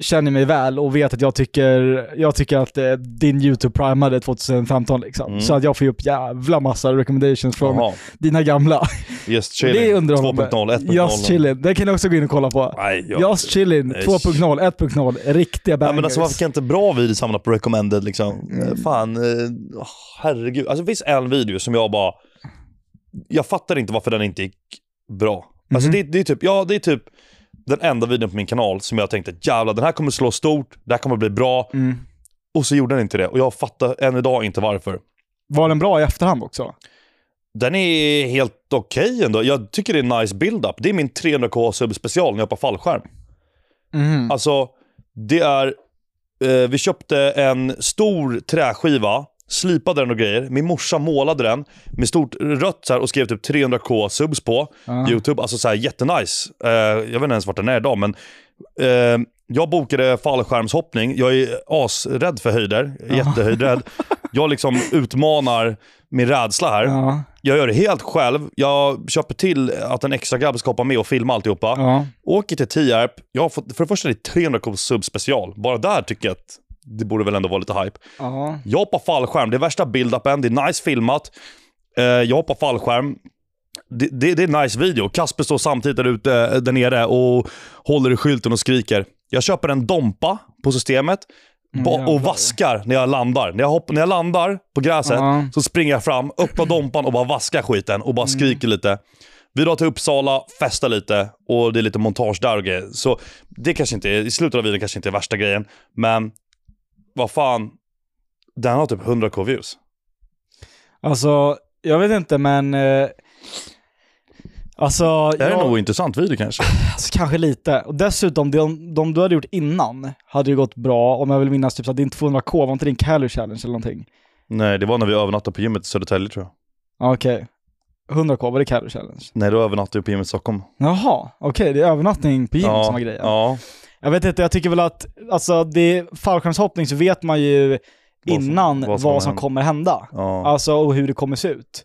S2: känner mig väl och vet att jag tycker, jag tycker att eh, din YouTube primade 2015 liksom.
S1: Mm.
S2: Så att jag får ju upp jävla massa recommendations från
S1: Jaha,
S2: dina gamla. (laughs)
S1: Just
S2: Det är
S1: chilling.
S2: underhållande.
S1: 2.0, 1.0.
S2: Just chillin. Den kan ni också gå in och kolla på.
S1: Nej, jag...
S2: Just chillin
S1: Nej.
S2: 2.0, 1.0. Riktiga
S1: Ja,
S2: bangers.
S1: men alltså, varför kan inte bra videos hamna på recommended? Liksom? Eh, Fan, eh, åh, herregud. Alltså, det finns en video som jag bara... Jag fattar inte varför den inte gick bra. Alltså,
S2: Mhm.
S1: det, det, är typ, ja, det är typ den enda videon på min kanal som jag tänkte jävlar, den här kommer slå stort, det här kommer bli bra.
S2: Mm.
S1: Och så gjorde den inte det. Och jag fattar än idag inte varför.
S2: Var den bra i efterhand också?
S1: Den är helt okej ändå. Jag tycker det är en nice build-up. Det är min 300k subspecial när jag hoppar fallskärm.
S2: Mm.
S1: Alltså, det är... Eh, vi köpte en stor träskiva, slipade den och grejer. Min morsa målade den med stort rött så här, och skrev typ 300k subs på
S2: Ja.
S1: YouTube. Alltså så här, jättenice. Eh, jag vet inte ens vart den är idag, men... Eh, jag bokade fallskärmshoppning. Jag är asrädd för höjder. Jättehöjdrädd.
S2: (laughs)
S1: Jag liksom utmanar min rädsla här.
S2: Ja.
S1: Jag gör det helt själv. Jag köper till att en extra grabb ska hoppa med och filma alltihopa.
S2: Ja.
S1: Åker till Tierp. Jag har fått, för det första är det 300 k sub special. Bara där tycker jag att det borde väl ändå vara lite hype.
S2: Ja.
S1: Jag hoppar fallskärm. Det är värsta build-upen. Det är nice filmat. Eh, jag hoppar fallskärm. Det, det, det är en nice video. Kasper står samtidigt där, ute, eh, där nere och håller i skylten och skriker. Jag köper en Dompa på systemet
S2: Mm,
S1: ba-
S2: jävlar.
S1: och vaskar när jag landar. När jag, hopp- när jag landar på gräset
S2: Ja.
S1: så springer jag fram, (clears throat) öppnar Dompan och bara vaskar skiten och bara skriker lite. Vi drar till Uppsala, festar lite och det är lite montage där och grejer. Så det kanske inte är, i slutet av videon kanske inte är värsta grejen, men vad fan. Den har typ 100k views.
S2: Alltså, jag vet inte men... Eh, alltså,
S1: Det här är
S2: jag,
S1: nog en intressant video (clears throat) kanske.
S2: alltså, kanske lite. Och dessutom, de, de du hade gjort innan hade ju gått bra, om jag vill minnas typ så att din 200k, var inte din Cali Challenge eller någonting?
S1: Nej, det var när vi övernattade på gymmet i Södertälje tror jag.
S2: Ja, Okej. 100k, var det Cali Challenge?
S1: Nej, då övernattade vi på gymmet i Stockholm.
S2: Jaha, okej, det är övernattning på gym
S1: ja,
S2: som var grejen.
S1: Ja.
S2: Jag vet inte, jag tycker väl att, alltså det, fallskärmshoppning så vet man ju
S1: som-
S2: innan vad
S1: vad
S2: som,
S1: som
S2: kommer hända.
S1: ja.
S2: Alltså och hur det kommer se ut.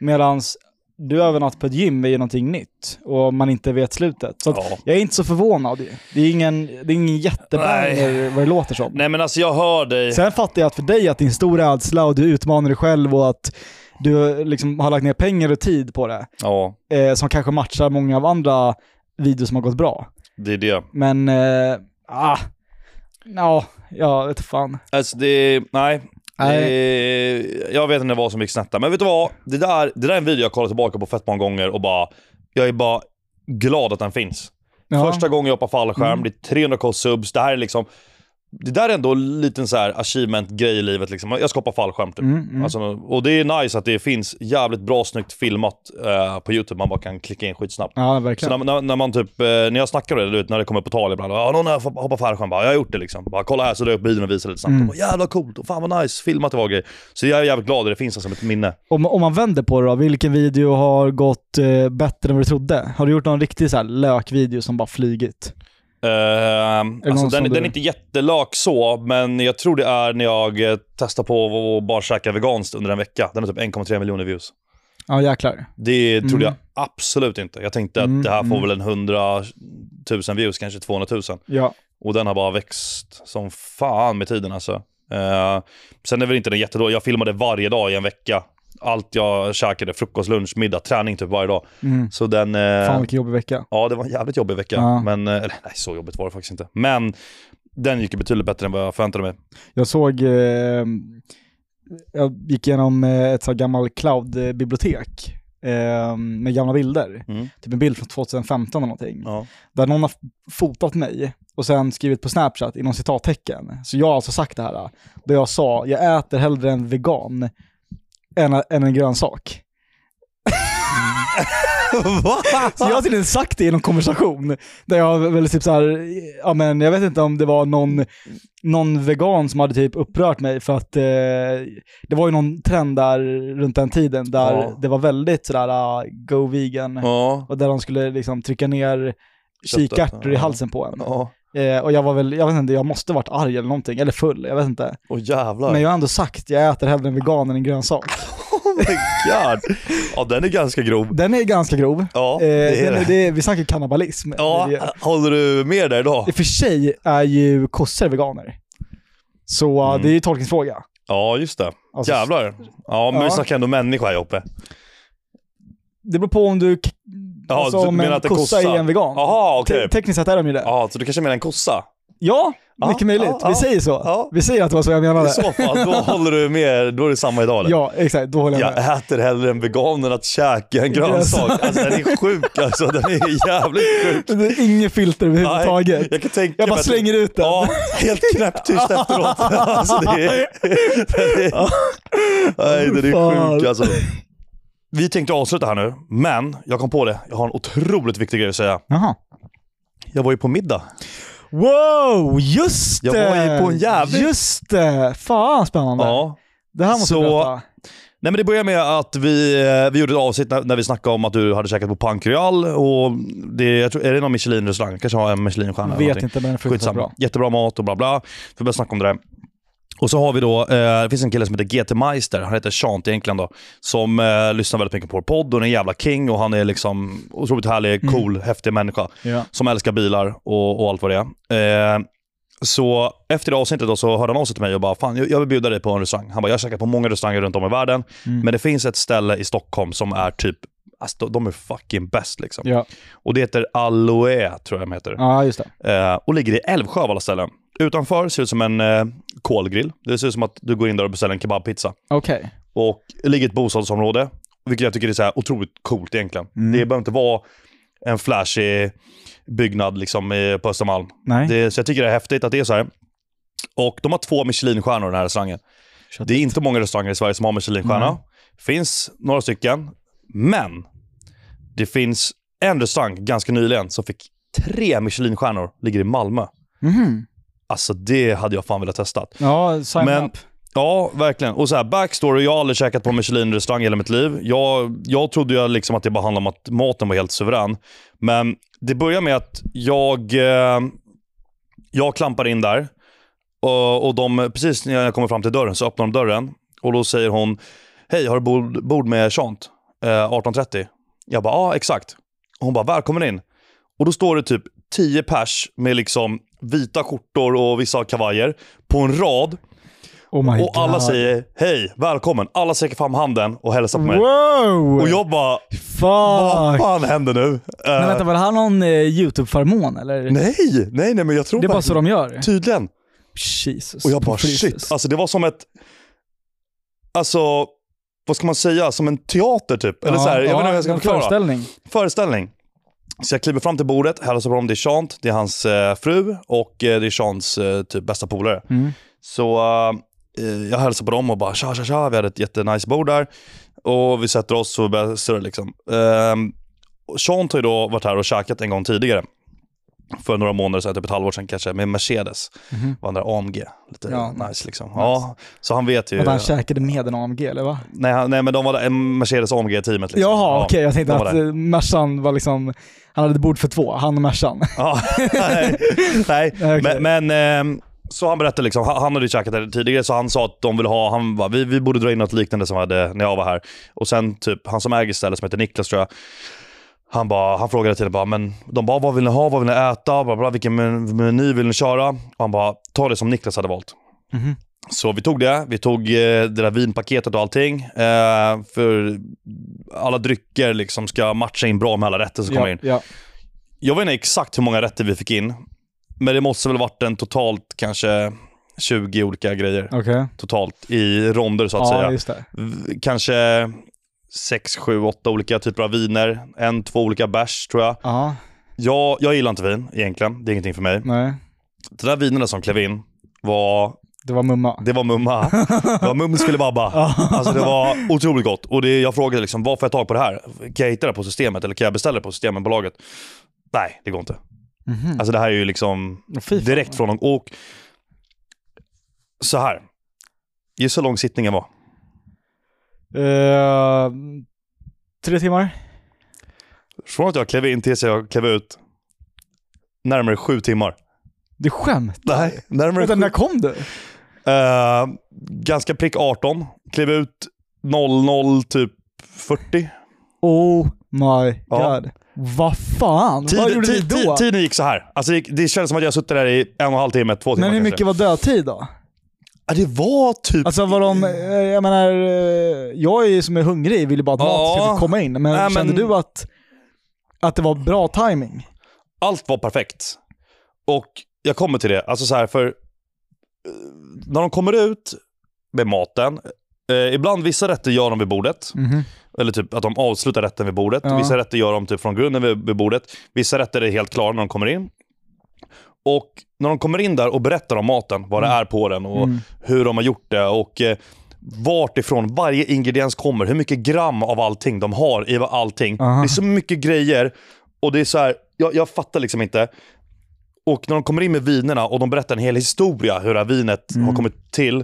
S2: Medans du övernatt på ett gym är ju någonting nytt och man inte vet slutet. Så att
S1: Ja.
S2: jag är inte så förvånad ju. Det är ingen, det är ingen jättebanger vad det låter som.
S1: Nej men alltså jag hör dig.
S2: (laughs) Sen fattar jag att för dig att din stora rädsla och du utmanar dig själv och att du liksom har lagt ner pengar och tid på det.
S1: Ja,
S2: Eh, som kanske matchar många av andra videos som har gått bra.
S1: det är det.
S2: Men, eh, ah, ja, jag vet fan.
S1: Alltså det, nej.
S2: Nej.
S1: Eh, Jag vet inte vad som gick snett där. Men vet du vad? Det där, det där är en video jag kollat tillbaka på fett många gånger och bara, jag är bara glad att den finns.
S2: Ja. Mm.
S1: Första gången jag hoppar fallskärm, det är 300k subs. Det här är liksom, det där är ändå en liten så här achievement-grej i livet. Liksom. Jag ska hoppa fallskärm typ.
S2: Mm, mm.
S1: Alltså, och det är nice att det finns jävligt bra snyggt filmat eh, på YouTube. Man bara kan klicka in skitsnabbt.
S2: ja,
S1: Så
S2: verkligen.
S1: när, när, när man typ, eh, när jag snackar om det, du vet, när det kommer på tal ibland, ja någon har hoppat- hoppat fallskärm, bara, jag har gjort det liksom. Bara, kolla här, så drar jag upp bilen och visar lite snabbt.
S2: Mm.
S1: Mm. Bara, Jävla coolt, och fan vad nice, filmat det var och grejer. Så jag är jävligt glad att det finns som ett minne. Eh,
S2: Om, om man vänder på det då, vilken video har gått eh, bättre än vad du trodde? Har du gjort någon riktig så här lökvideo som bara flygit?
S1: Ehm,
S2: någon
S1: alltså, den,
S2: som du-
S1: den är inte jättelök så, men jag tror det är när jag eh, testar på att bara käka veganskt under en vecka. Den har typ 1,3 miljoner views.
S2: Ja, jäklar.
S1: Det trodde
S2: Mm.
S1: jag absolut inte. Jag tänkte att
S2: Mm,
S1: det här får
S2: mm.
S1: väl en 100 000 views, kanske 200 000.
S2: Ja.
S1: Och den har bara växt som fan med tiden alltså. Eh, sen är väl inte den jättedålig. Jag filmade varje dag i en vecka. Allt jag käkade, frukost, lunch, middag, träning typ varje dag.
S2: Mm.
S1: Så den... eh,
S2: Fan vilken jobbig vecka.
S1: ja, det var en jävligt jobbig vecka.
S2: Ja.
S1: Men, eh, eller, nej, så jobbigt var det faktiskt inte. Men den gick ju betydligt bättre än vad jag förväntade mig.
S2: Jag såg, eh, jag gick igenom eh, ett så här gammalt cloud-bibliotek eh, med gamla bilder.
S1: Mm.
S2: Typ en bild från 2015 eller någonting.
S1: Ja.
S2: (laughs) där någon har f- fotat mig och sen skrivit på Snapchat inom citattecken. Så jag har alltså sagt det här, där jag sa jag äter hellre en vegan än, än en grönsak. Så jag har tydligen sagt det i någon konversation. Där jag väl typ så här, ja men jag vet inte om det var någon, någon vegan som hade typ upprört mig för att eh, det var ju någon trend där runt den tiden där
S1: Ja.
S2: det var väldigt sådär ah, go vegan
S1: Ja.
S2: och där de skulle liksom trycka ner
S1: Köttet,
S2: kikärtor i
S1: ja.
S2: halsen på en.
S1: Ja.
S2: Eh, och jag var väl, jag vet inte, jag måste varit arg eller någonting, eller full, jag vet inte.
S1: Åh jävlar.
S2: Men jag har ändå sagt, jag äter hellre en vegan än en grönsak.
S1: Oh my god. ja, den är ganska grov.
S2: Den är ganska grov.
S1: Ja,
S2: Eh,
S1: det är
S2: den,
S1: det.
S2: det, vi snackar kannibalism.
S1: Ja,
S2: Det är det.
S1: håller du med där idag?
S2: I och för sig är ju kossor veganer. Så eh,
S1: Mm.
S2: det är ju tolkningsfråga.
S1: Ja, just det.
S2: Alltså,
S1: Jävlar. Ja, men
S2: Ja.
S1: vi snackar ändå människa här Joppe.
S2: Det beror på om du... k-
S1: Ja,
S2: alltså
S1: du
S2: om
S1: menar
S2: en
S1: att det
S2: kossa,
S1: är kossa?
S2: är en vegan.
S1: Jaha, okej.
S2: Te- tekniskt sett är de ju det. Ja,
S1: Ja, så du kanske menar en kossa? Ja,
S2: mycket möjligt.
S1: ja,
S2: vi
S1: ja.
S2: säger så.
S1: Ja.
S2: Vi säger att det var så jag
S1: I
S2: menade.
S1: så fall, då håller du med. Då är det samma idag eller?
S2: Ja, exakt. Då håller jag med.
S1: Jag äter hellre en vegan än att käka en grönsak. Alltså den är sjuk alltså. Den är jävligt sjuk.
S2: Det är inget filter överhuvudtaget.
S1: jag kan tänka
S2: Jag bara
S1: mig att-
S2: slänger ut den.
S1: Ja, helt knäpptyst
S2: (laughs)
S1: efteråt. Alltså det är... Den är nej, den är
S2: Fan.
S1: sjuk alltså. Vi tänkte avsluta här nu, men jag kom på det. Jag har en otroligt viktig grej att säga.
S2: Jaha.
S1: Jag var ju på middag.
S2: Wow, just
S1: Jag
S2: det!
S1: var ju på en jävligt-
S2: Just det! Fan spännande.
S1: Ja.
S2: Det här måste
S1: Så-
S2: du berätta.
S1: Nej men det börjar med att vi, eh, vi gjorde ett avsnitt när, när vi snackade om att du hade käkat på Pancreal och det, jag tror, är det någon Michelin-restaurang? Kanske har en Michelin-stjärna eller
S2: Vet
S1: någonting.
S2: inte men fruktansvärt
S1: Skitsamma.
S2: bra.
S1: Jättebra mat och bla bla. Vi började snacka om det där. Och så har vi då, eh, det finns en kille som heter GT Meister, han heter Shant egentligen då, som eh, lyssnar väldigt mycket på vår podd och är en jävla king och han är liksom otroligt härlig, cool,
S2: Mm.
S1: häftig människa
S2: Ja.
S1: som älskar bilar och, och allt vad det är. Eh, så efter det avsnittet då så hörde han av sig till mig och bara “Fan, jag jag vill bjuda dig
S2: Mm.
S1: på en restaurang”. Han bara “Jag käkar på många restauranger runt om i världen, men det finns ett ställe i Stockholm som är typ Alltså, de- de är fucking bäst liksom.
S2: Ja,
S1: Och det heter Aloe, tror jag de heter.
S2: ja just det.
S1: Eh, och ligger i Älvsjö av alla ställen. Utanför ser ut som en eh, kolgrill. Det ser ut som att du går in där och beställer en kebabpizza.
S2: Okej.
S1: Och det ligger i ett bostadsområde, vilket jag tycker är så här otroligt coolt egentligen.
S2: Mm.
S1: Det behöver inte vara en flashig byggnad liksom i- på Östermalm.
S2: Nej.
S1: Det, så jag tycker det är häftigt att det är så här. Och de har två Michelinstjärnor den här restaurangen.
S2: Köttigt.
S1: Det är inte många restauranger i Sverige som har Michelinstjärna.
S2: Nej.
S1: finns några stycken. Men det finns en restaurang ganska nyligen som fick tre Michelinstjärnor. Ligger i Malmö.
S2: Mhm.
S1: Alltså det hade jag fan velat testa.
S2: Ja, sign
S1: Men-
S2: up.
S1: Ja, verkligen. Och så här, backstory. Jag har aldrig käkat på Michelin-restaurang i hela mitt liv. Jag, jag trodde ju liksom att det bara handlade om att maten var helt suverän. Men det börjar med att jag, eh, jag klampar in där. Och, och de, precis när jag kommer fram till dörren så öppnar de dörren. Och då säger hon, hej har du bord, bord med Chant? Eh, 18.30? Jag bara, ja exakt. Och hon bara, välkommen in. Och då står det typ 10 pers med liksom vita skjortor och vissa har kavajer på en rad.
S2: Oh my
S1: Och alla
S2: God.
S1: säger hej, välkommen. Alla sträcker fram handen och hälsar på mig.
S2: Wow!
S1: Och jag bara, vad
S2: Fuck!
S1: fan händer nu? Eh,
S2: Men vänta, var det här någon eh, YouTube-förmån eller?
S1: nej, nej, nej, men jag tror
S2: Det är bara så
S1: verkligen-
S2: de gör?
S1: Tydligen.
S2: Jesus.
S1: Typ. Och jag bara
S2: Jesus.
S1: shit, alltså det var som ett, alltså vad ska man säga, som en teater typ. Eller
S2: Ja,
S1: så här, jag vet
S2: ja,
S1: inte hur jag ska
S2: en
S1: förklara.
S2: Föreställning.
S1: föreställning. Så jag kliver fram till bordet, hälsar på dem. Det är Chant, det är hans eh, fru och eh, det är Chants eh, typ bästa polare.
S2: Mm.
S1: Så eh, eh, jag hälsar på dem och bara tja tja tja, vi hade ett jättenice bord där. Och vi sätter oss och börjar surra liksom. Ehm, och Chant har ju då varit här och käkat en gång tidigare. För några månader sedan, typ ett halvår sedan kanske, med Mercedes.
S2: Mhm.
S1: Var den där AMG. Lite
S2: Ja,
S1: nice liksom. Ja, så han vet ju.
S2: Att han käkade med en AMG eller va?
S1: nej, han- nej, men de var där, en Mercedes AMG-teamet. Liksom.
S2: Jaha, okej. jag tänkte
S1: de var
S2: att
S1: där.
S2: eh, Mercan var liksom... Han hade bord för två, han och Mercan.
S1: Ja, (laughs) nej.
S2: (laughs)
S1: nej.
S2: Okej.
S1: Men, men ehm, så han berättade, liksom, han han hade ju käkat det tidigare, så han sa att de ville ha, han bara, vi, vi borde dra in något liknande som vi hade när jag var här. Och sen typ, han som äger stället som heter Niklas tror jag, han, bara, han frågade till bara, men de bara, vad vill ni ha, vad vill ni äta, bla, bla, vilken men- meny vill ni köra? Och han bara, ta det som Niklas hade valt.
S2: Mhm.
S1: Så vi tog det, vi tog eh, det där vinpaketet och allting. Eh, för alla drycker liksom ska matcha in bra med alla rätter som kommer in.
S2: ja.
S1: Jag vet inte exakt hur många rätter vi fick in. Men det måste väl varit en totalt kanske 20 olika grejer.
S2: Okej.
S1: Totalt i ronder så att
S2: Ja,
S1: säga.
S2: just det.
S1: V- Kanske 6, 7, 8 olika typer av viner. En, två olika bärs tror jag.
S2: Ja,
S1: jag. Jag gillar inte vin egentligen. Det är ingenting för mig.
S2: nej.
S1: De där vinerna som klev in var,
S2: Det var mumma.
S1: det var mumma. Det var mums filibabba. Alltså det var otroligt gott. Och det, jag frågade liksom, var får jag tag på det här? Kan jag hitta det på systemet eller kan jag beställa det på Systembolaget? Nej, det går inte.
S2: Mhm.
S1: Alltså det här är ju liksom
S2: Fy fan.
S1: direkt från dem. Och så här. Gissa hur lång sittningen var.
S2: Eh, tre timmar?
S1: Från att jag klev in tills jag klev ut. Närmare sju timmar.
S2: Du skämt?
S1: Nej, närmare
S2: Vänta,
S1: sju.
S2: när kom du?
S1: Eh, ganska prick 18. Klev ut 00 typ 40.
S2: Oh my
S1: Ja.
S2: god. Vad fan? Vad gjorde
S1: tid,
S2: du
S1: tid,
S2: då?
S1: tiden gick så här. Alltså det, det kändes som att jag suttit där i en och en halv timme, två timmar
S2: Men hur
S1: kanske.
S2: mycket var dödtid då?
S1: Ja, det var typ...
S2: Alltså var de, eh, jag menar, eh, jag är ju som är hungrig, vill ju bara att mat
S1: Ja.
S2: ska komma in. Men
S1: Nej,
S2: kände
S1: men-
S2: du att, att det var bra timing?
S1: allt var perfekt. Och jag kommer till det. Alltså så här, för eh, när de kommer ut med maten, eh, ibland vissa rätter gör de vid bordet. Eller typ att de avslutar rätten vid bordet.
S2: Ja.
S1: Vissa rätter gör de typ från grunden vid, vid bordet. Vissa rätter är helt klara när de kommer in. Och när de kommer in där och berättar om maten, vad det är på den och
S2: Mm.
S1: hur de har gjort det och eh, vart ifrån varje ingrediens kommer, hur mycket gram av allting de har i allting.
S2: Aha.
S1: Det är så mycket grejer och det är så här, jag, jag fattar liksom inte. Och när de kommer in med vinerna och de berättar en hel historia hur det här vinet har kommit till.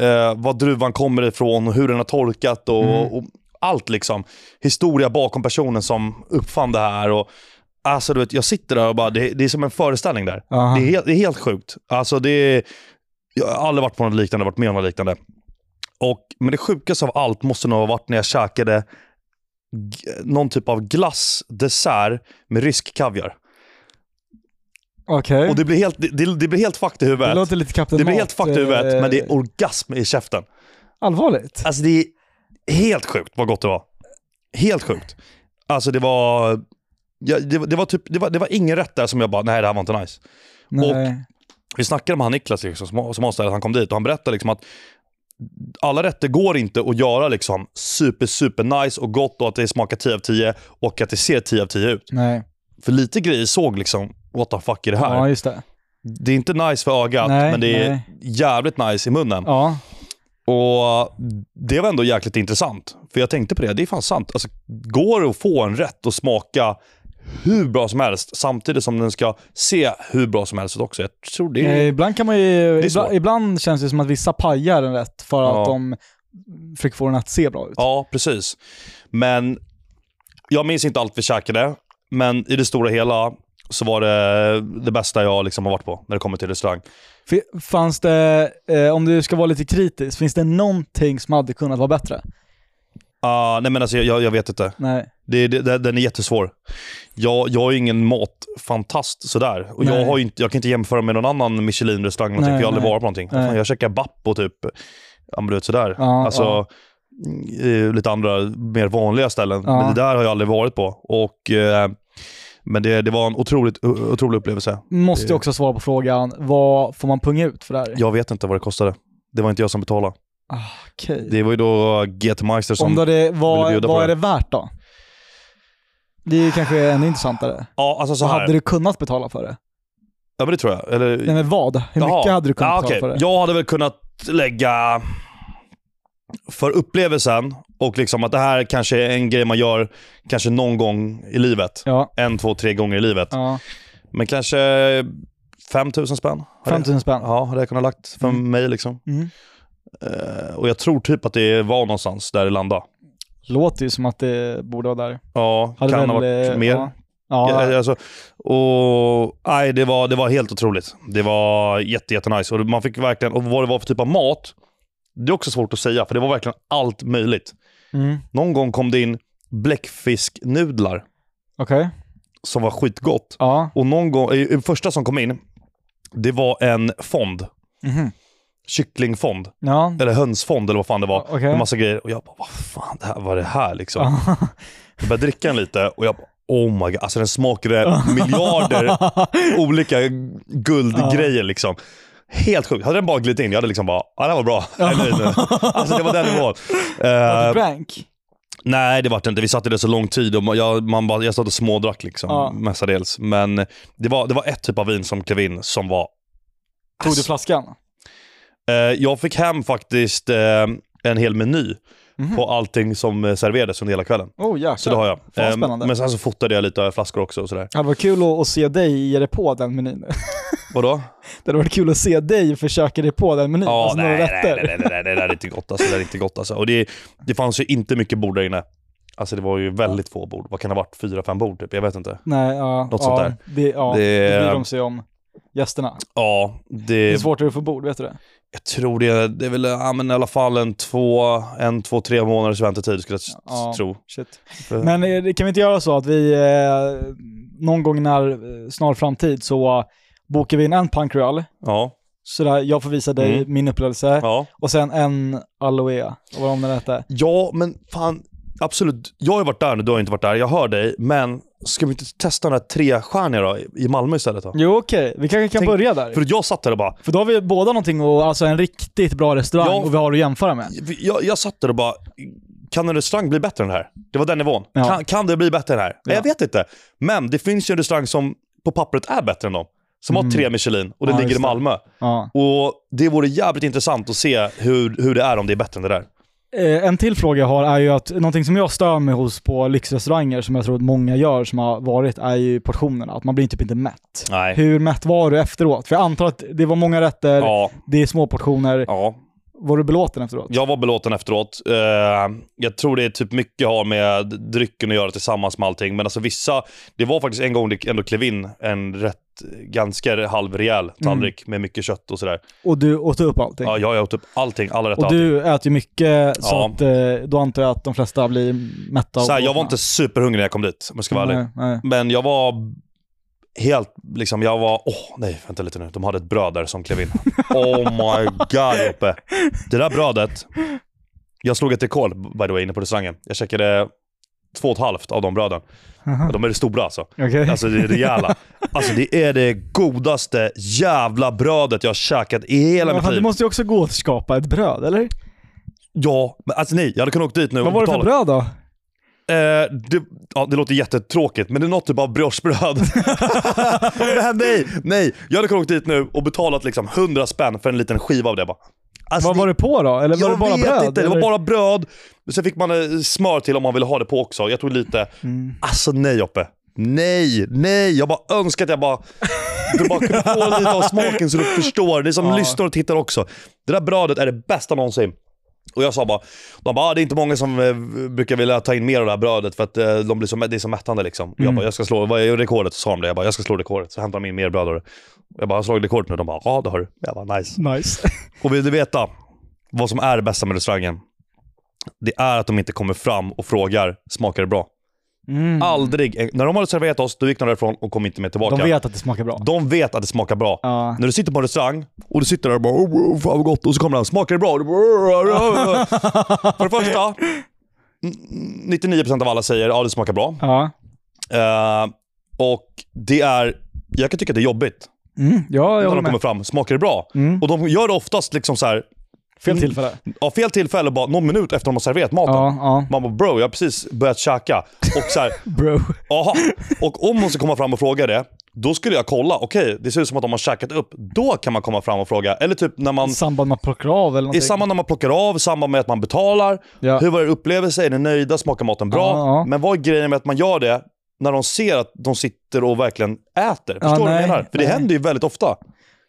S1: Eh, vad druvan kommer ifrån, och hur den har torkat och, och allt liksom. Historia bakom personen som uppfann det här. Och, alltså du vet, jag sitter där och bara, det, det är som en föreställning där.
S2: Aha.
S1: Det är, helt, det är helt sjukt. Alltså det är, jag har aldrig varit på något liknande, varit med om något liknande. Och, men det sjukaste av allt måste nog ha varit när jag käkade g- någon typ av glassdessert med rysk kaviar.
S2: Okej.
S1: Och det blir helt, det, det, det blir helt fucked i huvudet.
S2: Det låter lite Kapten
S1: Det blir
S2: Mat,
S1: helt fucked i huvudet,
S2: eh,
S1: men det är orgasm i käften.
S2: Allvarligt?
S1: Alltså det är helt sjukt vad gott det var. Helt sjukt. Alltså det var... Ja, det, var- det, var typ, det, var, det var ingen rätt där som jag bara, nej det här var inte nice.
S2: Nej.
S1: Vi snackade med han Niklas liksom, som, som avslöjade att han kom dit och han berättade liksom att alla rätter går inte att göra liksom super, super nice och gott och att det smakar 10 av 10 och att det ser 10 av 10 ut.
S2: Nej.
S1: För lite grejer såg liksom, what the fuck är det här?
S2: Ja, just det.
S1: Det är inte nice för ögat,
S2: Nej,
S1: men det är
S2: nej.
S1: jävligt nice i munnen.
S2: Ja.
S1: Och det var ändå jäkligt intressant. För jag tänkte på det, det är fan sant. Alltså, går det att få en rätt och smaka hur bra som helst samtidigt som den ska se hur bra som helst ut också? Jag tror det
S2: Eh,
S1: är...
S2: Ibland kan man ju...
S1: är
S2: Ibland,
S1: svårt.
S2: ibland känns det som att vissa pajar en rätt för att
S1: Ja.
S2: de försöker få den att se bra ut.
S1: Ja, precis. Men jag minns inte allt vi käkade, men i det stora hela så var det det bästa jag liksom har varit på när det kommer till restaurang.
S2: F- Fanns det, eh, om du ska vara lite kritisk, finns det någonting som hade kunnat vara bättre?
S1: Ah, nej men alltså jag- jag, jag vet inte.
S2: Nej.
S1: Det, det, det, den är jättesvår. Jag, jag är ingen matfantast sådär. Och jag,
S2: Nej.
S1: har ju inte, jag kan inte jämföra med någon annan Michelin-restaurang, eller någonting, för
S2: Nej,
S1: jag har aldrig
S2: nej.
S1: varit på någonting.
S2: Nej.
S1: Fan, jag käkar Bappo typ, ja men du vet sådär.
S2: Ja,
S1: alltså,
S2: ja.
S1: eh, Lite andra, mer vanliga ställen.
S2: Ja.
S1: Men det där har jag aldrig varit på. Och, eh, men det, det var en otroligt, o- otrolig upplevelse.
S2: Måste ju
S1: Eh.
S2: också svara på frågan, vad får man punga ut för det här?
S1: Jag vet inte vad det kostade. Det var inte jag som betalade.
S2: Ah, okej.
S1: Det var ju då GT Meister som...
S2: Om då det,
S1: ville
S2: vad,
S1: bjuda på
S2: vad är
S1: det.
S2: det värt då? Det är ju kanske ännu intressantare.
S1: Ja, alltså så
S2: Vad
S1: här.
S2: hade du kunnat betala för det?
S1: Ja men det tror jag. Eller,
S2: Nej men vad? Hur
S1: Jaha.
S2: mycket hade du kunnat
S1: Ja,
S2: betala
S1: okej.
S2: för det?
S1: Jag hade väl kunnat lägga för upplevelsen och liksom att det här kanske är en grej man gör kanske någon gång i livet.
S2: Ja.
S1: En, två, tre gånger i livet.
S2: ja.
S1: Men kanske 5 000 spänn. hade jag-
S2: 5000 spänn.
S1: Ja, hade jag kunnat lagt för
S2: Mm.
S1: mig liksom.
S2: Mm.
S1: Eh, och jag tror typ att det var någonstans där det landade.
S2: Låter ju som att det borde vara där.
S1: Ja,
S2: Hade
S1: kan ha
S2: väl,
S1: varit
S2: eh,
S1: mer.
S2: Ja. Ja,
S1: Ja, Alltså, och, nej, det, var, det var helt otroligt. Det var jätte, jätte nice. Och man fick verkligen, och vad det var för typ av mat, det är också svårt att säga, för det var verkligen allt möjligt.
S2: mm.
S1: Någon gång kom det in bläckfisknudlar
S2: okej.
S1: som var skitgott.
S2: Ja.
S1: Och någon gång, eh, det första som kom in, det var en fond.
S2: Mhm.
S1: Kycklingfond.
S2: Ja.
S1: Eller hönsfond eller vad fan det var.
S2: Ja, okej.
S1: Med massa grejer. Och jag bara, vad fan det här, vad är det här liksom?
S2: Ja.
S1: Jag började dricka den lite och jag bara, oh my god. Alltså den smakade miljarder olika guldgrejer liksom. Helt sjukt. Hade den bara glidit in, jag hade liksom bara, ja det här var bra. Jag är nöjd nu. Alltså det var den nivån.
S2: Var det
S1: Eh,
S2: prank?
S1: nej det var det inte. Vi satt i det så lång tid och jag, man bara, jag satt och smådrack liksom
S2: Ja.
S1: mestadels. Men det var, det var ett typ av vin som klev in som var...
S2: Tog
S1: alltså-
S2: du flaskan?
S1: Eh, jag fick hem faktiskt eh, en hel meny
S2: Mhm.
S1: på allting som eh, serverades under hela kvällen.
S2: Oh jäklar.
S1: Så det har jag.
S2: Fan,
S1: Eh,
S2: spännande.
S1: men sen så fotade jag lite flaskor också och sådär.
S2: Det hade varit kul att, att se dig ge dig på den menyn. (laughs)
S1: Vadå?
S2: Det hade varit kul att se dig försöka dig på den menyn.
S1: Ja,
S2: alltså några
S1: nej, nej,
S2: rätter.
S1: nej, nej, nej, nej, det där är inte gott alltså. Det där är inte gott alltså. Och det, det fanns ju inte mycket bord där inne. Alltså det var ju väldigt få bord. Vad kan det ha varit? Fyra, fem bord typ? Jag vet inte.
S2: Nej, ja,
S1: Något
S2: ja,
S1: sånt där.
S2: Det, ja,
S1: Det-
S2: det... bryr de sig om. Gästerna.
S1: Ja,
S2: Det är
S1: det...
S2: svårt att få bord, vet du det?
S1: Jag tror det, det är väl ja, men i alla fall en två, en, två, tre månaders väntetid skulle jag s-
S2: Ja.
S1: tro.
S2: Shit.
S1: För-
S2: Men eh, det- kan vi inte göra så att vi eh, någon gång när eh, snar framtid så eh, bokar vi in en punkrull,
S1: Ja,
S2: så där jag får visa dig min upplevelse,
S1: Mm. ja.
S2: och sen en aloe, och vad om den hette.
S1: Ja, men fan. Absolut. Jag har ju varit där nu, du har ju inte varit där. Jag hör dig, men ska vi inte testa den här trestjärniga då, i- i Malmö istället då?
S2: Jo okej, vi kanske kan
S1: Tänk-
S2: börja där.
S1: För jag satt där och bara,
S2: För då har vi båda någonting, och, alltså en riktigt bra restaurang
S1: Ja.
S2: och vi har att jämföra med.
S1: jag, jag satt där och bara, kan en restaurang bli bättre än den här? Det var den nivån.
S2: Ja.
S1: Kan, kan det bli bättre än den här? Nej,
S2: Ja.
S1: Jag vet inte. Men det finns ju en restaurang som på pappret är bättre än dem. Som har tre Michelin och det
S2: Mm. Ja,
S1: ligger
S2: just
S1: i
S2: det.
S1: Malmö.
S2: Ja.
S1: Och Det vore jävligt intressant att se hur, hur det är om det är bättre än det där.
S2: Eh, En till fråga jag har är ju att någonting som jag stör mig hos på lyxrestauranger, som jag tror att många gör som har varit, är ju portionerna. Att man blir typ inte mätt.
S1: Nej.
S2: Hur mätt var du efteråt? För jag antar att det var många rätter,
S1: Ja,
S2: det är små portioner.
S1: ja.
S2: Var du belåten efteråt?
S1: Jag var belåten efteråt. Eh, jag tror det är typ mycket har med drycken att göra tillsammans med allting. Men alltså vissa, det var faktiskt en gång det ändå klev in en rätt ganska halvrejäl tallrik med mycket kött och sådär.
S2: Och du åt upp allting?
S1: Ja, jag åt upp allting, alla rätter.
S2: och
S1: allting.
S2: du äter ju mycket, så
S1: Ja.
S2: att, eh, då antar jag att de flesta blir mätta. och
S1: Så här, jag var
S2: belåtna.
S1: inte superhungrig när jag kom dit, om jag ska vara ärlig.
S2: Nej, nej.
S1: Men jag var helt, liksom, jag var, åh nej, vänta lite nu. De hade ett bröd där som
S2: (laughs)
S1: klev in. oh my god Joppe. Det där brödet, jag slog ett rekord by the way inne på restaurangen. Jag checkade två och ett halvt av de bröden. De är stora alltså.
S2: Okej.
S1: Alltså det är rejäla. Alltså det är det godaste jävla brödet jag har käkat i hela
S2: Men
S1: mitt
S2: fan, Du
S1: liv.
S2: måste ju också gå och skapa ett bröd, eller?
S1: Ja, men alltså nej, jag hade kunnat åka dit nu
S2: Vad
S1: och
S2: var det för
S1: betala.
S2: bröd då?
S1: Eh, det, ja, det låter jättetråkigt, men det är något typ av (laughs) briochebröd. men nej, nej. Jag hade kunnat åka dit nu och betalat liksom 100 spänn för en liten skiva av det bara. Alltså,
S2: Vad var det på då? Eller var
S1: jag
S2: det bara
S1: vet
S2: bröd?
S1: inte, det
S2: eller?
S1: var bara bröd. Sen fick man eh, smör till om man ville ha det på också. Jag tog lite.
S2: Mm.
S1: Alltså nej Joppe. Nej, nej. Jag bara önskar att jag bara, du bara kunde få lite av smaken så du förstår. Ni som
S2: Ja.
S1: lyssnar och tittar också. Det där brödet är det bästa någonsin. Och jag sa bara, de bara, ah, det är inte många som eh, brukar vilja ta in mer av det här brödet för att eh, de blir så, det är så mättande liksom. Och
S2: Mm.
S1: Jag bara, jag ska slå, vad är rekordet? Så sa de det. Jag bara, jag ska slå rekordet. Så hämtade de in mer bröd. och det. Jag bara, jag har slagit rekord nu. De bara, ja det har du. Jag bara, nice.
S2: Nice.
S1: Och vill du veta vad som är det bästa med restaurangen? Det är att de inte kommer fram och frågar, smakar det bra?
S2: Mm.
S1: Aldrig. Eh, När de hade serverat oss, då gick de därifrån och kom inte med tillbaka.
S2: De vet att det smakar bra.
S1: De vet att det smakar bra.
S2: Ja.
S1: När du sitter på en restaurang och du sitter där och bara oh, oh, fan vad gott och så kommer han, smakar det bra? Och du bara, "Oh, "Åh, åh, åh." För det första, n- 99% av alla säger ja det smakar bra.
S2: Ja.
S1: Eh, och det är, jag kan tycka att det är jobbigt
S2: Mm. ja, jag
S1: när
S2: håller
S1: de kommer
S2: med. Mm.
S1: fram, smakar det bra? Och de gör det oftast liksom så här "Mm,
S2: Fel tillfälle.
S1: av fel tillfälle bara någon minut efter de har serverat maten.
S2: Mm. Ja, ja.
S1: Man bara bro, jag har precis börjat käka. Och
S2: (laughs)
S1: så här,
S2: Bro.
S1: aha. Och om hon ska komma fram och fråga det, då skulle jag kolla. Okej, det ser ut som att de har käkat upp. Då kan man komma fram och fråga. Eller typ när man...
S2: I samband med att plocka av eller någonting.
S1: I samband när man plockar av, i samband med att man betalar.
S2: Ja.
S1: Hur var er upplevelse? Är ni nöjda? Smakar maten bra?
S2: Ja, ja.
S1: Men vad är grejen med att man gör det när de ser att de sitter och verkligen äter? Förstår du vad jag
S2: nej,
S1: menar? För det
S2: nej.
S1: händer ju väldigt ofta.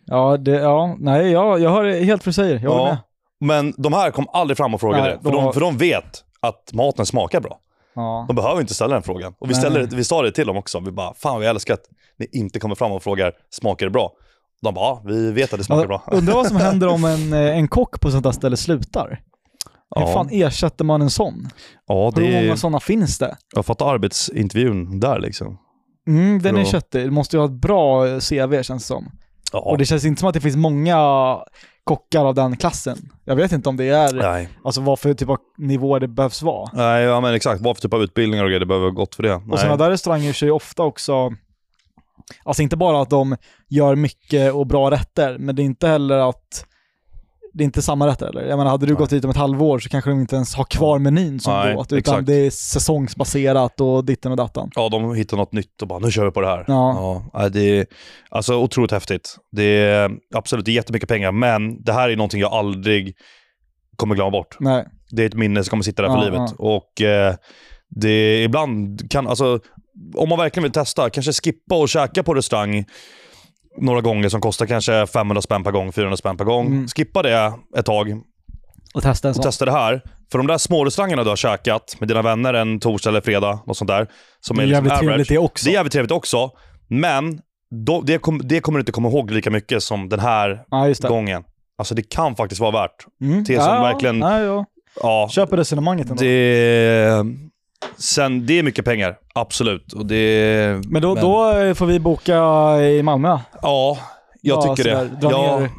S2: Ja, det, ja. Nej, jag, jag hör helt vad du säger. Jag håller med.
S1: Men de här kom aldrig fram och frågade
S2: Nej,
S1: det. För
S2: de
S1: de,
S2: har-
S1: för de vet att maten smakar bra.
S2: Ja.
S1: De behöver inte ställa den frågan. Och vi,
S2: Nej.
S1: ställer, vi sa det till dem också. Vi bara, fan vi älskar att ni inte kommer fram och frågar, smakar det bra? De bara, ja, vi vet att det smakar bra.
S2: Ja, Undrar vad som händer om en, eh, en kock på sånt här ställe slutar. Hur
S1: Ja.
S2: fan ersätter man en sån?
S1: Ja, det
S2: Hur många
S1: är,
S2: sådana finns det?
S1: jag fattar arbetsintervjun där liksom.
S2: Mm, den är
S1: Ja.
S2: köttig. Du måste ju ha ett bra eh, CV känns det som.
S1: Ja,
S2: Och det känns inte som att det finns många kockar av den klassen. Jag vet inte om det är,
S1: nej.
S2: alltså vad för typ av nivåer det behövs vara.
S1: nej, ja men exakt. Vad för typ av utbildningar och grejer, det behöver vara gott för det.
S2: Och
S1: Nej.
S2: sådana där restauranger kör ju ofta också, alltså inte bara att de gör mycket och bra rätter, men det är inte heller att det är inte samma rätter eller? Jag menar, hade du
S1: Nej.
S2: gått dit om ett halvår så kanske de inte ens har kvar menyn som
S1: Nej,
S2: du åt, utan
S1: exakt.
S2: det är säsongsbaserat och ditten och dattan.
S1: Ja, de hittar något nytt och bara, nu kör vi på det här.
S2: Ja.
S1: nej, det är alltså, otroligt häftigt. Det är absolut det är jättemycket pengar, men det här är någonting jag aldrig kommer glömma bort.
S2: Nej.
S1: Det är ett minne som kommer sitta där för
S2: Ja,
S1: livet. Och eh, det ibland kan, alltså om man verkligen vill testa, kanske skippa och käka på restaurang några gånger som kostar kanske 500 spänn per gång, 400 spänn per gång.
S2: Mm.
S1: Skippa det ett tag
S2: Och testa en
S1: och
S2: sån.
S1: testa det här. För de där smårestaurangerna du har käkat med dina vänner en torsdag eller fredag, något sånt där. Som
S2: det
S1: är
S2: är
S1: liksom
S2: jävligt
S1: average.
S2: trevligt det också.
S1: Det är jävligt trevligt också, men då, det, kom, det kommer du inte komma ihåg lika mycket som den här
S2: Ja, just det.
S1: gången. Alltså det kan faktiskt vara värt.
S2: Mm.
S1: till som verkligen-
S2: Nej, ja.
S1: Ja,
S2: Köper resonemanget ändå.
S1: det, sen, det är mycket pengar, absolut. Och det,
S2: Men då, då eh, får vi boka i Malmö.
S1: Ja, jag
S2: Ja,
S1: tycker
S2: sådär,
S1: det.
S2: Dra
S1: Ja,
S2: ner,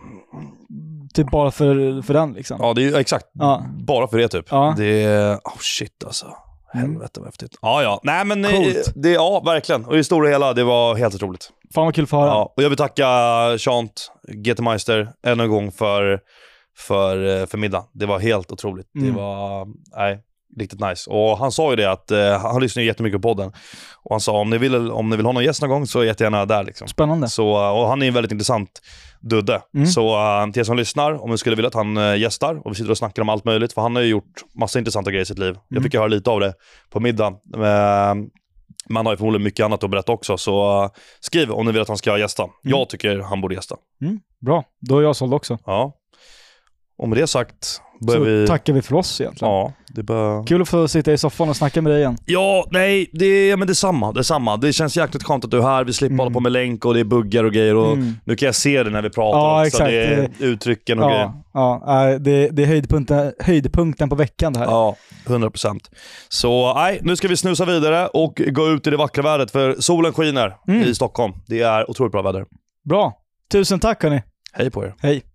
S2: typ bara för, för den liksom.
S1: ja, det är ju exakt.
S2: Ja.
S1: Bara för det typ.
S2: Ja. Mm.
S1: Det är... Oh shit alltså. Helvete vad häftigt. Ja, ja. Nej, men eh,
S2: Coolt.
S1: det, ja, verkligen. Och i det stora hela, det var helt otroligt.
S2: Fan vad kul för att höra.
S1: Ja, och jag vill tacka Chant, GT Meister, ännu en gång för, för, eh, för middag. Det var helt otroligt.
S2: Mm.
S1: Det var nej, riktigt nice. Och han sa ju det att eh, han lyssnar ju jättemycket på podden. Och han sa om ni vill, om ni vill ha någon gäst någon gång så är jag jättegärna där. Liksom.
S2: Spännande.
S1: Så, eh, och han är en väldigt intressant dudde.
S2: Mm.
S1: Så eh, till er som lyssnar, om ni skulle vilja att han eh, gästar och vi sitter och snackar om allt möjligt, för han har ju gjort massa intressanta grejer i sitt liv.
S2: Mm.
S1: Jag fick ju höra lite av det på middagen. Eh, man har ju förmodligen mycket annat att berätta också, så eh, skriv om ni vill att han ska gästa.
S2: Mm.
S1: Jag tycker han borde gästa.
S2: Bra, då är jag såld också.
S1: Ja. Och med det sagt börjar
S2: Så
S1: vi...
S2: tackar vi för oss egentligen.
S1: Ja, det bör...
S2: Kul att få sitta i soffan och snacka med dig igen.
S1: Ja, nej, det, men detsamma, detsamma. Det känns jäkligt skönt att du är här. Vi slipper
S2: Mm.
S1: hålla på med länk och det är buggar och grejer. Och
S2: Mm.
S1: Nu kan jag se det när vi pratar
S2: Ja,
S1: också.
S2: exakt.
S1: Det är uttrycken och grejer.
S2: Ja, ja, äh, det, det är höjdpunkten, höjdpunkten på veckan det här.
S1: Ja, 100%. Så nej, nu ska vi snusa vidare och gå ut i det vackra vädret för solen skiner
S2: Mm.
S1: i Stockholm. Det är otroligt bra väder.
S2: Bra. Tusen tack hörni.
S1: Hej på er.
S2: Hej.